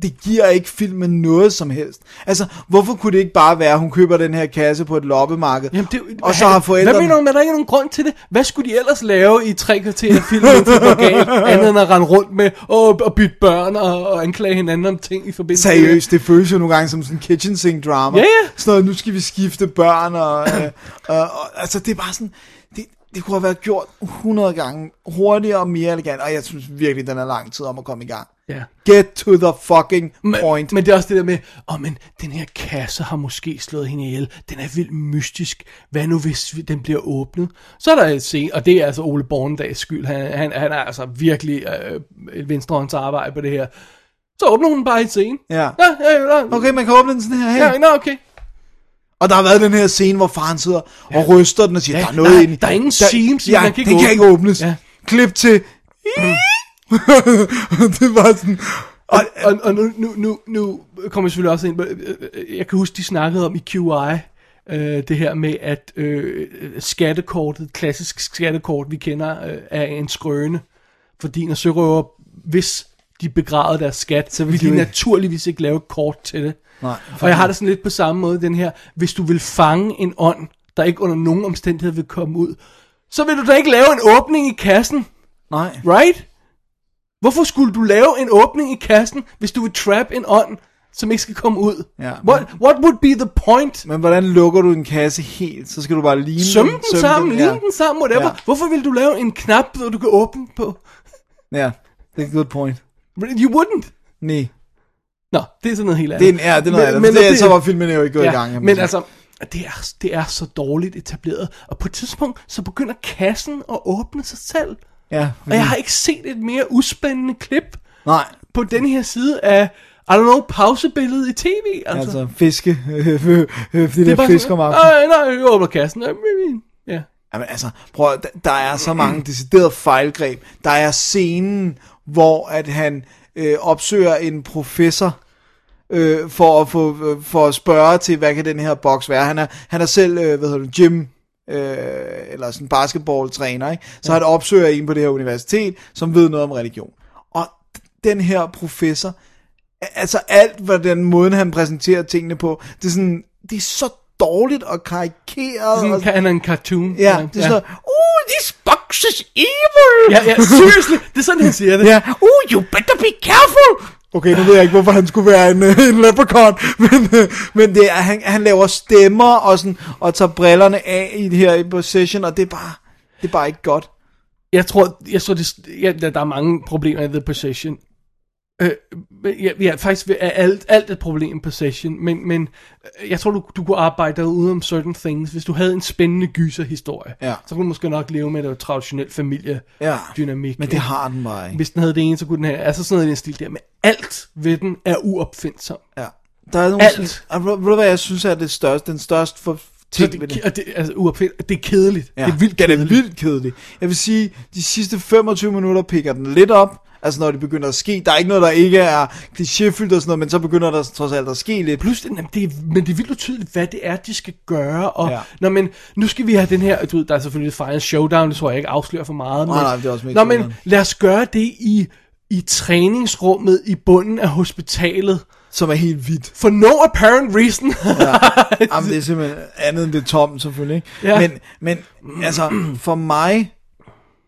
Det giver ikke filmen noget som helst. Altså, hvorfor kunne det ikke bare være, at hun køber den her kasse på et loppemarked,
Jamen, det,
og så har forældrene...
Hvad mener du, med, at der ikke er nogen grund til det? Hvad skulle de ellers lave i tre kvarter af filmen, det går galt, andet end at rende rundt med og, og bytte børn og, og anklage hinanden om ting i forbindelse med-
Seriøst, det føles jo nogle gange som sådan en kitchen sink drama.
Ja, ja.
Sådan noget, nu skal vi skifte børn, og, øh, og, og altså det er bare sådan, det, det kunne have været gjort 100 gange hurtigere og mere elegant, og jeg synes virkelig, den er lang tid om at komme i gang.
Ja.
Get to the fucking
Men,
point.
men det er også det der med, åh, oh, men den her kasse har måske slået hende ihjel. Den er vildt mystisk. Hvad nu, hvis vi- den bliver åbnet? Så er der et scene, og det er altså Ole Borndags skyld. Han, han, han er altså virkelig øh, et venstrehåndsarbejde på det her. Så åbner hun bare et scene.
Ja.
Nå, ja, ja, nå,
Okay, man kan åbne den sådan her,
ja,
her.
nå, okay.
Og der har været den her scene, hvor faren sidder og ryster den og siger,
Ja,
der er noget
nej,
inde i-
der er ingen seams i,
ja,
man kan ikke
det kan
åbne-
ikke åbnes.
Ja. Mm.
Klip til... det var sådan... Og,
og, og nu, nu, nu, nu kommer jeg selvfølgelig også ind på, øh, øh, jeg kan huske, de snakkede om i QI, øh, det her med, at øh, skattekortet, klassisk skattekort, vi kender, øh, er en skrøne. Fordi når sørøver, hvis de begravede deres skat, så ville
de
de
jo ikke-
naturligvis ikke lave et kort til det.
Nej,
og jeg har det sådan lidt på samme måde, den her, hvis du vil fange en ånd, der ikke under nogen omstændighed vil komme ud, så vil du da ikke lave en åbning i kassen.
nej.
Right? Hvorfor skulle du lave en åbning i kassen, hvis du vil trap en ånd, som ikke skal komme ud?
Ja.
What, what would be the point?
Men hvordan lukker du en kasse helt? Så skal du bare lime
Sømme den
sømme
sammen,
ja.
ligne den sammen, whatever.
Ja.
Ja. Hvorfor vil du lave en knap, hvor du kan åbne på?
Ja, det er et good point.
You wouldn't.
Nej,
Nå, det er sådan noget helt
det er
andet.
en ja, det er noget andet. Men, det, så var filmen jo ikke gået i gang. kan man
Men
sige.
altså, det er, det er så dårligt etableret. Og på et tidspunkt, så begynder kassen at åbne sig selv.
Ja,
Og jeg har ikke set et mere uspændende klip
Nej,
på den her side af, I don't know, pausebilledet i tv. Altså.
altså fiske, øh, øh, øh, de der fisk om aftenen.
Nej, nej, jeg åbner kassen. Øh, øh, øh. Ja.
Jamen altså, prøv at- der, der er så mange deciderede fejlgreb. Der er scenen, hvor at han øh, opsøger en professor, øh, for, at få, øh, for at spørge til, hvad kan den her boks være. Han er, han er selv, øh, hvad hedder det, gym, øh, eller sådan basketballtræner, ikke? Så han opsøger en på det her universitet, som ved noget om religion. Og den her professor, altså alt, hvordan måden han præsenterer tingene på, det er sådan, det er så dårligt og karikeret. og-
Sådan, han er en cartoon.
Ja, det er sådan noget, oh, this box is evil.
Ja, ja, seriously, det er sådan, han siger det.
Ja.
oh, you better be careful.
Okay, nu ved jeg ikke, hvorfor han skulle være en, øh, en leprechaun, men, øh, men det er, han, han laver stemmer og, sådan, og tager brillerne af i det her i possession, og det er bare, det er bare ikke godt.
Jeg tror, jeg tror det, ja, der der er mange problemer i The Possession. Øh, men ja, ja, faktisk er alt, alt et problem i Possession, men, men øh, jeg tror, du, du kunne arbejde dig ude om certain things. Hvis du havde en spændende gyserhistorie,
Ja.
så kunne du måske nok leve med det traditionel familiedynamik.
Men det har den bare ikke.
Hvis den havde det ene, så kunne den have... Altså sådan noget i den stil der. Men alt ved den er uopfindsom.
Ja. Der er nogle,
Alt.
Og ved- ved du, hvad jeg synes er det største, den største for
Så
ting ved
det,
det?
og det, altså, uopfindeligt. Det er kedeligt. Ja. Det er vildt
den
kedeligt.
er vildt kedelig. Jeg vil sige, de sidste 25 minutter pikker den lidt op. Altså når det begynder at ske. Der er ikke noget, der ikke er klichéfyldt og sådan noget, men så begynder der trods alt at ske lidt.
Plus, det, jamen, det er, men det er vildt utydeligt, hvad det er, de skal gøre. Og,
Ja.
ja. Nå, men nu skal vi have den her... Du ved, der er selvfølgelig Final Showdown, det tror jeg ikke afslører for meget.
Nej,
men,
nej, det er også mest
Nå, men
nederen.
lad os gøre det i, i træningsrummet i bunden af hospitalet.
som er helt hvidt.
For no apparent reason.
Jamen, det er simpelthen andet end det er tomt, selvfølgelig. Ikke?
Ja.
Men, men altså, for mig,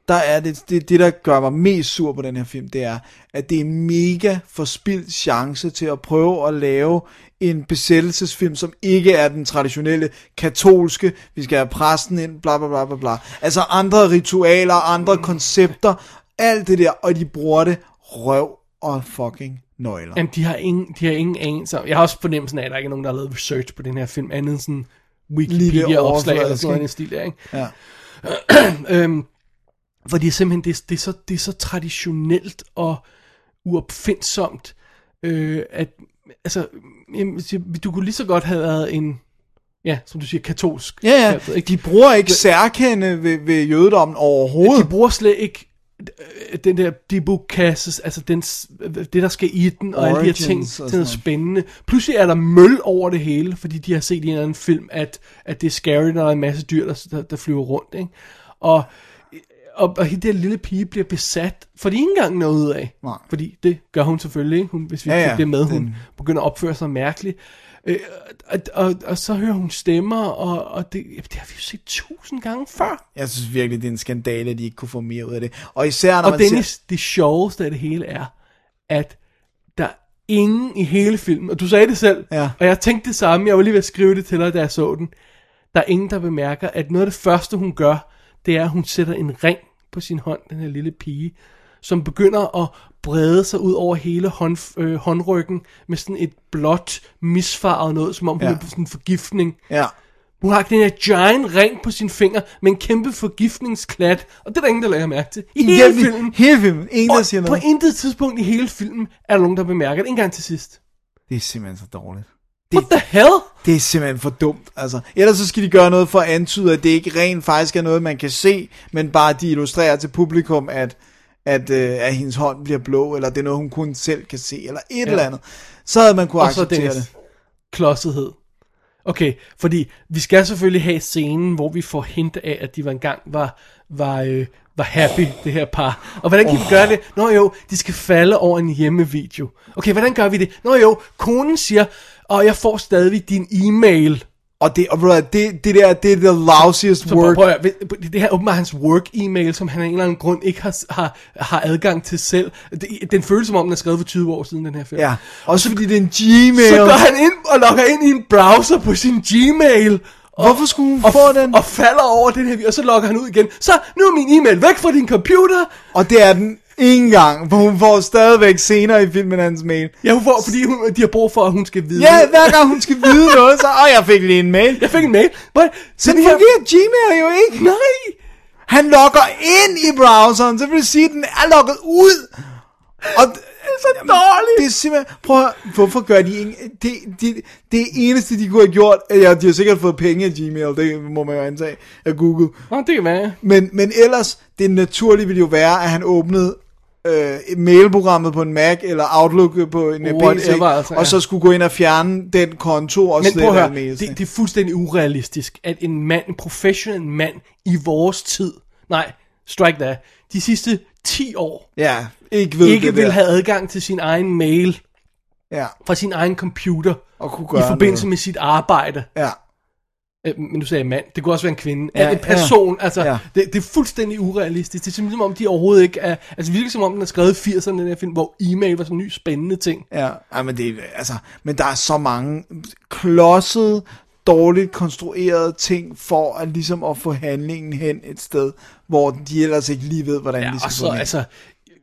der er det, det, det, der gør mig mest sur på den her film, det er, at det er en mega forspildt chance til at prøve at lave en besættelsesfilm, som ikke er den traditionelle katolske, vi skal have præsten ind, bla bla bla bla bla. Altså andre ritualer, andre koncepter, alt det der, og de bruger det røv og fucking nøgler.
Jamen, de har ingen, de har ingen anelse om. Jeg har også fornemmelsen af, at der ikke er nogen, der har lavet research på den her film, andet end sådan
Lige det
Wikipedia-opslag eller
overfladiske,
sådan noget i
ikke?
den stil der, ikke?
Ja.
øhm, Fordi simpelthen, det, det, er så, det er så traditionelt og uopfindsomt, øh, at altså, jamen, hvis jeg- du kunne lige så godt have været en, ja, som du siger, katolsk.
Ja,
Jeg ved
ja.
ikke.
De bruger ikke særkende ved, ved jødedommen overhovedet.
De bruger slet ikke øh, den der debukasses, altså den, s- det der skal i den, og alle de her ting,
Origins
til
og
noget
sådan noget.
spændende. Pludselig er der møl over det hele, fordi de har set i en eller anden film, at, at det er scary, når der er en masse dyr, der, der, der flyver rundt, ikke? Og, og, og hende der lille pige bliver besat, for de ikke engang noget ud af.
Nej.
Fordi det gør hun selvfølgelig, ikke? Hun, hvis vi
Ja,
ja,
ja,
ja, det med, hun
den-
begynder at opføre sig mærkeligt. Øh, og, og, og så hører hun stemmer, og, og det, det har vi jo set tusind gange før.
Jeg synes virkelig, det er en skandale, at de ikke kunne få mere ud af det. Og især når
Og
man
Dennis,
ser...
det sjoveste af det hele er, at der er ingen i hele filmen, og du sagde det selv,
Ja.
og jeg tænkte det samme, jeg var lige ved at skrive det til dig, da jeg så den. Der er ingen, der bemærker, at noget af det første, hun gør, det er, at hun sætter en ring på sin hånd, den her lille pige, som begynder at brede sig ud over hele hånd, øh, håndryggen med sådan et blåt, misfarvet noget, som om hun
Ja.
er på sådan en forgiftning.
Ja.
Hun har den her giant ring på sin finger med en kæmpe forgiftningsklat, og det er der ingen, der lægger mærke til. I hele
Igennem
filmen.
Hele filmen. Ingen, der
Og
siger
på
noget.
intet tidspunkt i hele filmen er der nogen, der bemærker det. En gang til sidst.
Det er simpelthen så dårligt.
What the hell?
Det er simpelthen for dumt, altså. Ellers så skal de gøre noget for at antyde, at det ikke rent faktisk er noget, man kan se, men bare de illustrerer til publikum, at, at, øh, at hendes hånd bliver blå, eller det er noget, hun kun selv kan se, eller et ja. eller andet. Så havde man kunne
Og så
acceptere det.
Dennis. Klodsethed. Okay, fordi vi skal selvfølgelig have scenen, hvor vi får hint af, at de var engang var, var, øh, var happy, det her par. Og hvordan kan oh. vi gøre det? Nå jo, de skal falde over en hjemmevideo. Okay, hvordan gør vi det? Nå jo, konen siger, og jeg får stadig din e-mail.
Og det, og ved du hvad, det, det der, det er the lousiest
Så
work.
Prøv, prøv at, høre, det her er åbenbart hans work e-mail, som han af en eller anden grund ikke har, har, har adgang til selv. Det, den føles som om, den er skrevet for 20 år siden, den her film.
Ja, også fordi det er en
Så
Gmail.
går han ind og logger ind i en browser på sin Gmail. Og,
Hvorfor skulle hun
og,
få den?
Og falder over den her, og så logger han ud igen. Så, nu er min e-mail væk fra din computer.
Og det er den ingen gang, for hun får stadigvæk senere i filmen hans mail.
Ja, hun får, fordi hun, de har brug for, at hun skal vide.
Ja, hver gang hun skal vide noget, så, åh, jeg fik lige en mail.
Jeg fik en mail. But,
Så den fungerer Gmail jo ikke.
Nej.
Han logger ind i browseren, så vil det sige, at den er logget ud. Og det er så dårligt. Det er simpelthen, prøv at, høre, hvorfor gør de ikke, det, det, det eneste, de kunne have gjort, ja, de har sikkert fået penge af Gmail, det må man jo antage, af Google.
Nå, det kan være.
Men, men ellers, det naturlige ville jo være, at han åbnede øh, mailprogrammet på en Mac, eller Outlook på en øh,
Whatever,
PC,
altså,
og
ja.
så skulle gå ind og fjerne den konto og
Men prøv at
slette alle
høre,
mails.
det,
Det,
det er fuldstændig urealistisk, at en mand, en professionel mand i vores tid, nej, strike that, de sidste 10 år,
Ja, ikke ved
ikke
det
vil
der.
have adgang til sin egen mail
Ja,
fra sin egen computer
og kunne
i
gøre
forbindelse
noget.
med sit arbejde.
Ja,
Øh, Men nu sagde jeg mand, det kunne også være en kvinde.
Ja,
Ja, en person,
ja,
ja, altså,
ja.
ja. Det, det er fuldstændig urealistisk. Det er simpelthen som om, de overhovedet ikke er, altså virkelig som om, den er skrevet i 80'erne, den her film, hvor e-mail var sådan en ny spændende ting.
ja. ja men, det, er- altså, men der er så mange klodsede, dårligt konstruerede ting for at ligesom at få handlingen hen et sted, hvor de ellers ikke lige ved, hvordan
Ja,
de skal
og
få
så,
den hen.
altså,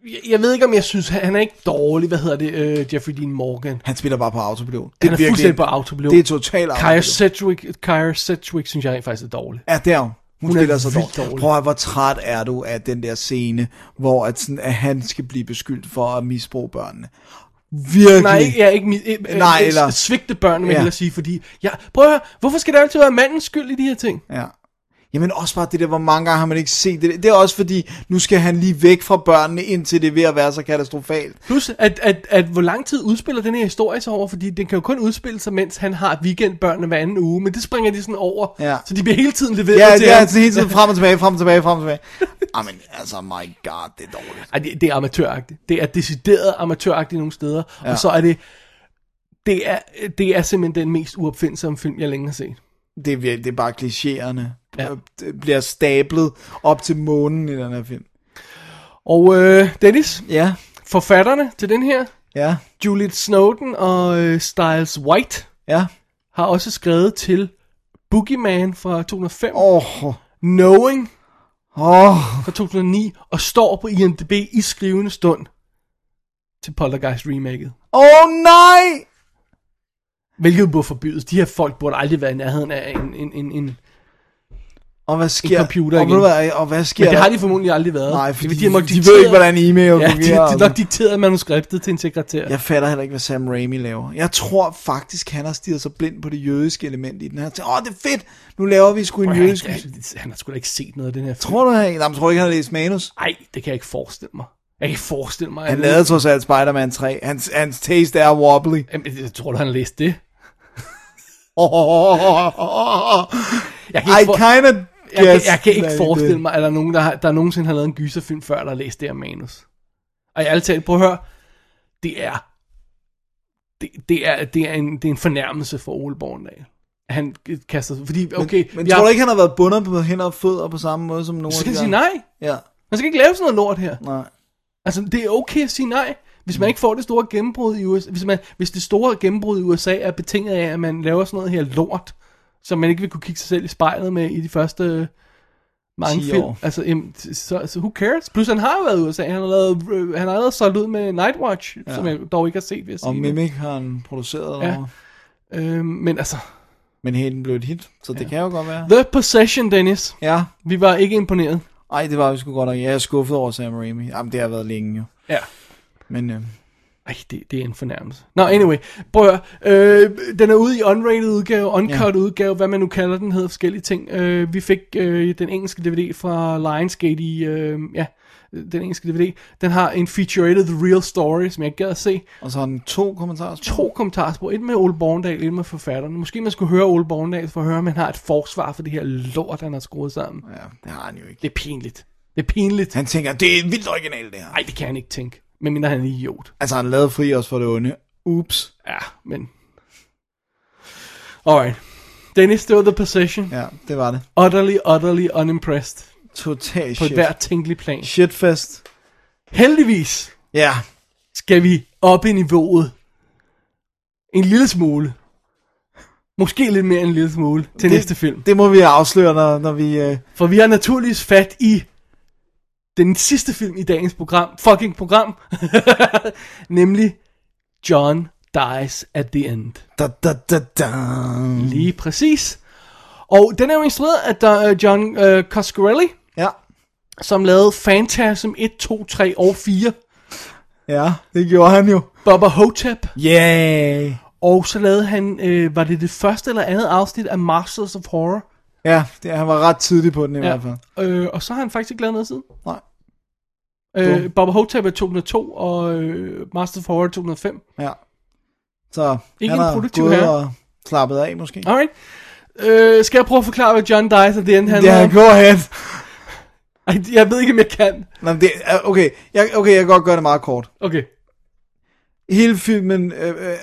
jeg, jeg ved ikke, om jeg synes, han han er ikke dårlig, hvad hedder det, øh, Jeffrey Dean Morgan.
Han spiller bare på autopilot.
Det er, han er
virkelig-
fuldstændig på autopilot.
Det er totalt
Kaya
autopilot.
Sedgwick, Kaya Sedgwick synes jeg rent faktisk er dårlig.
Ja, det er hun. Hun, hun
Hun er
spiller så
vildt
dårligt.
dårlig.
Prøv at, høre, hvor træt er du af den der scene, hvor at, sådan, at han skal blive beskyldt for at misbruge børnene. Virkelig.
Nej, ikke, ja, ikke, mi- eh, eh,
Nej,
eh,
eller-
svigte børnene, vil
Ja.
jeg hellere sige, fordi... Ja, prøv at høre, hvorfor skal det altid være mandens skyld i de her ting?
Ja. Jamen også bare det der, hvor mange gange har man ikke set det. Det er også fordi, nu skal han lige væk fra børnene, indtil det er ved at være så katastrofalt.
Plus, at, at, at hvor lang tid udspiller den her historie sig over, fordi den kan jo kun udspille sig, mens han har weekendbørnene hver anden uge, men det springer de sådan over,
Ja.
så de bliver hele tiden leveret
Ja,
til
det er
ham.
altså hele tiden frem og tilbage, frem og tilbage, frem og tilbage. Jamen altså, my god, det er dårligt.
Ej, det, det er amatøragtigt. Det er decideret amatøragtigt nogle steder, ja. og så er det... Det er, det er simpelthen den mest uopfindsomme film, jeg længe har set.
Det er, virkelig, det er bare klichéerne.
Ja.
Det bliver stablet op til månen i den her film.
Og øh, Dennis,
Ja,
forfatterne til den her,
ja,
Juliet Snowden og øh, Styles White,
ja.
har også skrevet til Boogeyman fra 2005, oh.
Åh, oh,
Knowing
åh. Oh.
fra 2009 og står på IMDb i skrivende stund til Poltergeist remaket.
Åh oh, nej!
Hvilket burde forbydes. De her folk burde aldrig være i nærheden af en, en, en, en
Og hvad sker?
computer
og,
igen.
ved du hvad, og hvad sker
Men det
der?
har de formodentlig aldrig været.
Nej,
fordi
fordi
de, har nok
de
dikteret-
ved ikke, hvordan e-mail
ja, de, de
fungerer,
har
altså.
nok dikteret manuskriptet til en sekretær.
Jeg fatter heller ikke, hvad Sam Raimi laver. Jeg tror faktisk, han har stiget sig blind på det jødiske element i den her. Åh, oh, det er fedt! Nu laver vi sgu en
Prøv, han,
jødisk...
han, han har sgu da ikke set noget af den her film.
Tror du, han... Jamen, tror du ikke, han har læst manus?
Nej, det kan jeg ikke forestille mig. Jeg kan ikke forestille mig. at-
Han lavede trods alt Spider-Man 3. Hans, hans taste er wobbly.
Jamen, jeg tror du, han har læst det? Jeg kan
I
ikke, for... jeg,
kinda
kan,
guess
jeg kan ikke
that he
forestille
did.
mig, at der er nogen, der, har, der nogensinde har lavet en gyserfilm før, der har læst det her manus. Og jeg altid prøv at høre, det er, det, det er, det er, en, det er en fornærmelse for Ole Borgendal. At Han kaster sig, fordi, okay...
Men tror du ikke, han har været bundet på hænder og fødder på samme måde som nogle
Så
af
kan
de
han sige
der-
nej.
Ja,
Man skal ikke lave sådan noget lort her.
nej.
Altså, det er okay at sige nej, hvis man ikke får det store gennembrud i USA. Hvis, man, hvis det store gennembrud i USA er betinget af, at man laver sådan noget her lort, som man ikke vil kunne kigge sig selv i spejlet med i de første øh, mange
10
film.
år.
Altså, jamen, t- så, så who cares? Plus, han har jo været i USA. Han har, lavet, øh, han har allerede solgt ud med Nightwatch, ja. som jeg dog ikke har set, vil jeg
Og
sige.
Mimic har han produceret
Ja.
over.
Øhm, men altså,
Men hælen blev et hit, så det kan jo godt være.
The Possession, Dennis.
Ja.
Vi var ikke imponeret.
Ej, det var jo sgu godt nok. Jeg er skuffet over Sam Raimi. Jamen, det har været længe jo.
Ja.
Men øh,
Ej, det, det er en fornærmelse. Nå, anyway. Prøv at høre. øh, Den er ude i unrated udgave, uncut ja. udgave, hvad man nu kalder den, hedder forskellige ting. Øh, vi fik øh, den engelske DVD fra Lionsgate i, øh, ja, den engelske DVD. Den har en featurette, The Real Story, som jeg ikke gad at se.
og så har den to kommentarer.
To kommentarspor, et med Ole Borndal, et med forfatteren. Måske man skulle høre Ole Borndal for at høre, om han har et forsvar for det her lort, han har skruet sammen.
Ja, det har han jo ikke.
Det er pinligt. Det er pinligt.
Han tænker, det er vildt originalt det her.
Nej, det kan han ikke tænke. Men mindre han er en idiot.
Altså, han lavede fri os for det onde. Ups.
Ja, men... Alright. Dennis, det var The Possession.
Ja, det var det.
Utterly, utterly unimpressed.
Total
På et
shit.
hvert tænkelig plan.
Shitfest.
Heldigvis
Ja.
skal vi op i niveauet. En lille smule. Måske lidt mere end en lille smule til det... næste film.
Det må vi afsløre, når, når vi... Øh,
For vi har naturligvis fat i den sidste film i dagens program. Fucking program. Nemlig John Dies at the End.
da, da, da, da.
Lige præcis. Og den er jo instrueret af der, øh, John øh, Coscarelli,
Ja.
som lavede Phantasm 1, 2, 3 og 4.
Ja, det gjorde han jo.
Bubba Hotep.
Yay.
Og så lavede han, øh, var det det første eller andet afsnit af Masters of Horror?
Ja, det, han var ret tidlig på den i ja. hvert fald.
Øh, og så har han faktisk ikke lavet noget siden.
Nej.
Øh, Bubba Hotep er 2002, og øh, Masters of Horror er 2005.
Ja. Så
Ikke
han
en
har
produktiv
gået
herre.
og slappet af måske.
Alright. Øh, skal jeg prøve at forklare, hvad John Dice at the end handler
Ja,
om?
go ahead.
Ej, jeg ved ikke, om jeg kan.
Nå, men det, er- okay, jeg, okay, jeg kan godt gøre det meget kort.
Okay.
Hele filmen øh, øh,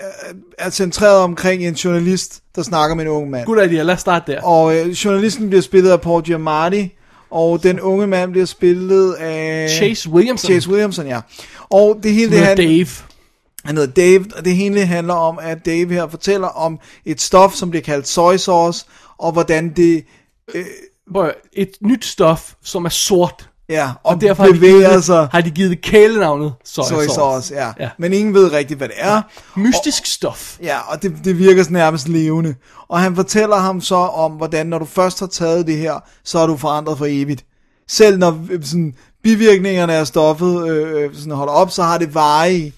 er centreret omkring en journalist, der snakker med en ung mand.
Good idea, lad os starte der.
Og øh, journalisten bliver spillet af Paul Giamatti, og den unge mand bliver spillet af...
Chase Williamson.
Chase Williamson, ja. Og det hele det
Williamson.
han,
Dave.
han hedder Dave, og det hele handler om, at Dave her fortæller om et stof, som bliver kaldt soy sauce, og hvordan det
Prøv, at høre, et nyt stof, som er sort.
ja,
Og,
og
derfor har de, givet,
bevæger
det-
sig.
har de givet det kælenavnet soy
Soy
sauce.
sauce, ja.
ja.
ja. Men ingen ved rigtigt, hvad det er.
Mystisk stof.
Ja, og det, det virker sådan nærmest levende. Og han fortæller ham så om, hvordan når du først har taget det her, så er du forandret for evigt. Selv når øh, sådan, bivirkningerne af stoffet øh, øh, sådan holder op, så har det varige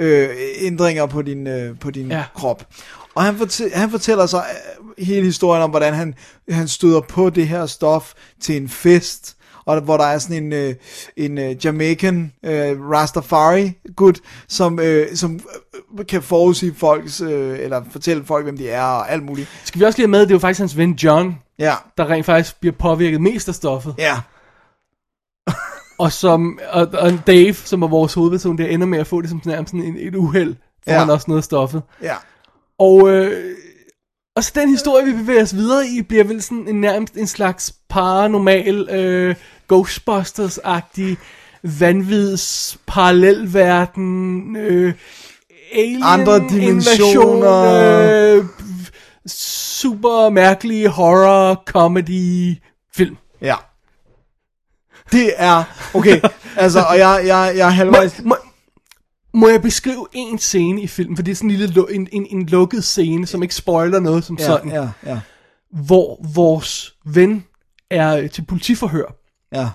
øh, ændringer på din, øh, på din
Ja.
ja. krop. Og han, fortæ- han fortæller så øh, hele historien om, hvordan han, han støder på det her stof til en fest, og hvor der er sådan en, øh, en øh, Jamaican øh, Rastafari-gut, som, øh, som øh, kan forudsige folks, øh, eller fortælle folk, hvem de er, og alt muligt.
Skal vi også lige have med, at det er jo faktisk hans ven John,
Ja,
der rent faktisk bliver påvirket mest af stoffet. Ja.
ja.
Og, som, og, og Dave, som er vores hovedperson, der ender med at få det som nærmest sådan en, et uheld, får ja.
Ja.
han også noget af stoffet.
Ja.
Og, øh, og så den historie, vi bevæger os videre i, bliver vel sådan en, nærmest en slags paranormal øh, Ghostbusters-agtig vanvids parallelverden, øh, alien
Andre dimensioner.
invasion, øh, super mærkelige horror comedy film.
Ja. Det er, okay, altså, og jeg, jeg, jeg
Må,
er halvvejs,
må, må jeg beskrive en scene i filmen, for det er sådan en, lille, lu- en, en, en lukket scene, som ikke spoiler noget som
ja,
sådan.
ja, ja.
hvor vores ven er øh, til politiforhør.
Ja.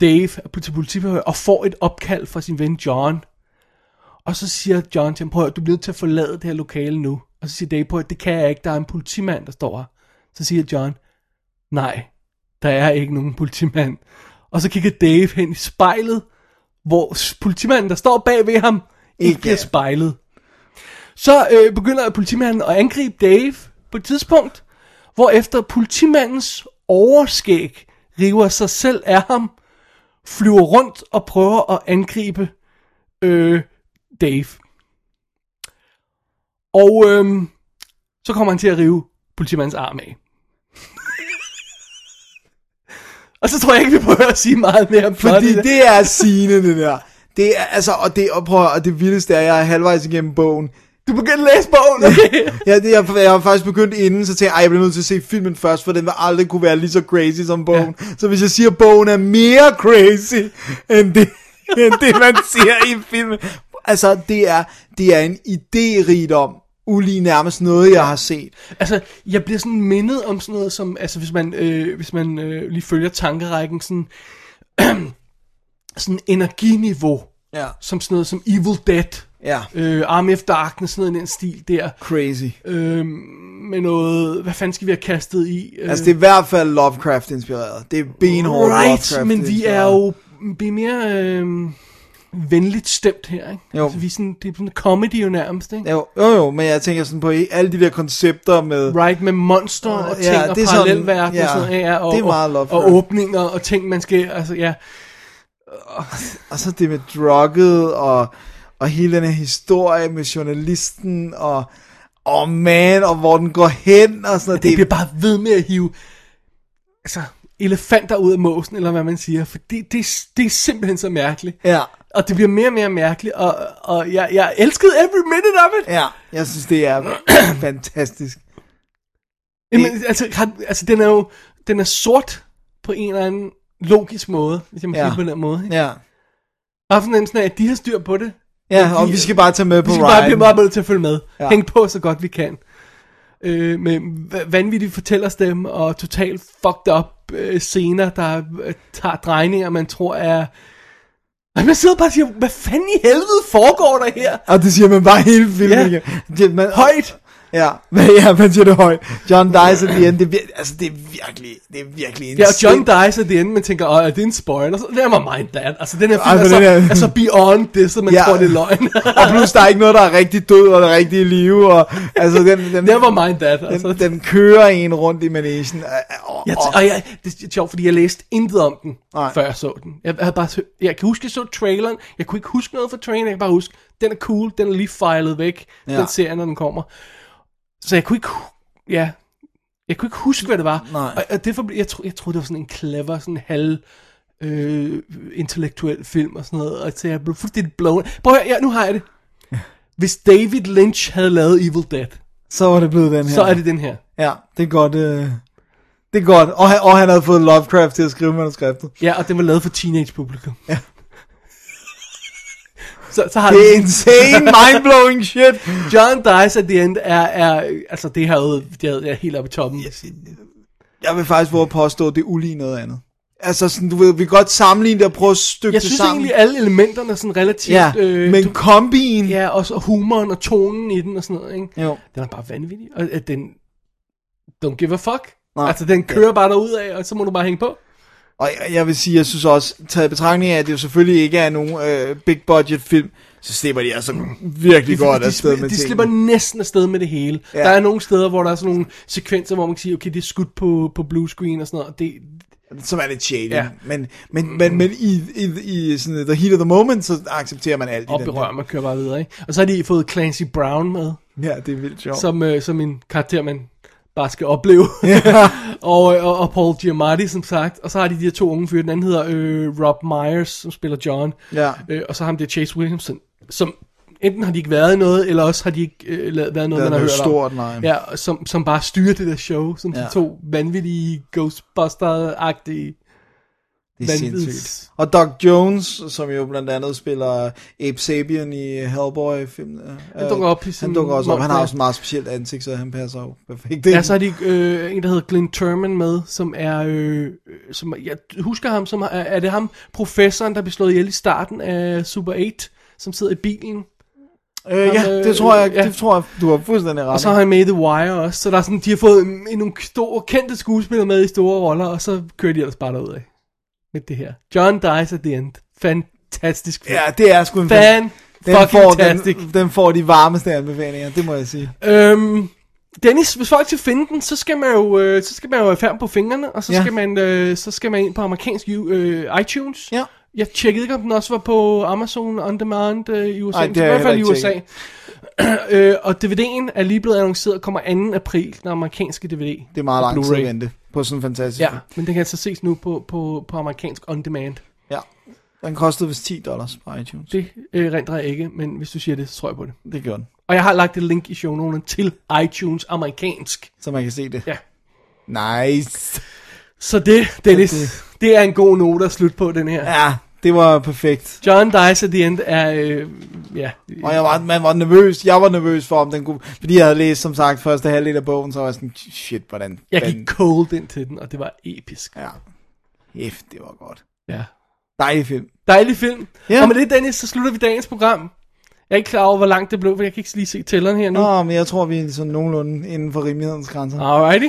Dave er på- til politiforhør og får et opkald fra sin ven John. Og så siger John til ham, prøv at høre, du bliver nødt til at forlade det her lokale nu. Og så siger Dave, prøv at høre, det kan jeg ikke, der er en politimand, der står her. Så siger John, nej, der er ikke nogen politimand. Og så kigger Dave hen i spejlet, hvor s- politimanden, der står bag ved ham, ikke,
Ikke
ikke bliver
er.
spejlet. Så øh, begynder politimanden at angribe Dave på et tidspunkt, hvor efter politimandens overskæg river sig selv af ham, flyver rundt og prøver at angribe øh, Dave. Og øhm, så kommer han til at rive politimandens arm af. og så tror jeg ikke, vi behøver at sige meget mere om
Fordi
plottet.
det er sigende, det der. Det er, altså, og det, og prøv, at- og det vildeste er, at jeg er halvvejs igennem bogen.
Du begyndte at læse bogen, okay?
Ja, det, jeg, jeg har faktisk begyndt inden, så tænkte jeg, "Ej, jeg bliver nødt til at se filmen først, for den vil aldrig kunne være lige så crazy som bogen. Ja. Så hvis jeg siger, at bogen er mere crazy, end det, end det man ser i filmen. Altså, det er, det er en idérigdom, ulig nærmest noget, jeg har set.
Altså, jeg bliver sådan mindet om sådan noget som, altså hvis man, øh, hvis man øh, lige følger tankerækken, sådan, sådan energiniveau,
Ja.
som sådan noget som Evil Dead,
Ja.
øh, Army of Darkness, sådan noget i den stil der,
Crazy.
øh, med noget, hvad fanden skal vi have kastet i? Øh,
Altså, det er i hvert fald Lovecraft-inspireret. Det er benhårdt
right,
Lovecraft
men vi er jo, vi er mere øh, venligt stemt her, ikke?
Jo.
Altså, vi er sådan, det er sådan en comedy jo nærmest, ikke?
Jo, jo, jo, men jeg tænker sådan på i- alle de der koncepter med...
Right, med monster og ting
Ja,
ja, og
det er sådan-
parallelverden
ja,
og sådan noget, ja, og,
det er meget
og,
Lovecraft.
og åbninger og ting, man skal, altså ja.
Og så det med drugget, og, og hele den her historie med journalisten, og oh man, og hvor den går hen, og sådan noget.
Det bliver bare ved med at hive altså, elefanter ud af måsen, eller hvad man siger, for det, det, er- det er simpelthen så mærkeligt.
Ja,
Og det bliver mere og mere mærkeligt, og, og jeg, jeg elskede every minute of it.
ja, jeg synes, det er fantastisk.
Jamen, altså, har, altså, den er jo den er sort på en eller anden logisk måde, hvis jeg må
Ja.
ja. sige det på den måde. Ja.
Ja,
Jeg har fornemmelsen af, at de har styr på det,
ja og vi skal bare tage med på
Vi skal bare blive
riden.
meget bedre til at følge med.
Ja.
Ja. Hæng på så godt vi kan. Øh, med v- vanvittige fortællerstemme og totalt fucked up øh, scener, der øh, tager drejninger, man tror er... Og man sidder bare og siger, hvad fanden i helvede foregår der her?
Og det siger man bare hele filmen
Ja.
igen. Det, man,
Højt!
Ja, ja, man siger det højt. John Dice at the end, det, er vir- altså, det er virkelig, det er virkelig en
Ja, og John
sind-
Dice at the end, man tænker, åh, er det en spoiler? Så, never mind that. Altså, den her film
Ej,
er,
men
så,
den er-
er så beyond det, så man
Ja.
tror, det er løgn.
Og plus, der er ikke noget, der er rigtig død, og der er rigtig i live, og altså, den, den,
never mind that. Altså.
den, den kører en rundt i managen. Og, og,
Jeg t-
og,
og jeg, det er sjovt, fordi jeg læste intet om den,
Nej.
Nej. før jeg så den. Jeg, havde bare, hø- jeg kan huske, jeg så traileren. Jeg kunne ikke huske noget fra traileren. Jeg kan bare huske, den er cool. Den er lige filet væk.
Ja.
Ja. Den ser jeg, når den kommer. Så jeg kunne ikke... hu- Ja, jeg kunne ikke huske, hvad det var.
Nej.
Og, og derfor, blev- jeg, tro, jeg troede, det var sådan en clever, sådan halv øh, intellektuel film og sådan noget. Og så jeg blev fuldstændig blown. Prøv at høre, ja, nu har jeg det. Hvis David Lynch havde lavet Evil Dead,
så var det blevet den her.
så er det den her.
Ja, det er godt. Øh, det er godt. Og, han- og han havde fået Lovecraft til at skrive manuskriptet.
Ja, og den var lavet for teenage-publikum. Ja. så, så har
Det er
det
insane, mind-blowing shit.
John Dice at the end er, er altså det her jo, det er, det er helt oppe i toppen. Yes.
Jeg vil faktisk våge at påstå, at det er ulig noget andet. Altså, sådan, du ved, vi kan godt sammenligne det og prøve at stykke
Jeg
det
synes
sammen.
egentlig, alle elementerne er sådan relativt...
ja,
øh,
men
du-
kombin.
ja, og så humoren og tonen i den og sådan noget, ikke?
Jo.
Den er bare vanvittig, og at den... Don't give a fuck.
Nej.
Nej. Altså, den kører bare derud af, og så må du bare hænge på.
Og jeg, jeg vil sige, jeg synes også, taget i betragtning af, at det jo selvfølgelig ikke er nogen øh, big budget film, så slipper de altså virkelig godt
de,
afsted
sli-
med
de
tingene.
slipper næsten afsted med det hele.
Ja.
Ja. Der er nogle steder, hvor der er sådan nogle sekvenser, hvor man kan sige, okay, det er skudt på, på blue screen og sådan noget, og det,
som er lidt shady. Ja.
Ja.
Men, men, men, men i, i, i sådan uh, the heat of the moment, så accepterer man alt i
og
den
berører mig og kører bare videre, ikke? Og så har de fået Clancy Brown med,
der. Ja, det er vildt sjovt.
som, øh, som en karakter, man bare skal opleve. og, øh, og, og Paul Giamatti, som sagt. Og så har de de her to unge fyre. Den anden hedder øh, Rob Myers, som spiller John.
Ja.
Øh, og så ham der Chase Williamson, som enten har de ikke været i noget, eller også har de ikke øh, la- været noget,
Været
man har
noget
hørt
stort,
om.
nej.
Ja, og som, som bare styrer det der show, som
Ja.
ja. de to vanvittige Ghostbuster-agtige
Det er
Vanvids.
sindssygt. Og Doc Jones, som jo blandt andet spiller Abe Sapien i hellboy filmen
Han dukker op i sin
Han dukker også op. Han har
monster.
også et meget specielt ansigt, så han passer jo perfekt
Ja, så er de øh, en, der hedder Glenn Turman med, som er, øh, som, jeg husker ham, som er, er det ham, professoren, der blev slået ihjel i starten af Super 8, som sidder i bilen,
øh, ja, det tror jeg,
Ja.
det tror jeg, du har fuldstændig ret.
og så
i.
har han med i The Wire også, så der er sådan, de har fået en, en, nogle store, kendte skuespillere med i store roller, og så kører de ellers bare derud af med det her. John dies at the end. Fantastisk film.
Ja, det er sgu en
Fan
Den
fucking
får,
tastic.
den, den får de varmeste anbefalinger, det må jeg sige.
Øhm, Dennis, hvis folk skal finde den, så skal man jo, øh, så skal man jo have færd på fingrene, og så,
Ja.
ja. skal man, øh, så skal man ind på amerikansk U- øh, iTunes.
Ja.
Jeg tjekkede ikke, om den også var på Amazon On Demand øh, i USA.
Ej,
Ej,
det
det
har
I
jeg
hvert fald i
heller
USA.
ikke
øh, og DVD'en er lige blevet annonceret og kommer 2. april, den amerikanske DVD.
Det er meget
og
lang tid at
Blu-ray.
vente på sådan en fantastisk
Ja,
film.
men den kan altså ses nu på, på, på amerikansk On Demand.
ja. Den kostede vist 10 dollars på iTunes.
Det øh, rendrer jeg ikke, men hvis du siger det, så tror jeg på det.
Det gjorde den.
Og jeg har lagt et link i shownoterne til iTunes amerikansk.
Så man kan se det.
Ja.
Nice.
Så det, Dennis, det. det er en god note at slutte på, den her.
Ja, det var perfekt.
John Dice at the end er, øh, ja,
Og jeg var, man var nervøs. Jeg var nervøs for, om den kunne... Fordi jeg havde læst, som sagt, første halvdel af bogen, så var jeg sådan, shit, hvordan...
jeg
den-
gik cold ind til den, og det var episk.
Ja. Hæft, det var godt.
Ja.
Dejlig film.
Dejlig film.
Ja.
Ja. Og med det, Dennis, så slutter vi dagens program. Jeg er ikke klar over, hvor langt det blev, for jeg kan ikke lige se tælleren her nu.
Nå, men jeg tror, vi er sådan nogenlunde inden for rimelighedens grænser.
Alrighty.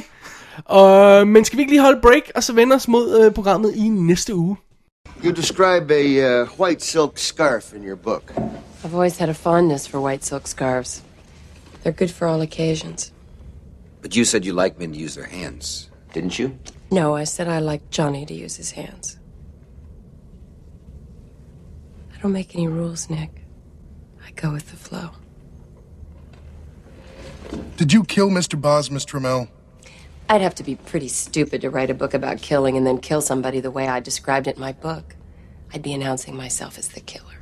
Og, men skal vi ikke lige holde break, og så vende os mod øh, programmet i næste uge?
You describe a uh, white silk scarf in your book.
I've always had a fondness for white silk scarves. They're good for all occasions.
But you said you like men to use their hands, didn't you?
No, I said I like Johnny to use his hands. I don't make any rules, Nick. I go with the flow.
Did you kill Mr. Boz, Miss Trammell?
I'd have to be pretty stupid to write a book about killing and then kill somebody the way I described it in my book. I'd be announcing myself as the killer.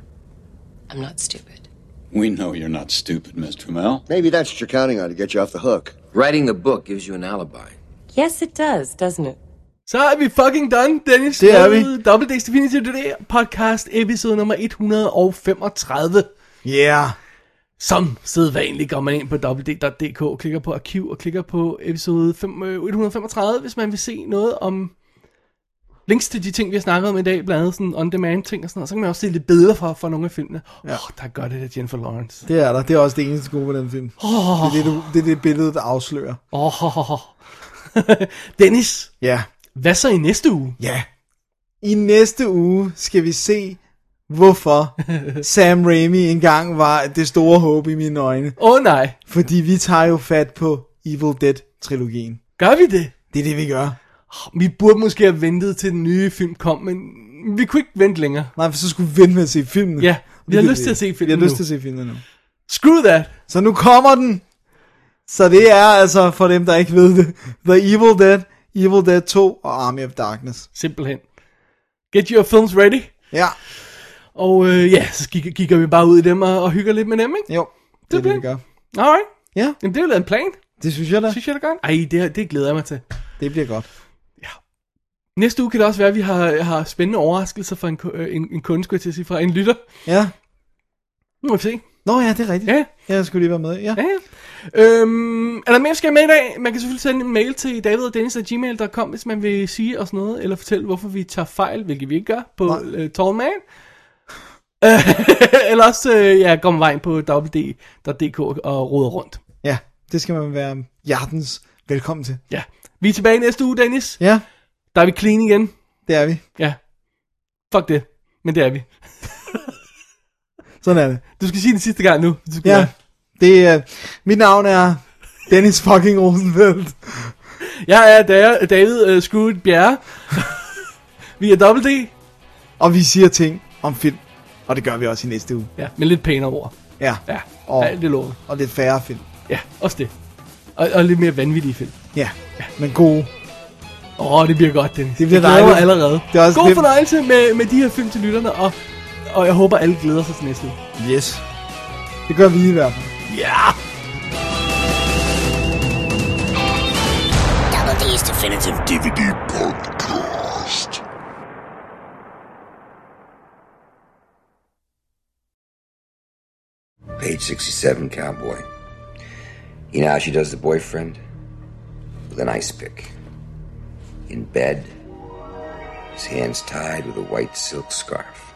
I'm not stupid.
We know you're not stupid, Miss Trammell.
Maybe that's what you're counting on to get you off the hook.
Writing the book gives you an alibi.
Yes, it does, doesn't it?
Så er vi fucking done, Dennis.
Det er
med Double D's Definitive Today podcast episode nummer 135.
Yeah.
Som sædvanligt går man ind på www.dk, klikker på arkiv og klikker på episode fem- øh, 135, hvis man vil se noget om links til de ting, vi har snakket om i dag, blandt andet sådan on-demand ting og sådan noget. Så kan man også se lidt billeder fra, fra nogle af filmene. Åh, ja. oh, der gør det der Jennifer Lawrence.
Det er der. Det er også det eneste gode ved den film. Oh. Det, er det, du, det er det billede, der afslører.
Åh, oh, oh, oh. Dennis,
Ja.
hvad så i næste uge?
Ja. I næste uge skal vi se, hvorfor Sam Raimi engang var det store håb i mine øjne.
Åh oh, nej,
Fordi vi tager jo fat på Evil Dead-trilogien.
gør vi det?
Det er det, vi gør.
Vi burde måske have ventet til den nye film kom, men vi kunne ikke vente længere.
Nej, for så skulle vi vente med at se filmen.
Ja, vi har
Det er
lyst
det.
til at se filmen
Vi har lyst
nu.
til at se filmen nu.
Screw that!
Så nu kommer den. Så det er altså, for dem, der ikke ved det, The Evil Dead, Evil Dead 2 og Army of Darkness.
Simpelthen. Get your films ready.
Ja,
Og øh, ja, så kigger, kigger vi bare ud i dem og, og hygger lidt med dem, ikke?
jo. Det er det, vi
bliver-
gør.
Alright.
Ja,
Jamen, det er jo lavet en plan.
det synes jeg da.
Synes jeg da godt. Ej, det, her- det glæder jeg mig til.
Det bliver godt.
Næste uge kan det også være, at vi har, har spændende overraskelser fra en, ku- øh, en, en kunde, skulle jeg til at sige, fra en lytter.
Ja.
Nu må vi se.
Nå ja, det er rigtigt.
Ja.
Jeg skulle lige være med. Ja.
Ja, ja. Øhm, er der mere, vi skal have med i dag? Man kan selvfølgelig sende en mail til davidogdennis.gmail.com, hvis man vil sige os noget, eller fortælle, hvorfor vi tager fejl, hvilket vi ikke gør, på
Nej.
uh, Tall Man. eller også, øh, ja, går man vejen på www.dk og roder rundt.
ja, det skal man være hjertens velkommen til.
Ja. Vi er tilbage næste uge, Dennis.
Ja,
Der er vi clean igen.
det er vi.
Ja. Fuck det. Men det er vi.
Sådan er det.
Du skal sige den sidste gang nu. Du skal
Ja, det er... mit navn er Dennis fucking Rosenfeldt.
Jeg er Da- David uh, Screwed Bjerre. vi er dobbelt D.
Og vi siger ting om film. Og det gør vi også i næste uge.
Ja, med lidt pænere ord.
Ja.
Ja,
Og,
ja det lover vi.
og lidt færre film.
Ja, også det. Og, og lidt mere vanvittige film.
Ja, men gode.
Åh, oh, det bliver godt, Dennis.
Det bliver
jeg glæder mig
dejligt.
allerede.
Det er også
God
det-
fornøjelse med, med de her film til lytterne, og, og jeg håber, alle glæder sig til næste uge.
Yes. Det gør vi i hvert fald.
Double D's Definitive
DVD podcast.
Page 67, cowboy. You know how she does the boyfriend? With an ice pick. In bed, his hands tied with a white silk scarf.